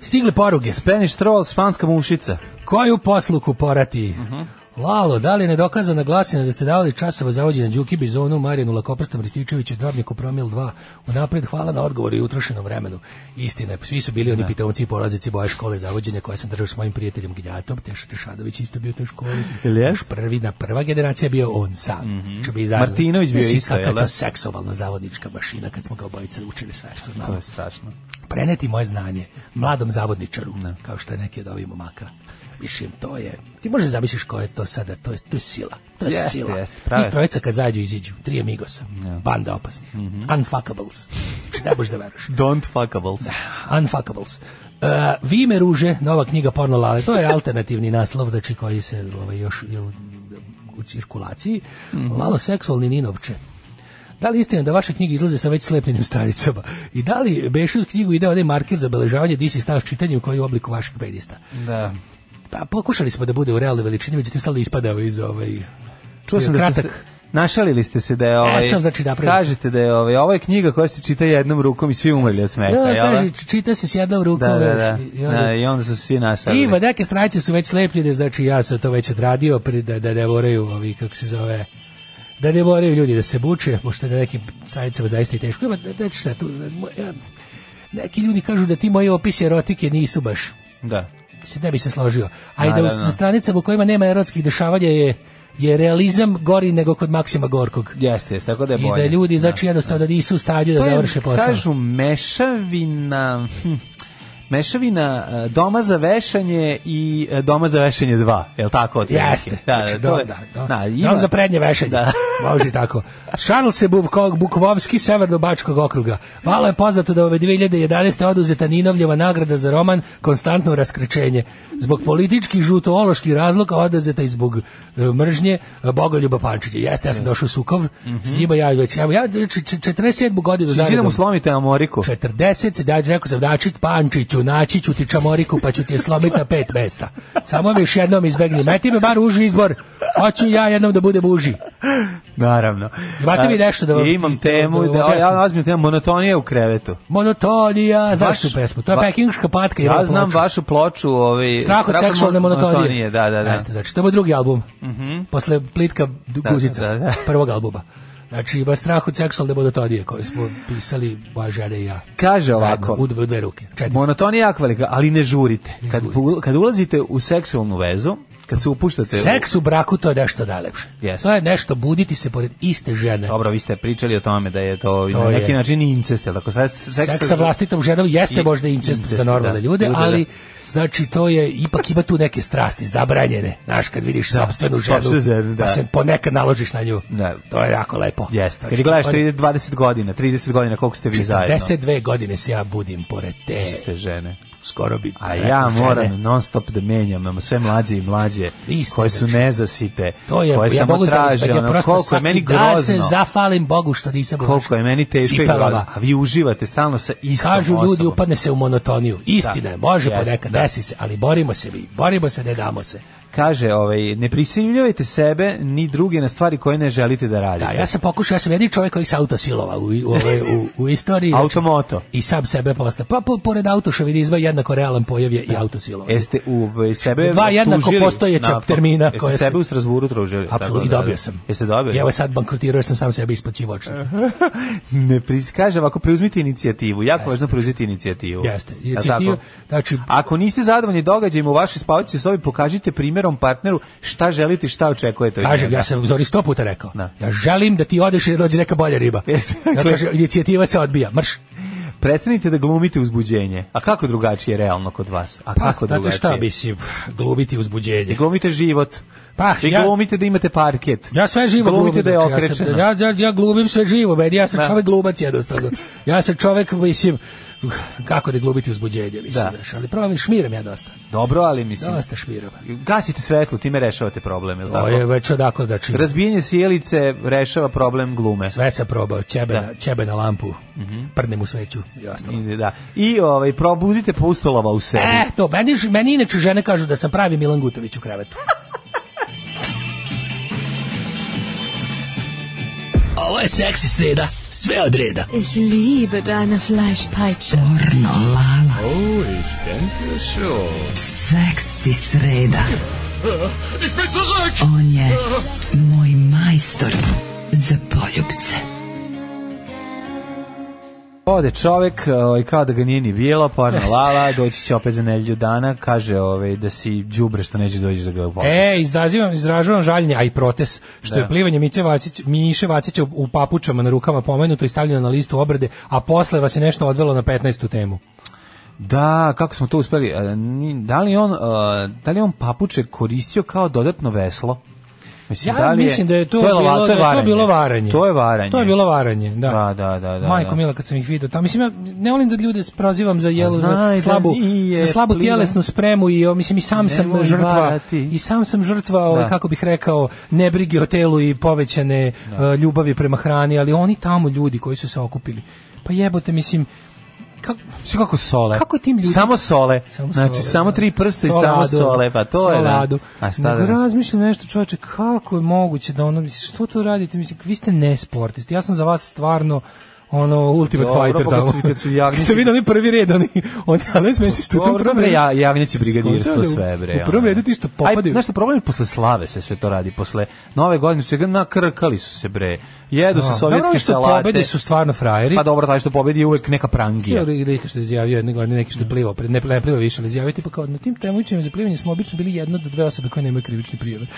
Speaker 5: Stigle poruge.
Speaker 6: Spanish troll, španska mušica.
Speaker 5: Koju posluku porati?
Speaker 6: Mhm.
Speaker 5: Lalo, da li je nedokazana glasina da ste davali časova zavođenja Đuki Bizonu, Marijanu Lakoprstom, Rističeviću, Drobnjaku Promil 2? Unapred hvala na odgovoru i utrošenom vremenu. Istina je, svi su bili oni pitomci i polaznici boje škole zavođenja koje sam držao s mojim prijateljem Gnjatom, Teša Tešadović isto bio u toj školi. Naš prvi, na prva generacija bio on sam. Što bi izazvao.
Speaker 6: Mhm. Martinović bio
Speaker 5: Mislim,
Speaker 6: isto,
Speaker 5: kakva
Speaker 6: jel
Speaker 5: je
Speaker 6: da?
Speaker 5: to seksualno zavodnička mašina kad smo ga obojice učili sve što znamo.
Speaker 6: To je strašno.
Speaker 5: Preneti moje znanje mladom zavodničaru, kao što je neki od ovih momaka. Mislim, to je... Ti možeš zamisliš ko je to sada, to je, to je sila. To je
Speaker 6: Jeste,
Speaker 5: sila.
Speaker 6: jeste, pravo je.
Speaker 5: I trojica kad zađu iziđu, tri amigosa, banda opasnih,
Speaker 6: Mhm.
Speaker 5: unfuckables. Znači, Ne možeš da veruješ.
Speaker 6: Don't fuckables.
Speaker 5: Unfuckables. Uh, Vi me ruže, nova knjiga porno lale, to je alternativni naslov, znači koji se ovaj, još je u, u cirkulaciji.
Speaker 6: Mhm.
Speaker 5: Lalo seksualni ninovče. Da li je istina da vaše knjige izlaze sa već slepljenim stranicama? I da li beše uz knjigu ide onaj marker za beležavanje di si stao s čitanjem koji je u obliku vašeg pedista?
Speaker 6: Da.
Speaker 5: Pa pokušali smo da bude u realnoj veličini, međutim stalno ispadao iz ovaj...
Speaker 6: Čuo sam da ste se, našalili ste se da je ovaj,
Speaker 5: sam, znači, napravio sam.
Speaker 6: kažete da je ovaj, ovo je knjiga koja se čita jednom rukom i svi umrli od smeha,
Speaker 5: Da,
Speaker 6: jel da?
Speaker 5: kaže, čita se s jednom rukom.
Speaker 6: Da, da,
Speaker 5: znaš,
Speaker 6: da.
Speaker 5: i onda-
Speaker 6: Da, I onda su svi našalili.
Speaker 5: Ima, neke stranice su već slepljene, znači ja sam to već odradio, pri- da, da ne moraju ovi, kako se zove, da ne moraju ljudi da se buče, pošto je na nekim stranicama zaista i teško. Ima, znači šta tu, mo- ja- neki ljudi kažu da ti moji opisi erotike nisu baš,
Speaker 6: Da.
Speaker 5: se ne bi se složio. A i
Speaker 6: Da,
Speaker 5: da, u-
Speaker 6: da, da.
Speaker 5: na stranicama u kojima nema erotskih dešavanja je je realizam gori nego kod Maksima Gorkog.
Speaker 6: Jeste, jeste, tako da je
Speaker 5: I
Speaker 6: bolje.
Speaker 5: da ljudi, znači, jednostavno da nisu u stanju da
Speaker 6: To Pa je,
Speaker 5: završe posao.
Speaker 6: Kažu mešavina... hm, Mešavina e, doma za vešanje i e, doma za vešanje 2, je li tako? otprilike?
Speaker 5: Jeste.
Speaker 6: Da,
Speaker 5: Znači,
Speaker 6: da, to je-
Speaker 5: dom, da,
Speaker 6: da,
Speaker 5: da.
Speaker 6: ima-
Speaker 5: Dom za prednje vešanje.
Speaker 6: Da.
Speaker 5: Može i tako. Šarl se Bubko- Bukovovski, severno-bačkog okruga. Malo je poznato da ove 2011. oduzeta Ninovljeva nagrada za roman Konstantno raskrčenje. Zbog politički žutooloških razloga oduzeta i zbog e, mržnje e, Bogoljuba Pančića. Jeste, ja sam došao u Sukov, s
Speaker 6: Mhm.
Speaker 5: njima ja već, evo, ja č- č- 47 godinu
Speaker 6: Čiči da
Speaker 5: zaredom-
Speaker 6: mu slomite Znači, Amoriku.
Speaker 5: 40 se dađe, rekao sam Dačić Pančiću, naći ću ti čamoriku pa ću ti je slomiti na pet mesta. Samo mi još jednom izbegni. Meti me bar uži izbor. Hoću ja jednom da budem uži.
Speaker 6: Naravno.
Speaker 5: Imate vi
Speaker 6: A,
Speaker 5: nešto da vam-
Speaker 6: Imam
Speaker 5: čisto
Speaker 6: temu,
Speaker 5: da vam
Speaker 6: da, ja
Speaker 5: objasnim?
Speaker 6: ja ozbiljno tema, monotonija u krevetu.
Speaker 5: Monotonija, znaš
Speaker 6: Baš-
Speaker 5: tu pesmu? To je
Speaker 6: ba-
Speaker 5: pekinška patka. i
Speaker 6: Ja
Speaker 5: rock
Speaker 6: znam
Speaker 5: ploča.
Speaker 6: vašu ploču, ovaj
Speaker 5: Strah od seksualne monotonije.
Speaker 6: Da, da, da.
Speaker 5: Jeste, znači, to je moj drugi album. Posle plitka d-
Speaker 6: Da,
Speaker 5: guzica,
Speaker 6: da, da.
Speaker 5: prvog albuma. Znači, ima strah od seksualne monotonije koju smo pisali, moja žena i ja.
Speaker 6: Kaže
Speaker 5: Zajedno,
Speaker 6: ovako.
Speaker 5: U dve, u dve ruke. Četiri.
Speaker 6: Monotonija je jako velika, ali ne žurite. Kad, ul- kad ulazite u seksualnu vezu, kad se upuštate... u-
Speaker 5: Seks u braku to je nešto najlepše.
Speaker 6: Jeste.
Speaker 5: To je nešto buditi se pored iste žene.
Speaker 6: Dobro, vi ste pričali o tome da je to, na
Speaker 5: To je.
Speaker 6: neki način incest, jel tako sad seks,
Speaker 5: Seks sa vlastitom ženom jeste
Speaker 6: I-
Speaker 5: možda incest,
Speaker 6: incest,
Speaker 5: za normalne
Speaker 6: da.
Speaker 5: ljude,
Speaker 6: Ljude,
Speaker 5: ali
Speaker 6: da.
Speaker 5: znači to je ipak ima tu neke strasti zabranjene. Znaš kad vidiš
Speaker 6: Da,
Speaker 5: sopstvenu
Speaker 6: sopstvenu
Speaker 5: ženu,
Speaker 6: ženu, da.
Speaker 5: pa se ponekad naložiš na nju.
Speaker 6: Da.
Speaker 5: To je jako lepo.
Speaker 6: Jeste. Kad
Speaker 5: Znači,
Speaker 6: je gledaš
Speaker 5: on-
Speaker 6: 30, 20 godina, 30 godina, koliko ste vi zajedno.
Speaker 5: 42 godine se ja budim pored te.
Speaker 6: ste žene.
Speaker 5: Skoro bi
Speaker 6: A
Speaker 5: rekao
Speaker 6: ja
Speaker 5: žene.
Speaker 6: moram non stop da menjam, imam sve mlađe i mlađe,
Speaker 5: Vi ste,
Speaker 6: koje su
Speaker 5: znači.
Speaker 6: nezasite,
Speaker 5: To je,
Speaker 6: koje
Speaker 5: ja
Speaker 6: samo
Speaker 5: mogu
Speaker 6: traže,
Speaker 5: zamisliti, ja
Speaker 6: ono,
Speaker 5: prosto
Speaker 6: koliko je
Speaker 5: svaki
Speaker 6: meni
Speaker 5: dan se
Speaker 6: grozno,
Speaker 5: zafalim Bogu što nisam u
Speaker 6: koliko je meni teško i
Speaker 5: cipelama.
Speaker 6: grozno. A vi uživate stalno sa istom
Speaker 5: Kažu
Speaker 6: osobom.
Speaker 5: ljudi pa- upadne se u monotoniju. Istina je, može
Speaker 6: Jeste,
Speaker 5: ponekad,
Speaker 6: da.
Speaker 5: desi se, ali borimo se mi, borimo se, ne damo se.
Speaker 6: kaže, ovaj, ne prisiljujete sebe ni druge na stvari koje ne želite da radite.
Speaker 5: Da, ja sam pokušao, ja sam jedini čovjek koji se auto silovao u, u, ovoj- u, u istoriji.
Speaker 6: Automoto.
Speaker 5: I sam sebe posle. Pa po, pored autošovinizma jednako realan pojav je i auto silovanje.
Speaker 6: Jeste u v- sebe
Speaker 5: Dva jednako
Speaker 6: optužili
Speaker 5: postojeća
Speaker 6: napad?
Speaker 5: termina
Speaker 6: Jeste
Speaker 5: koje se-
Speaker 6: sebe u Strasburu tružili.
Speaker 5: Apsolutno, i dobio sam.
Speaker 6: Jeste dobio?
Speaker 5: I evo sad bankrotirao jer sam sam sebe isplaćivao očito.
Speaker 6: Ne pris, kaže ovako, preuzmite inicijativu. Jako važno preuzeti inicijativu.
Speaker 5: Jeste.
Speaker 6: Jel
Speaker 5: Inicijativu,
Speaker 6: tako?
Speaker 5: znači,
Speaker 6: Ako niste zadovoljni događajima u vašoj spavaćoj sobi, pokažite primjerom partneru šta želite i šta očekujete od
Speaker 5: Kažem,
Speaker 6: njega.
Speaker 5: ja sam Zori sto puta rekao. Ja želim da ti odeš i da dođe neka bolja riba.
Speaker 6: Jeste. dakle-
Speaker 5: Ja kažem, inicijativa se odbija, mrš.
Speaker 6: Prestanite da glumite uzbuđenje. A kako drugačije realno kod vas? A kako
Speaker 5: Pa, znate
Speaker 6: drugačije?
Speaker 5: šta, mislim, glumiti uzbuđenje.
Speaker 6: I glumite život.
Speaker 5: Pa,
Speaker 6: I
Speaker 5: ja-
Speaker 6: glumite da imate parket.
Speaker 5: Ja sve živo
Speaker 6: glumite
Speaker 5: glumim,
Speaker 6: da je
Speaker 5: znači, ja sam-
Speaker 6: okrečeno.
Speaker 5: Ja, ja, ja glumim sve živo, meni, ja sam
Speaker 6: Da.
Speaker 5: čovek glumac jednostavno. Ja sam čovek, mislim, kako da glumiti uzbuđenje, mislim,
Speaker 6: Da.
Speaker 5: znaš, ali pravo, šmiram ja dosta.
Speaker 6: Dobro, ali mislim...
Speaker 5: Dosta šmiram.
Speaker 6: Gasite svetlo, time rešavate problem, je li
Speaker 5: To
Speaker 6: tako?
Speaker 5: je već odako, znači,
Speaker 6: Razbijanje sjelice rešava problem glume.
Speaker 5: sve sam probao, ćebe,
Speaker 6: Da. Mhm.
Speaker 5: na, ćebe na lampu, prdnem u sveću i ostalo.
Speaker 6: I, da. I ovaj, probudite pustolova u sebi.
Speaker 5: E, to, meni, ž- meni inače žene kažu da sam pravi Milan Gutović u krevetu.
Speaker 13: Ovo je seksi sreda, sve od reda.
Speaker 15: Ich liebe deine Fleischpeitsche.
Speaker 7: Pornolala.
Speaker 13: Oh, ich denke
Speaker 7: Seksi sreda.
Speaker 13: Ich bin zurück!
Speaker 7: On je moj majstor za poljubce.
Speaker 6: Ode čovek, ovaj, kao da ga nije ni bilo, porno
Speaker 5: Jeste.
Speaker 6: lala, doći će opet za nedelju dana, kaže ovaj, da si đubre što nećeš doći da ga voliš.
Speaker 5: E, izrazivam, izražavam žaljenje, a i protest, što
Speaker 6: Da.
Speaker 5: je plivanje Miće Vacić, Miše Vacića u, u papučama na rukama pomenuto i stavljeno na listu obrade, a posle vas je nešto odvelo na 15. temu.
Speaker 6: Da, kako smo to uspeli? E, ni- Da li on, e, da li on papuče koristio kao dodatno veslo? Mislim,
Speaker 5: Ja mislim da je to bilo-
Speaker 6: lava-
Speaker 5: da je to
Speaker 6: varanje.
Speaker 5: bilo varanje.
Speaker 6: To je varanje.
Speaker 5: To je bilo varanje, da.
Speaker 6: Da, da, da, da,
Speaker 5: Majko
Speaker 6: da.
Speaker 5: Mila, kad sam ih vidio tamo, mislim, ja ne volim da ljude prozivam za jelu,
Speaker 6: znaj da
Speaker 5: slabu,
Speaker 6: nije
Speaker 5: za slabu
Speaker 6: pliva.
Speaker 5: tjelesnu spremu i, o, mislim, i sam sam
Speaker 6: Nemoj
Speaker 5: žrtva,
Speaker 6: varati.
Speaker 5: i sam sam žrtva, ovaj,
Speaker 6: Da.
Speaker 5: kako bih rekao, nebrige o telu i povećane e, ljubavi prema hrani, ali oni tamo ljudi koji su se okupili, pa jebote, mislim, kako,
Speaker 6: Sve kako sole.
Speaker 5: Kako je tim ljudima?
Speaker 6: Samo sole.
Speaker 5: Samo
Speaker 6: znači,
Speaker 5: sole,
Speaker 6: samo
Speaker 5: da.
Speaker 6: tri prsta i samo
Speaker 5: Soladu.
Speaker 6: sole, pa to je. Da.
Speaker 5: Soladu.
Speaker 6: A šta da...
Speaker 5: Nego razmišljam nešto, čoveče, kako je moguće da ono, mislim, što to radite? Mislim, vi ste nesportisti. Ja sam za vas stvarno ono ultimate
Speaker 6: Dobro,
Speaker 5: fighter
Speaker 6: pa
Speaker 5: tamo.
Speaker 6: kad su- kad su jagnjići-
Speaker 5: Kad sam vidio oni prvi red, oni, oni ali smiješ što u tom
Speaker 6: Dobro,
Speaker 5: prvom
Speaker 6: bre,
Speaker 5: redu-
Speaker 6: ja, javnjaće brigadirstvo
Speaker 5: Skontao da u-
Speaker 6: sve, bre.
Speaker 5: U prvom
Speaker 6: ono.
Speaker 5: redu ti što
Speaker 6: Aj,
Speaker 5: popadaju.
Speaker 6: znaš što problem je posle slave se sve to radi, posle nove godine su se ga nakrkali su se, bre. Jedu
Speaker 5: Da.
Speaker 6: se
Speaker 5: Dobro,
Speaker 6: sovjetske
Speaker 5: oni što
Speaker 6: salate.
Speaker 5: pobede su stvarno frajeri.
Speaker 6: Pa dobro, taj što pobedi je uvek neka prangija.
Speaker 5: Cijeli Rika što je izjavio jedne godine, neki što
Speaker 6: Mm.
Speaker 5: je plivao, pred- ne, ne plivao više, ali izjavio tipa kao, na tim temovićima za plivanje smo obično bili jedna do dve osobe koje nemaju krivične prijeve.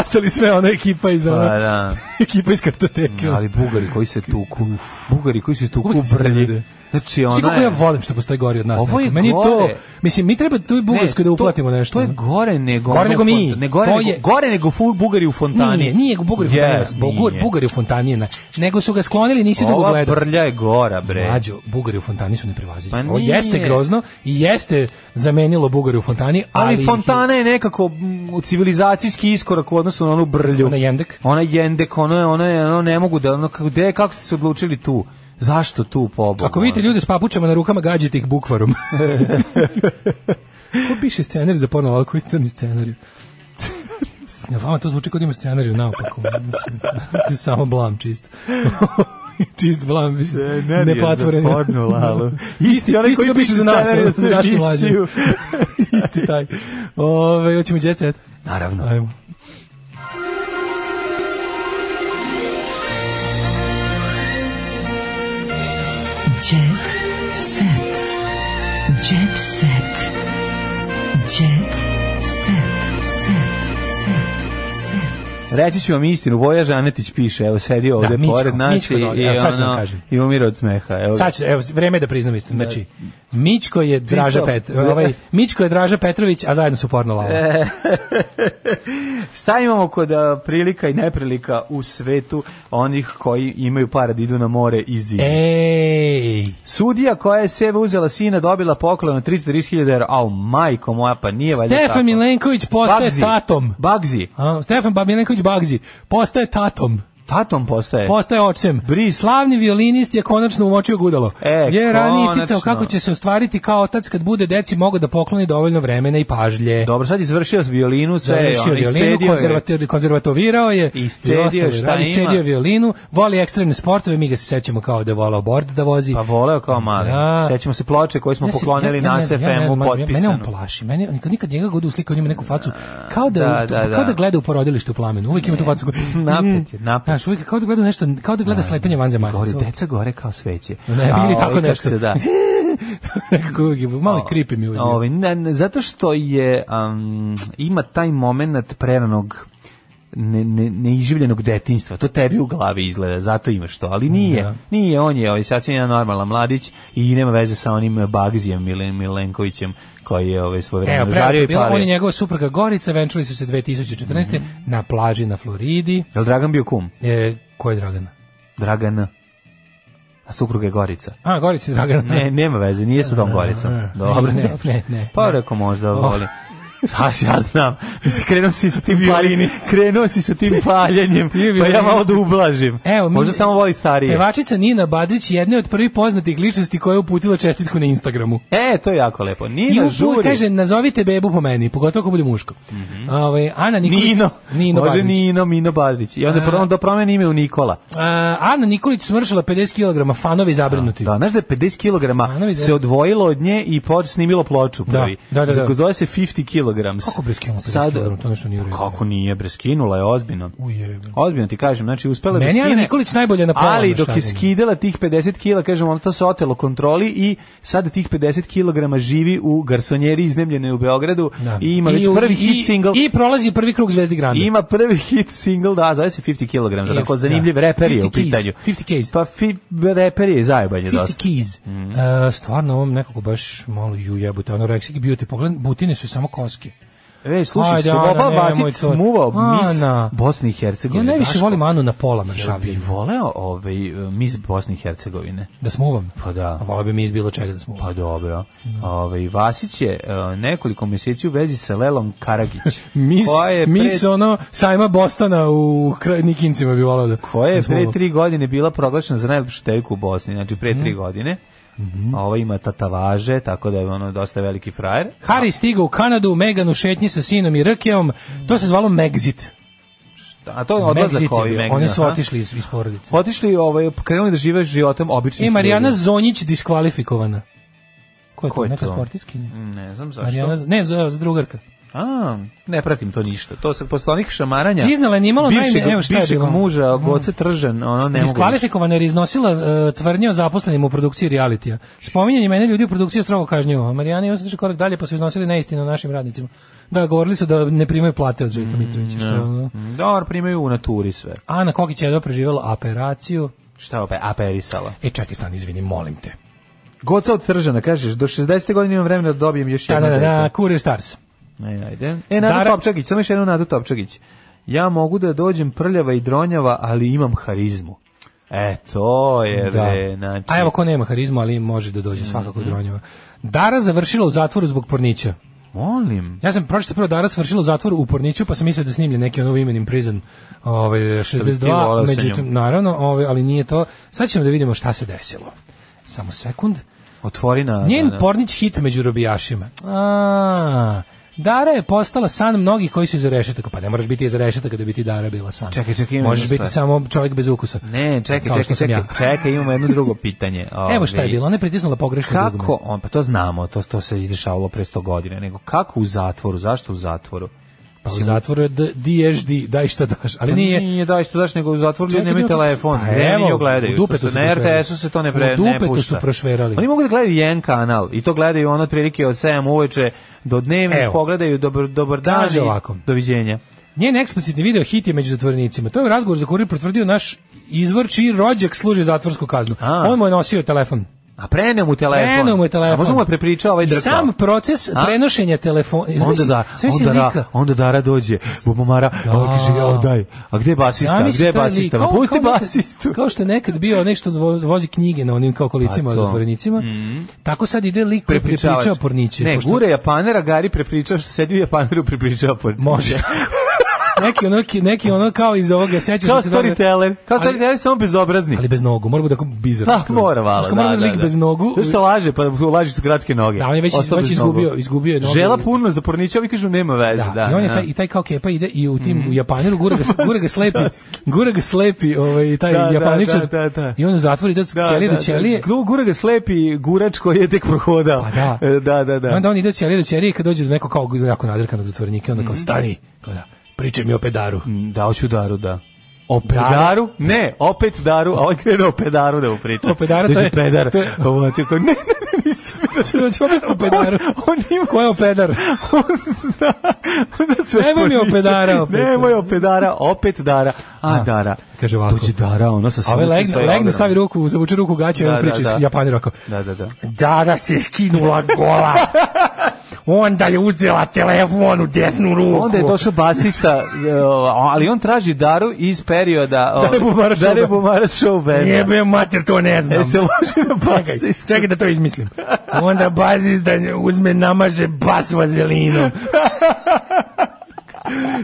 Speaker 5: Ostali sve ona ekipa iz ono,
Speaker 6: Pa, da.
Speaker 5: ekipa iz kartoteke.
Speaker 6: Ali bugari koji se tuku, bugari koji se tuku
Speaker 5: Uvijek se
Speaker 6: brlji.
Speaker 5: vide.
Speaker 6: Znači,
Speaker 5: Znaš
Speaker 6: ona
Speaker 5: kako ja
Speaker 6: je...
Speaker 5: volim što postoji gori od nas.
Speaker 6: Ovo je
Speaker 5: neko? Meni je to,
Speaker 6: gore.
Speaker 5: mislim, mi treba tu i
Speaker 6: Ne,
Speaker 5: Bugarskoj da
Speaker 6: to-
Speaker 5: uplatimo nešto.
Speaker 6: To je gore nego...
Speaker 5: Gore
Speaker 6: ono
Speaker 5: nego
Speaker 6: u
Speaker 5: mi.
Speaker 6: font- Ne, gore,
Speaker 5: To
Speaker 6: nego,
Speaker 5: je-
Speaker 6: gore nego fu- bugari u fontani.
Speaker 5: Nije, nije Bugar
Speaker 6: Yes,
Speaker 5: yes, Bugar,
Speaker 6: nije.
Speaker 5: Bugar u Fontanijena. Nego su ga sklonili, nisi dugo
Speaker 6: Ova
Speaker 5: gledao.
Speaker 6: brlja je gora, bre.
Speaker 5: Mlađo, Bugari u Fontani su neprevaziđeni.
Speaker 6: Pa
Speaker 5: Ovo
Speaker 6: nije.
Speaker 5: jeste grozno i jeste zamenilo Bugari u Fontani, ali,
Speaker 6: Ali, fontana je nekako mm, civilizacijski iskorak u odnosu na onu brlju.
Speaker 5: Ona jendek.
Speaker 6: Ona jendek, ono je, ono je, ono ne mogu da, ono, kako, gde, kako ste se odlučili tu? Zašto tu ono? pobogu?
Speaker 5: Ako vidite ljude s papučama na rukama, gađite ih bukvarom. Ko piše scenarij za porno, ali koji crni scenarij? Ja, vama to zvuči kao da ima scenariju naopako. Mislim, Samo blam čist. čist blam,
Speaker 6: Scenarij
Speaker 5: ne
Speaker 6: za porno, Lalo. Isti onaj koji
Speaker 5: ga
Speaker 6: piše
Speaker 5: ono,
Speaker 6: scenarij za
Speaker 5: Daško Mlađe.
Speaker 6: emisiju.
Speaker 5: isti taj. Ove, hoćemo jet set.
Speaker 6: Naravno.
Speaker 5: Ajmo.
Speaker 7: Jet set. Jet set. Jet set. Set. Set. Set.
Speaker 6: Reći ću vam istinu, Voja Žanetić piše, evo sedi ovde
Speaker 5: Mićko,
Speaker 6: pored nas
Speaker 5: Mićko
Speaker 6: i,
Speaker 5: dole,
Speaker 6: i,
Speaker 5: evo, sad ću vam
Speaker 6: ono,
Speaker 5: kažem.
Speaker 6: i umire od smeha. Evo,
Speaker 5: Sad ću, evo, vreme je da priznam istinu. Znači, Mićko je
Speaker 6: Pisao.
Speaker 5: Draža Pet, ovaj, Mićko je Draža Petrović, a zajedno su porno lava.
Speaker 6: E. Šta imamo kod a, prilika i neprilika u svetu onih koji imaju para da idu na more i zimi?
Speaker 5: E. Ej,
Speaker 6: Sudija koja je sebe uzela sina dobila poklon od 330.000 eura. Au, majko moja, pa nije valjda tako.
Speaker 5: Stefan Milenković postaje
Speaker 6: Bagzi.
Speaker 5: tatom.
Speaker 6: Bagzi.
Speaker 5: A, Stefan Ba- Milenković Bagzi postaje tatom.
Speaker 6: Tatom postaje.
Speaker 5: Postaje ocem. Slavni violinist je konačno umočio gudalo.
Speaker 6: E,
Speaker 5: je ranije
Speaker 6: konačno.
Speaker 5: isticao kako će se ostvariti kao otac kad bude deci mogu da pokloni dovoljno vremena i pažlje.
Speaker 6: Dobro, sad izvršio violinu, sve,
Speaker 5: Završio
Speaker 6: ono, iscedio
Speaker 5: violinu,
Speaker 6: je.
Speaker 5: konzervati- konzervatovirao je, i
Speaker 6: Iscedio je
Speaker 5: ostalo,
Speaker 6: šta
Speaker 5: radi,
Speaker 6: ima.
Speaker 5: iscedio je violinu, voli ekstremne sportove, mi ga se sećamo kao da je volao board da vozi.
Speaker 6: Pa voleo kao mali.
Speaker 5: Da.
Speaker 6: Sećamo se ploče koje smo
Speaker 5: Ja se-
Speaker 6: poklonili
Speaker 5: ja- ja
Speaker 6: na
Speaker 5: ne znam, ja ne
Speaker 6: SFM-u
Speaker 5: znam, mene- Mene on
Speaker 6: potpisano.
Speaker 5: plaši, mene, nikad, nikad njega god uslikao njemu neku facu, kao da,
Speaker 6: Da,
Speaker 5: da,
Speaker 6: da, da.
Speaker 5: kao da gleda u porodilištu u plamenu, uvijek ima tu facu.
Speaker 6: Napet je, napet.
Speaker 5: Znaš, uvijek kao da gleda u nešto, kao da gleda sletanje vanzemaljaca.
Speaker 6: Gori, deca gore kao sveće.
Speaker 5: Ne,
Speaker 6: A,
Speaker 5: ili
Speaker 6: ovaj,
Speaker 5: tako
Speaker 6: kako
Speaker 5: nešto.
Speaker 6: se Da.
Speaker 5: Nekako uvijek je- malo je creepy mi uvijek. bio.
Speaker 6: Ovaj, ne, ne, zato što je am, ima taj moment preranog ne, ne, neiživljenog detinjstva. To tebi u glavi izgleda, zato imaš to. Ali nije,
Speaker 5: Da.
Speaker 6: nije, on je ovaj, sasvim jedan normalan mladić i nema veze sa onim Bagzijem Milen, Milenkovićem koji je ovaj, svoje vreme
Speaker 5: Evo, prelepo
Speaker 6: žario
Speaker 5: je
Speaker 6: i
Speaker 5: bilo,
Speaker 6: palio. Mhm.
Speaker 5: on i njegova supruga Gorica venčali su se 2014. na plaži na Floridi.
Speaker 6: Jel Dragan bio kum?
Speaker 5: E, ko je Dragana?
Speaker 6: Dragana. A supruga je Gorica.
Speaker 5: A, Gorica i Dragana.
Speaker 6: Ne, nema veze, nije sa tom Goricom.
Speaker 5: Ne,
Speaker 6: Dobro,
Speaker 5: ne,
Speaker 6: dobro.
Speaker 5: ne, ne.
Speaker 6: Pa rekao možda
Speaker 5: Oh.
Speaker 6: voli. Ha, ja znam. Mislim, krenuo si sa tim paljenjem. Krenuo si sa tim paljenjem, pa ja malo da ublažim.
Speaker 5: Evo, mi-
Speaker 6: možda samo voli starije.
Speaker 5: Pevačica Nina Badrić je jedna od prvih poznatih ličnosti koja je uputila čestitku na Instagramu.
Speaker 6: E, to je jako lepo.
Speaker 5: I
Speaker 6: Nina
Speaker 5: upu-
Speaker 6: žuri. Mhm.
Speaker 5: kaže, nazovite bebu po meni, pogotovo ako bude muško. Ovaj, Ana Nikolić,
Speaker 6: Nino.
Speaker 5: Nino
Speaker 6: Može
Speaker 5: Badrić.
Speaker 6: Nino, Mino Badrić. I onda
Speaker 5: A.
Speaker 6: pro- onda promeni ime u Nikola.
Speaker 5: A, Ana Nikolić smršala 50 kg, fanovi zabrinuti.
Speaker 6: Da, znaš da je 50 kg
Speaker 5: Manović,
Speaker 6: se
Speaker 5: da.
Speaker 6: odvojilo od nje i poč snimilo ploču prvi.
Speaker 5: da, da, da.
Speaker 6: Zove se 50 kg.
Speaker 5: Kako bre skinula 50
Speaker 6: Sad-
Speaker 5: kg, to nešto nije u redu.
Speaker 6: Kako nije, bre, skinula je ozbiljno.
Speaker 5: Ujebe.
Speaker 6: Ozbiljno ti kažem, znači uspela je da
Speaker 5: Meni je Ana
Speaker 6: skine,
Speaker 5: Nikolić najbolje na pola,
Speaker 6: Ali
Speaker 5: znaš,
Speaker 6: dok je
Speaker 5: razumem.
Speaker 6: skidala tih 50 kila, kažem, ono to se otelo kontroli i sad tih 50 kilograma živi u garsonjeri iznemljenoj u Beogradu
Speaker 5: Da.
Speaker 6: i ima već
Speaker 5: u-
Speaker 6: prvi hit single.
Speaker 5: I, prolazi prvi krug Zvezdi Granda.
Speaker 6: Ima prvi hit single, da, zove se 50 kg,
Speaker 5: I-
Speaker 6: tako
Speaker 5: da.
Speaker 6: zanimljiv reper je u
Speaker 5: 50 keys,
Speaker 6: pitanju.
Speaker 5: 50 keys.
Speaker 6: Pa fi, reper je zajebanje
Speaker 5: 50
Speaker 6: dosta. Mhm.
Speaker 5: keys. E, stvarno, ovom nekako baš malo ju jebute. Anoreksik beauty. Pogledaj, butine su samo koske.
Speaker 6: Ej, slušaj,
Speaker 5: Ajde,
Speaker 6: Slobodan
Speaker 5: Ana, nemoj
Speaker 6: Vasić
Speaker 5: to.
Speaker 6: smuvao mis
Speaker 5: Ana.
Speaker 6: Bosne i Hercegovine.
Speaker 5: Ja najviše
Speaker 6: Daško.
Speaker 5: volim Anu na pola mršavi.
Speaker 6: Bi voleo ovaj, mis Bosne i Hercegovine.
Speaker 5: Da smuvam.
Speaker 6: Pa da.
Speaker 5: A Mm. volio bi mi iz bilo čega da smuvam.
Speaker 6: Pa dobro. Ovaj Vasić je e, nekoliko mjeseci u vezi sa Lelom Karagić.
Speaker 5: Mis,
Speaker 6: koja je
Speaker 5: mis
Speaker 6: pre,
Speaker 5: ono, sajma Bostana u kraj- Nikincima bi volao da...
Speaker 6: koja je
Speaker 5: da smuvam.
Speaker 6: pre tri godine bila proglašena za najlepšu devojku u Bosni, znači pre
Speaker 5: Mhm.
Speaker 6: tri godine. A Ova ima tatavaže, tako da je ono dosta veliki frajer.
Speaker 5: Harry stigao u Kanadu, Megan u šetnji sa sinom i Rkeom, to se zvalo Megxit.
Speaker 6: A to je odlazak
Speaker 5: Megxit je
Speaker 6: ovi
Speaker 5: bio.
Speaker 6: Megna,
Speaker 5: Oni su
Speaker 6: aha.
Speaker 5: otišli iz, iz porodice.
Speaker 6: Otišli, ovaj, krenuli da žive životom običnih
Speaker 5: E, Marijana
Speaker 6: ljudi.
Speaker 5: Zonjić diskvalifikovana. Ko je
Speaker 6: Ko
Speaker 5: to?
Speaker 6: je
Speaker 5: Neka
Speaker 6: to?
Speaker 5: sportiskinja?
Speaker 6: Ne znam zašto.
Speaker 5: Marijana, Z- ne, z- z- drugarka.
Speaker 6: A, ne pratim to ništa. To se posle onih šamaranja.
Speaker 5: Iznala je nimalo
Speaker 6: bivšeg,
Speaker 5: najne- evo šta je
Speaker 6: bivšeg
Speaker 5: bilo. Mm.
Speaker 6: muža, Goce Tržan, ono ne mogu. više.
Speaker 5: Diskvalifikovana jer je iznosila e, tvrdnje o zaposlenima u produkciji realitija. Spominjanje mene ljudi u produkciji je strogo kažnjivo. a Marijana i Osađe korak dalje pa su iznosili neistinu o našim radnicima. Da, govorili su da ne primaju plate od
Speaker 6: Mm,
Speaker 5: Željka Mitrovića. Što, je ono.
Speaker 6: Dobro, primaju u naturi sve.
Speaker 5: Ana Kokić je jedva preživjela operaciju.
Speaker 6: Šta je opet? Aperisala.
Speaker 5: E, čekaj, stan, izvini, molim te.
Speaker 6: Goca od Tržana, kažeš, do 60. godine imam vremena da dobijem još
Speaker 5: Da,
Speaker 6: jedno
Speaker 5: da, da,
Speaker 6: dete.
Speaker 5: da, Kurir Stars.
Speaker 6: E, ajde. E, Nada
Speaker 5: Dara-
Speaker 6: Topčagić, samo još jednu Nadu Topčagić. Ja mogu da dođem prljava i dronjava, ali imam harizmu. E, to je,
Speaker 5: Da.
Speaker 6: bre, znači... Mm,
Speaker 5: A evo, ko nema harizmu, ali može da dođe svakako do Dronjeva. Dara završila u zatvoru zbog pornića.
Speaker 6: Molim.
Speaker 5: Ja sam pročitao prvo Dara svršila u zatvoru u Porniću, pa sam mislio da snimlje neki ono Women in Prison ovaj,
Speaker 6: bi ti voleo sa
Speaker 5: 62, međutim,
Speaker 6: njom?
Speaker 5: naravno, ovaj, ali nije to. Sad ćemo da vidimo šta se desilo. Samo sekund.
Speaker 6: Otvori na...
Speaker 5: Njen
Speaker 6: na- na-
Speaker 5: Pornić hit među robijašima. A, Dara je postala san mnogih koji su iza rešetaka. Pa ne moraš biti iza rešetaka da bi ti Dara bila san.
Speaker 6: Čekaj, čekaj, ima
Speaker 5: Možeš
Speaker 6: jedna
Speaker 5: biti
Speaker 6: stvar.
Speaker 5: samo čovjek bez ukusa.
Speaker 6: Ne, čekaj,
Speaker 5: Kao što
Speaker 6: čekaj,
Speaker 5: sam
Speaker 6: čekaj, čekaj, imamo jedno drugo pitanje.
Speaker 5: Evo šta je
Speaker 6: Ovaj,
Speaker 5: bilo, ona je pritisnula pogrešno dugme.
Speaker 6: Kako, on, pa to znamo, to, to se izdešavalo pre 100 godina, nego kako u zatvoru, zašto u zatvoru?
Speaker 5: Pa u zatvoru je d- DSD, daj šta daš. Ali nije,
Speaker 6: Pa Nije daj što daš, nego u zatvoru ljudi
Speaker 5: Čekaj,
Speaker 6: nemaju
Speaker 5: kako-
Speaker 6: telefon.
Speaker 5: Pa
Speaker 6: Ne,
Speaker 5: evo,
Speaker 6: nije gledaju.
Speaker 5: u dupetu su
Speaker 6: Na
Speaker 5: prošverali.
Speaker 6: RTS-u se to ne, pre,
Speaker 5: U
Speaker 6: ne
Speaker 5: dupetu
Speaker 6: pušta.
Speaker 5: su prošverali.
Speaker 6: Oni mogu da gledaju jedan kanal i to gledaju on otprilike od 7 uveče do dnevnih,
Speaker 5: Evo.
Speaker 6: pogledaju dobar, dobar dan
Speaker 5: Kaže
Speaker 6: i
Speaker 5: ovako.
Speaker 6: doviđenja.
Speaker 5: Njen eksplicitni video hit je među zatvorenicima. To je u razgovor za kurir potvrdio naš izvor čiji rođak služi zatvorsku kaznu.
Speaker 6: A.
Speaker 5: On mu je nosio telefon.
Speaker 6: A preneo mu telefon.
Speaker 5: Krenuo mu je telefon.
Speaker 6: A možda mu je prepričao ovaj
Speaker 5: I
Speaker 6: drkao.
Speaker 5: Sam proces
Speaker 6: A?
Speaker 5: prenošenja telefona.
Speaker 6: Onda da, onda da, onda Dara dođe, bubomara, da. a on kaže, jao daj, a gde je basista, gde je basista, ma pusti basistu.
Speaker 5: Kao što je nekad bio nešto dvo- vozi knjige na onim kao kolicima
Speaker 6: A Pa to.
Speaker 5: zatvorenicima. Tako sad ide lik koji
Speaker 6: Prepričavač.
Speaker 5: prepričava porniće.
Speaker 6: Ne,
Speaker 5: pošto-
Speaker 6: gure Japanera, Gari prepričao što sedi u Japaneru, prepričava porniće.
Speaker 5: Može. neki ono, ki- neki ono kao iz ovoga, sećaš
Speaker 6: Kao
Speaker 5: da se dobro-
Speaker 6: storyteller. Kao
Speaker 5: Ali-
Speaker 6: storyteller, samo bezobrazni.
Speaker 5: Ali bez nogu, moramo da bizarno.
Speaker 6: Ah, mora vala,
Speaker 5: Znaš,
Speaker 6: da,
Speaker 5: mora
Speaker 6: da,
Speaker 5: da, lik
Speaker 6: da.
Speaker 5: bez nogu.
Speaker 6: Zato što laže, pa laži su kratke noge.
Speaker 5: Da, on je već-
Speaker 6: Ostao
Speaker 5: već
Speaker 6: bez
Speaker 5: izgubio-
Speaker 6: nogu.
Speaker 5: izgubio je nogu.
Speaker 6: Žela puno za pornića, ovi kažu nema veze, da.
Speaker 5: I on je
Speaker 6: da. Mhm.
Speaker 5: taj, i taj kao kepa ide i u tim u Japaniru gura ga, gura ga slepi, gura ga slepi ovaj, taj
Speaker 6: Da, da,
Speaker 5: Japaničar
Speaker 6: da, da, da.
Speaker 5: i on u zatvoru ide od ćelije do ćelije.
Speaker 6: Da, Gura ga slepi gurač koji je tek prohodao.
Speaker 5: Pa da.
Speaker 6: E, da, da, da.
Speaker 5: I onda on ide od ćelije do ćelije i kad dođe do nekog kao jako nadrkanog zatvorenika, onda
Speaker 6: Mhm.
Speaker 5: kao stani, kao da, pričaj mi o pedaru.
Speaker 6: Da, hoću daru, da. O
Speaker 5: Dara?
Speaker 6: pedaru? Ne, opet daru, a ovaj krene o pedaru da mu priča.
Speaker 5: O pedaru, to
Speaker 6: Kaže,
Speaker 5: je-
Speaker 6: pedar.
Speaker 5: to je-
Speaker 6: Ovo, ti kao, ne, ne, ne, nisi mi da
Speaker 5: Znači, opet o pedaru.
Speaker 6: On ima...
Speaker 5: Ko je o pedar?
Speaker 6: On zna da sve
Speaker 5: Nemoj mi
Speaker 6: poniče.
Speaker 5: opedara opet.
Speaker 6: Nemoj opedara, opet dara. A, dara.
Speaker 5: Kaže ovako.
Speaker 6: Dođe dara, ono sa
Speaker 5: A
Speaker 6: svojom...
Speaker 5: ovaj
Speaker 6: sa
Speaker 5: legne,
Speaker 6: svojom
Speaker 5: legne
Speaker 6: odbranom.
Speaker 5: stavi ruku, zavuče ruku u gaće i
Speaker 6: Da,
Speaker 5: on
Speaker 6: da,
Speaker 5: priča
Speaker 6: da.
Speaker 5: da, Japanir ovako.
Speaker 6: Da, da, da.
Speaker 5: Dara se skinula gola. Onda je uzela telefon u desnu ruku.
Speaker 6: Onda je došao basista, e, ali on traži daru iz perioda...
Speaker 5: Dare Bumara Show.
Speaker 6: Dare Bumara Show benda.
Speaker 5: Jebe mater, to ne znam.
Speaker 6: E, se loži na
Speaker 5: Čekaj,
Speaker 6: basista.
Speaker 5: čekaj da to izmislim. Onda bazis da uzme namaže bas vazelinom.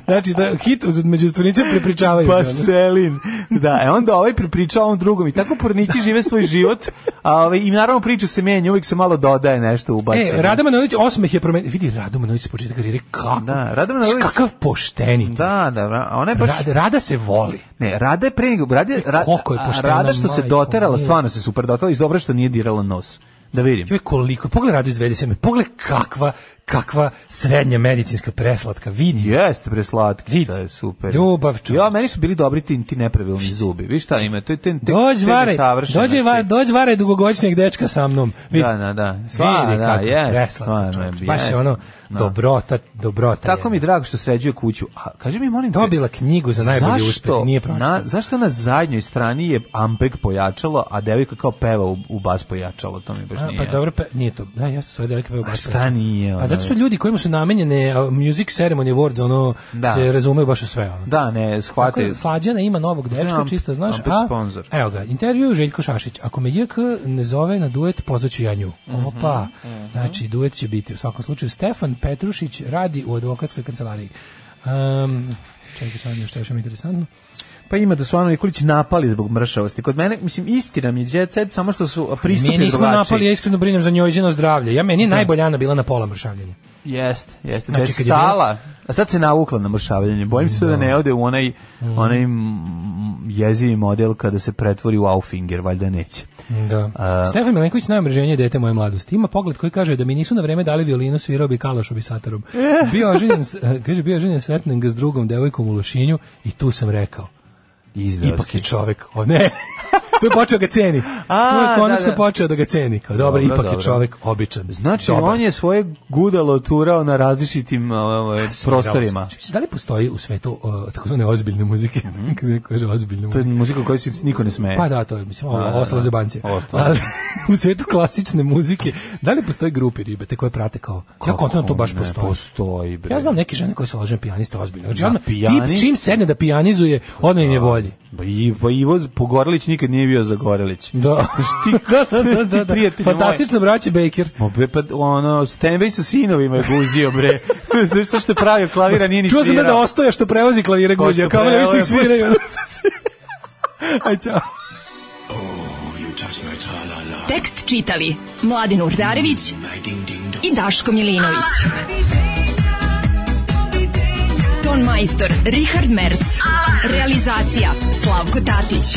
Speaker 5: Znači, da, hit uz među zatvornicima prepričavaju. ono-
Speaker 6: Pa Selin. Da, e onda ovaj pripriča ovom drugom i tako pornići žive svoj život, a ovaj, i naravno priča se menja, uvijek se malo dodaje nešto ubaci.
Speaker 5: E, Rada Manojlić osmeh je promenio. Vidi, Rada Manojlić se početak karijere kako.
Speaker 6: Da, Rada Manojlić-
Speaker 5: Kakav pošteni.
Speaker 6: Da, da, ra- a ona je baš...
Speaker 5: Rada, Rada se voli.
Speaker 6: Ne, Rada je pre... Rada, je- ra,
Speaker 5: E, Koliko je poštena,
Speaker 6: Rada što se
Speaker 5: majko
Speaker 6: doterala,
Speaker 5: moja.
Speaker 6: stvarno se super doterala i dobro je što nije dirala nos. Da vidim.
Speaker 5: Joj, koliko, pogledaj Radu iz 27. Pogledaj kakva, kakva srednja medicinska preslatka. Vidi.
Speaker 6: Jeste preslatkica, je super.
Speaker 5: Ljubav, čovječe.
Speaker 6: Ja, meni su bili dobri ti, ti nepravilni zubi. Vi šta ima? To je ten, te,
Speaker 5: Dođi
Speaker 6: te
Speaker 5: varaj,
Speaker 6: nesavršenosti.
Speaker 5: dođi varaj, dođi varaj dugogoćnjeg dečka sa mnom. Vidi.
Speaker 6: Da, da, da. Sva,
Speaker 5: Vidi
Speaker 6: da,
Speaker 5: kako
Speaker 6: jest,
Speaker 5: preslatka,
Speaker 6: stvarno
Speaker 5: čovječe.
Speaker 6: je,
Speaker 5: Baš
Speaker 6: jest.
Speaker 5: je ono,
Speaker 6: Da.
Speaker 5: dobrota, dobrota.
Speaker 6: Tako
Speaker 5: je.
Speaker 6: mi je drago što sređuje kuću. A kaži mi molim te,
Speaker 5: Dobila knjigu za najbolji
Speaker 6: zašto
Speaker 5: uspeh, nije pročitala.
Speaker 6: Na, zašto na zadnjoj strani je Ampeg pojačalo, a devojka kao peva u, u bas pojačalo, to mi baš
Speaker 5: A,
Speaker 6: nije.
Speaker 5: pa
Speaker 6: jasno.
Speaker 5: dobro, pa, nije to. Da, jasno su devojke pevaju
Speaker 6: A
Speaker 5: baš
Speaker 6: šta
Speaker 5: preslatka.
Speaker 6: nije? ono?
Speaker 5: A zato su ljudi kojima su namenjene a, Music Ceremony Awards, ono,
Speaker 6: Da.
Speaker 5: se razumeju baš u sve, ono.
Speaker 6: Da, ne,
Speaker 5: Tako
Speaker 6: shvate.
Speaker 5: je, Slađana ima novog dečka,
Speaker 6: Znam,
Speaker 5: čisto znaš,
Speaker 6: opet
Speaker 5: a
Speaker 6: sponsor.
Speaker 5: evo ga, intervju Željko Šašić. Ako me JK ne zove na duet, pozvaću ja nju.
Speaker 6: Mhm,
Speaker 5: Opa, znači duet će biti u svakom slučaju. Stefan Petrušić radi u advokatskoj kancelariji. Um, čekaj, sad nešto još ima interesantno.
Speaker 6: Pa ima da su Ana Nikolić napali zbog mršavosti. Kod mene, mislim, istina mi je jet set, samo što su pristupi
Speaker 5: Mi nismo
Speaker 6: drugačiji.
Speaker 5: napali, ja iskreno brinem za njojzino zdravlje. Ja meni je najbolja Ana bila na pola mršavljenja.
Speaker 6: Jeste, jeste.
Speaker 5: Znači,
Speaker 6: da je
Speaker 5: kad je bila-
Speaker 6: stala, a sad se navukla na mršavljanje. Bojim se da ne ode u onaj, onaj mm, jezivi model kada se pretvori u Aufinger, valjda neće.
Speaker 5: Da.
Speaker 6: A-
Speaker 5: Stefan Milenković najomrženije dete moje mladosti. Ima pogled koji kaže da mi nisu na vreme dali violinu, svirao bi kalašu bi satarom. Bio oženjen, s- eh, kaže, bio oženjen setneng s drugom devojkom u Lošinju i tu sam rekao,
Speaker 6: Izdao
Speaker 5: ipak
Speaker 6: si.
Speaker 5: je čovek, o ne, tu je počeo ga ceni.
Speaker 6: A,
Speaker 5: tu je konačno
Speaker 6: da, da.
Speaker 5: počeo da ga ceni. Kao, dobro,
Speaker 6: Dobro,
Speaker 5: ipak
Speaker 6: dobro.
Speaker 5: je čovek običan.
Speaker 6: Znači,
Speaker 5: dobar.
Speaker 6: on je svoje gudalo turao na različitim ovaj, prostorima.
Speaker 5: Mislim, Da li postoji u svetu uh, takozvane ozbiljne muzike? Kada neko kaže ozbiljne
Speaker 6: Mhm. To je
Speaker 5: muzike.
Speaker 6: muzika koju se niko ne smeje.
Speaker 5: Pa da, to je, mislim, ovo,
Speaker 6: E. Da, da,
Speaker 5: ostalo
Speaker 6: da.
Speaker 5: za banci.
Speaker 6: Ostalo.
Speaker 5: Ali, u svetu klasične muzike, da li postoje grupi ribete koje prate kao, ja kontinent to baš
Speaker 6: ne
Speaker 5: postoji.
Speaker 6: postoji, bre.
Speaker 5: Ja znam neke žene koje se lože na pijaniste ozbiljno. Znači,
Speaker 6: Na
Speaker 5: odmah,
Speaker 6: pijaniste?
Speaker 5: tip čim sedne da pijanizuje, odmah im je bolji.
Speaker 6: Pa i- pa Ivo Z- Pogorelić nikad nije bio za Gorelić.
Speaker 5: Da.
Speaker 6: Ti,
Speaker 5: da, da, da, da.
Speaker 6: prijatelj
Speaker 5: Fantastično braće Baker.
Speaker 6: Moj. Ma bre, pa ono, Stanway sa sinovima je guzio, bre. Znaš što što je pravio klavira, nije ni
Speaker 5: Čuo sam ja da
Speaker 6: svirao.
Speaker 5: ostoja što prevozi klavire
Speaker 6: Ko
Speaker 5: guđe,
Speaker 6: što
Speaker 5: kao ne više ih
Speaker 6: prevozi,
Speaker 5: sviraju. Aj, čao.
Speaker 4: Tekst čitali Mladin Urdarević i Daško Milinović. Ton majstor Richard Merc. Realizacija Slavko Tatić.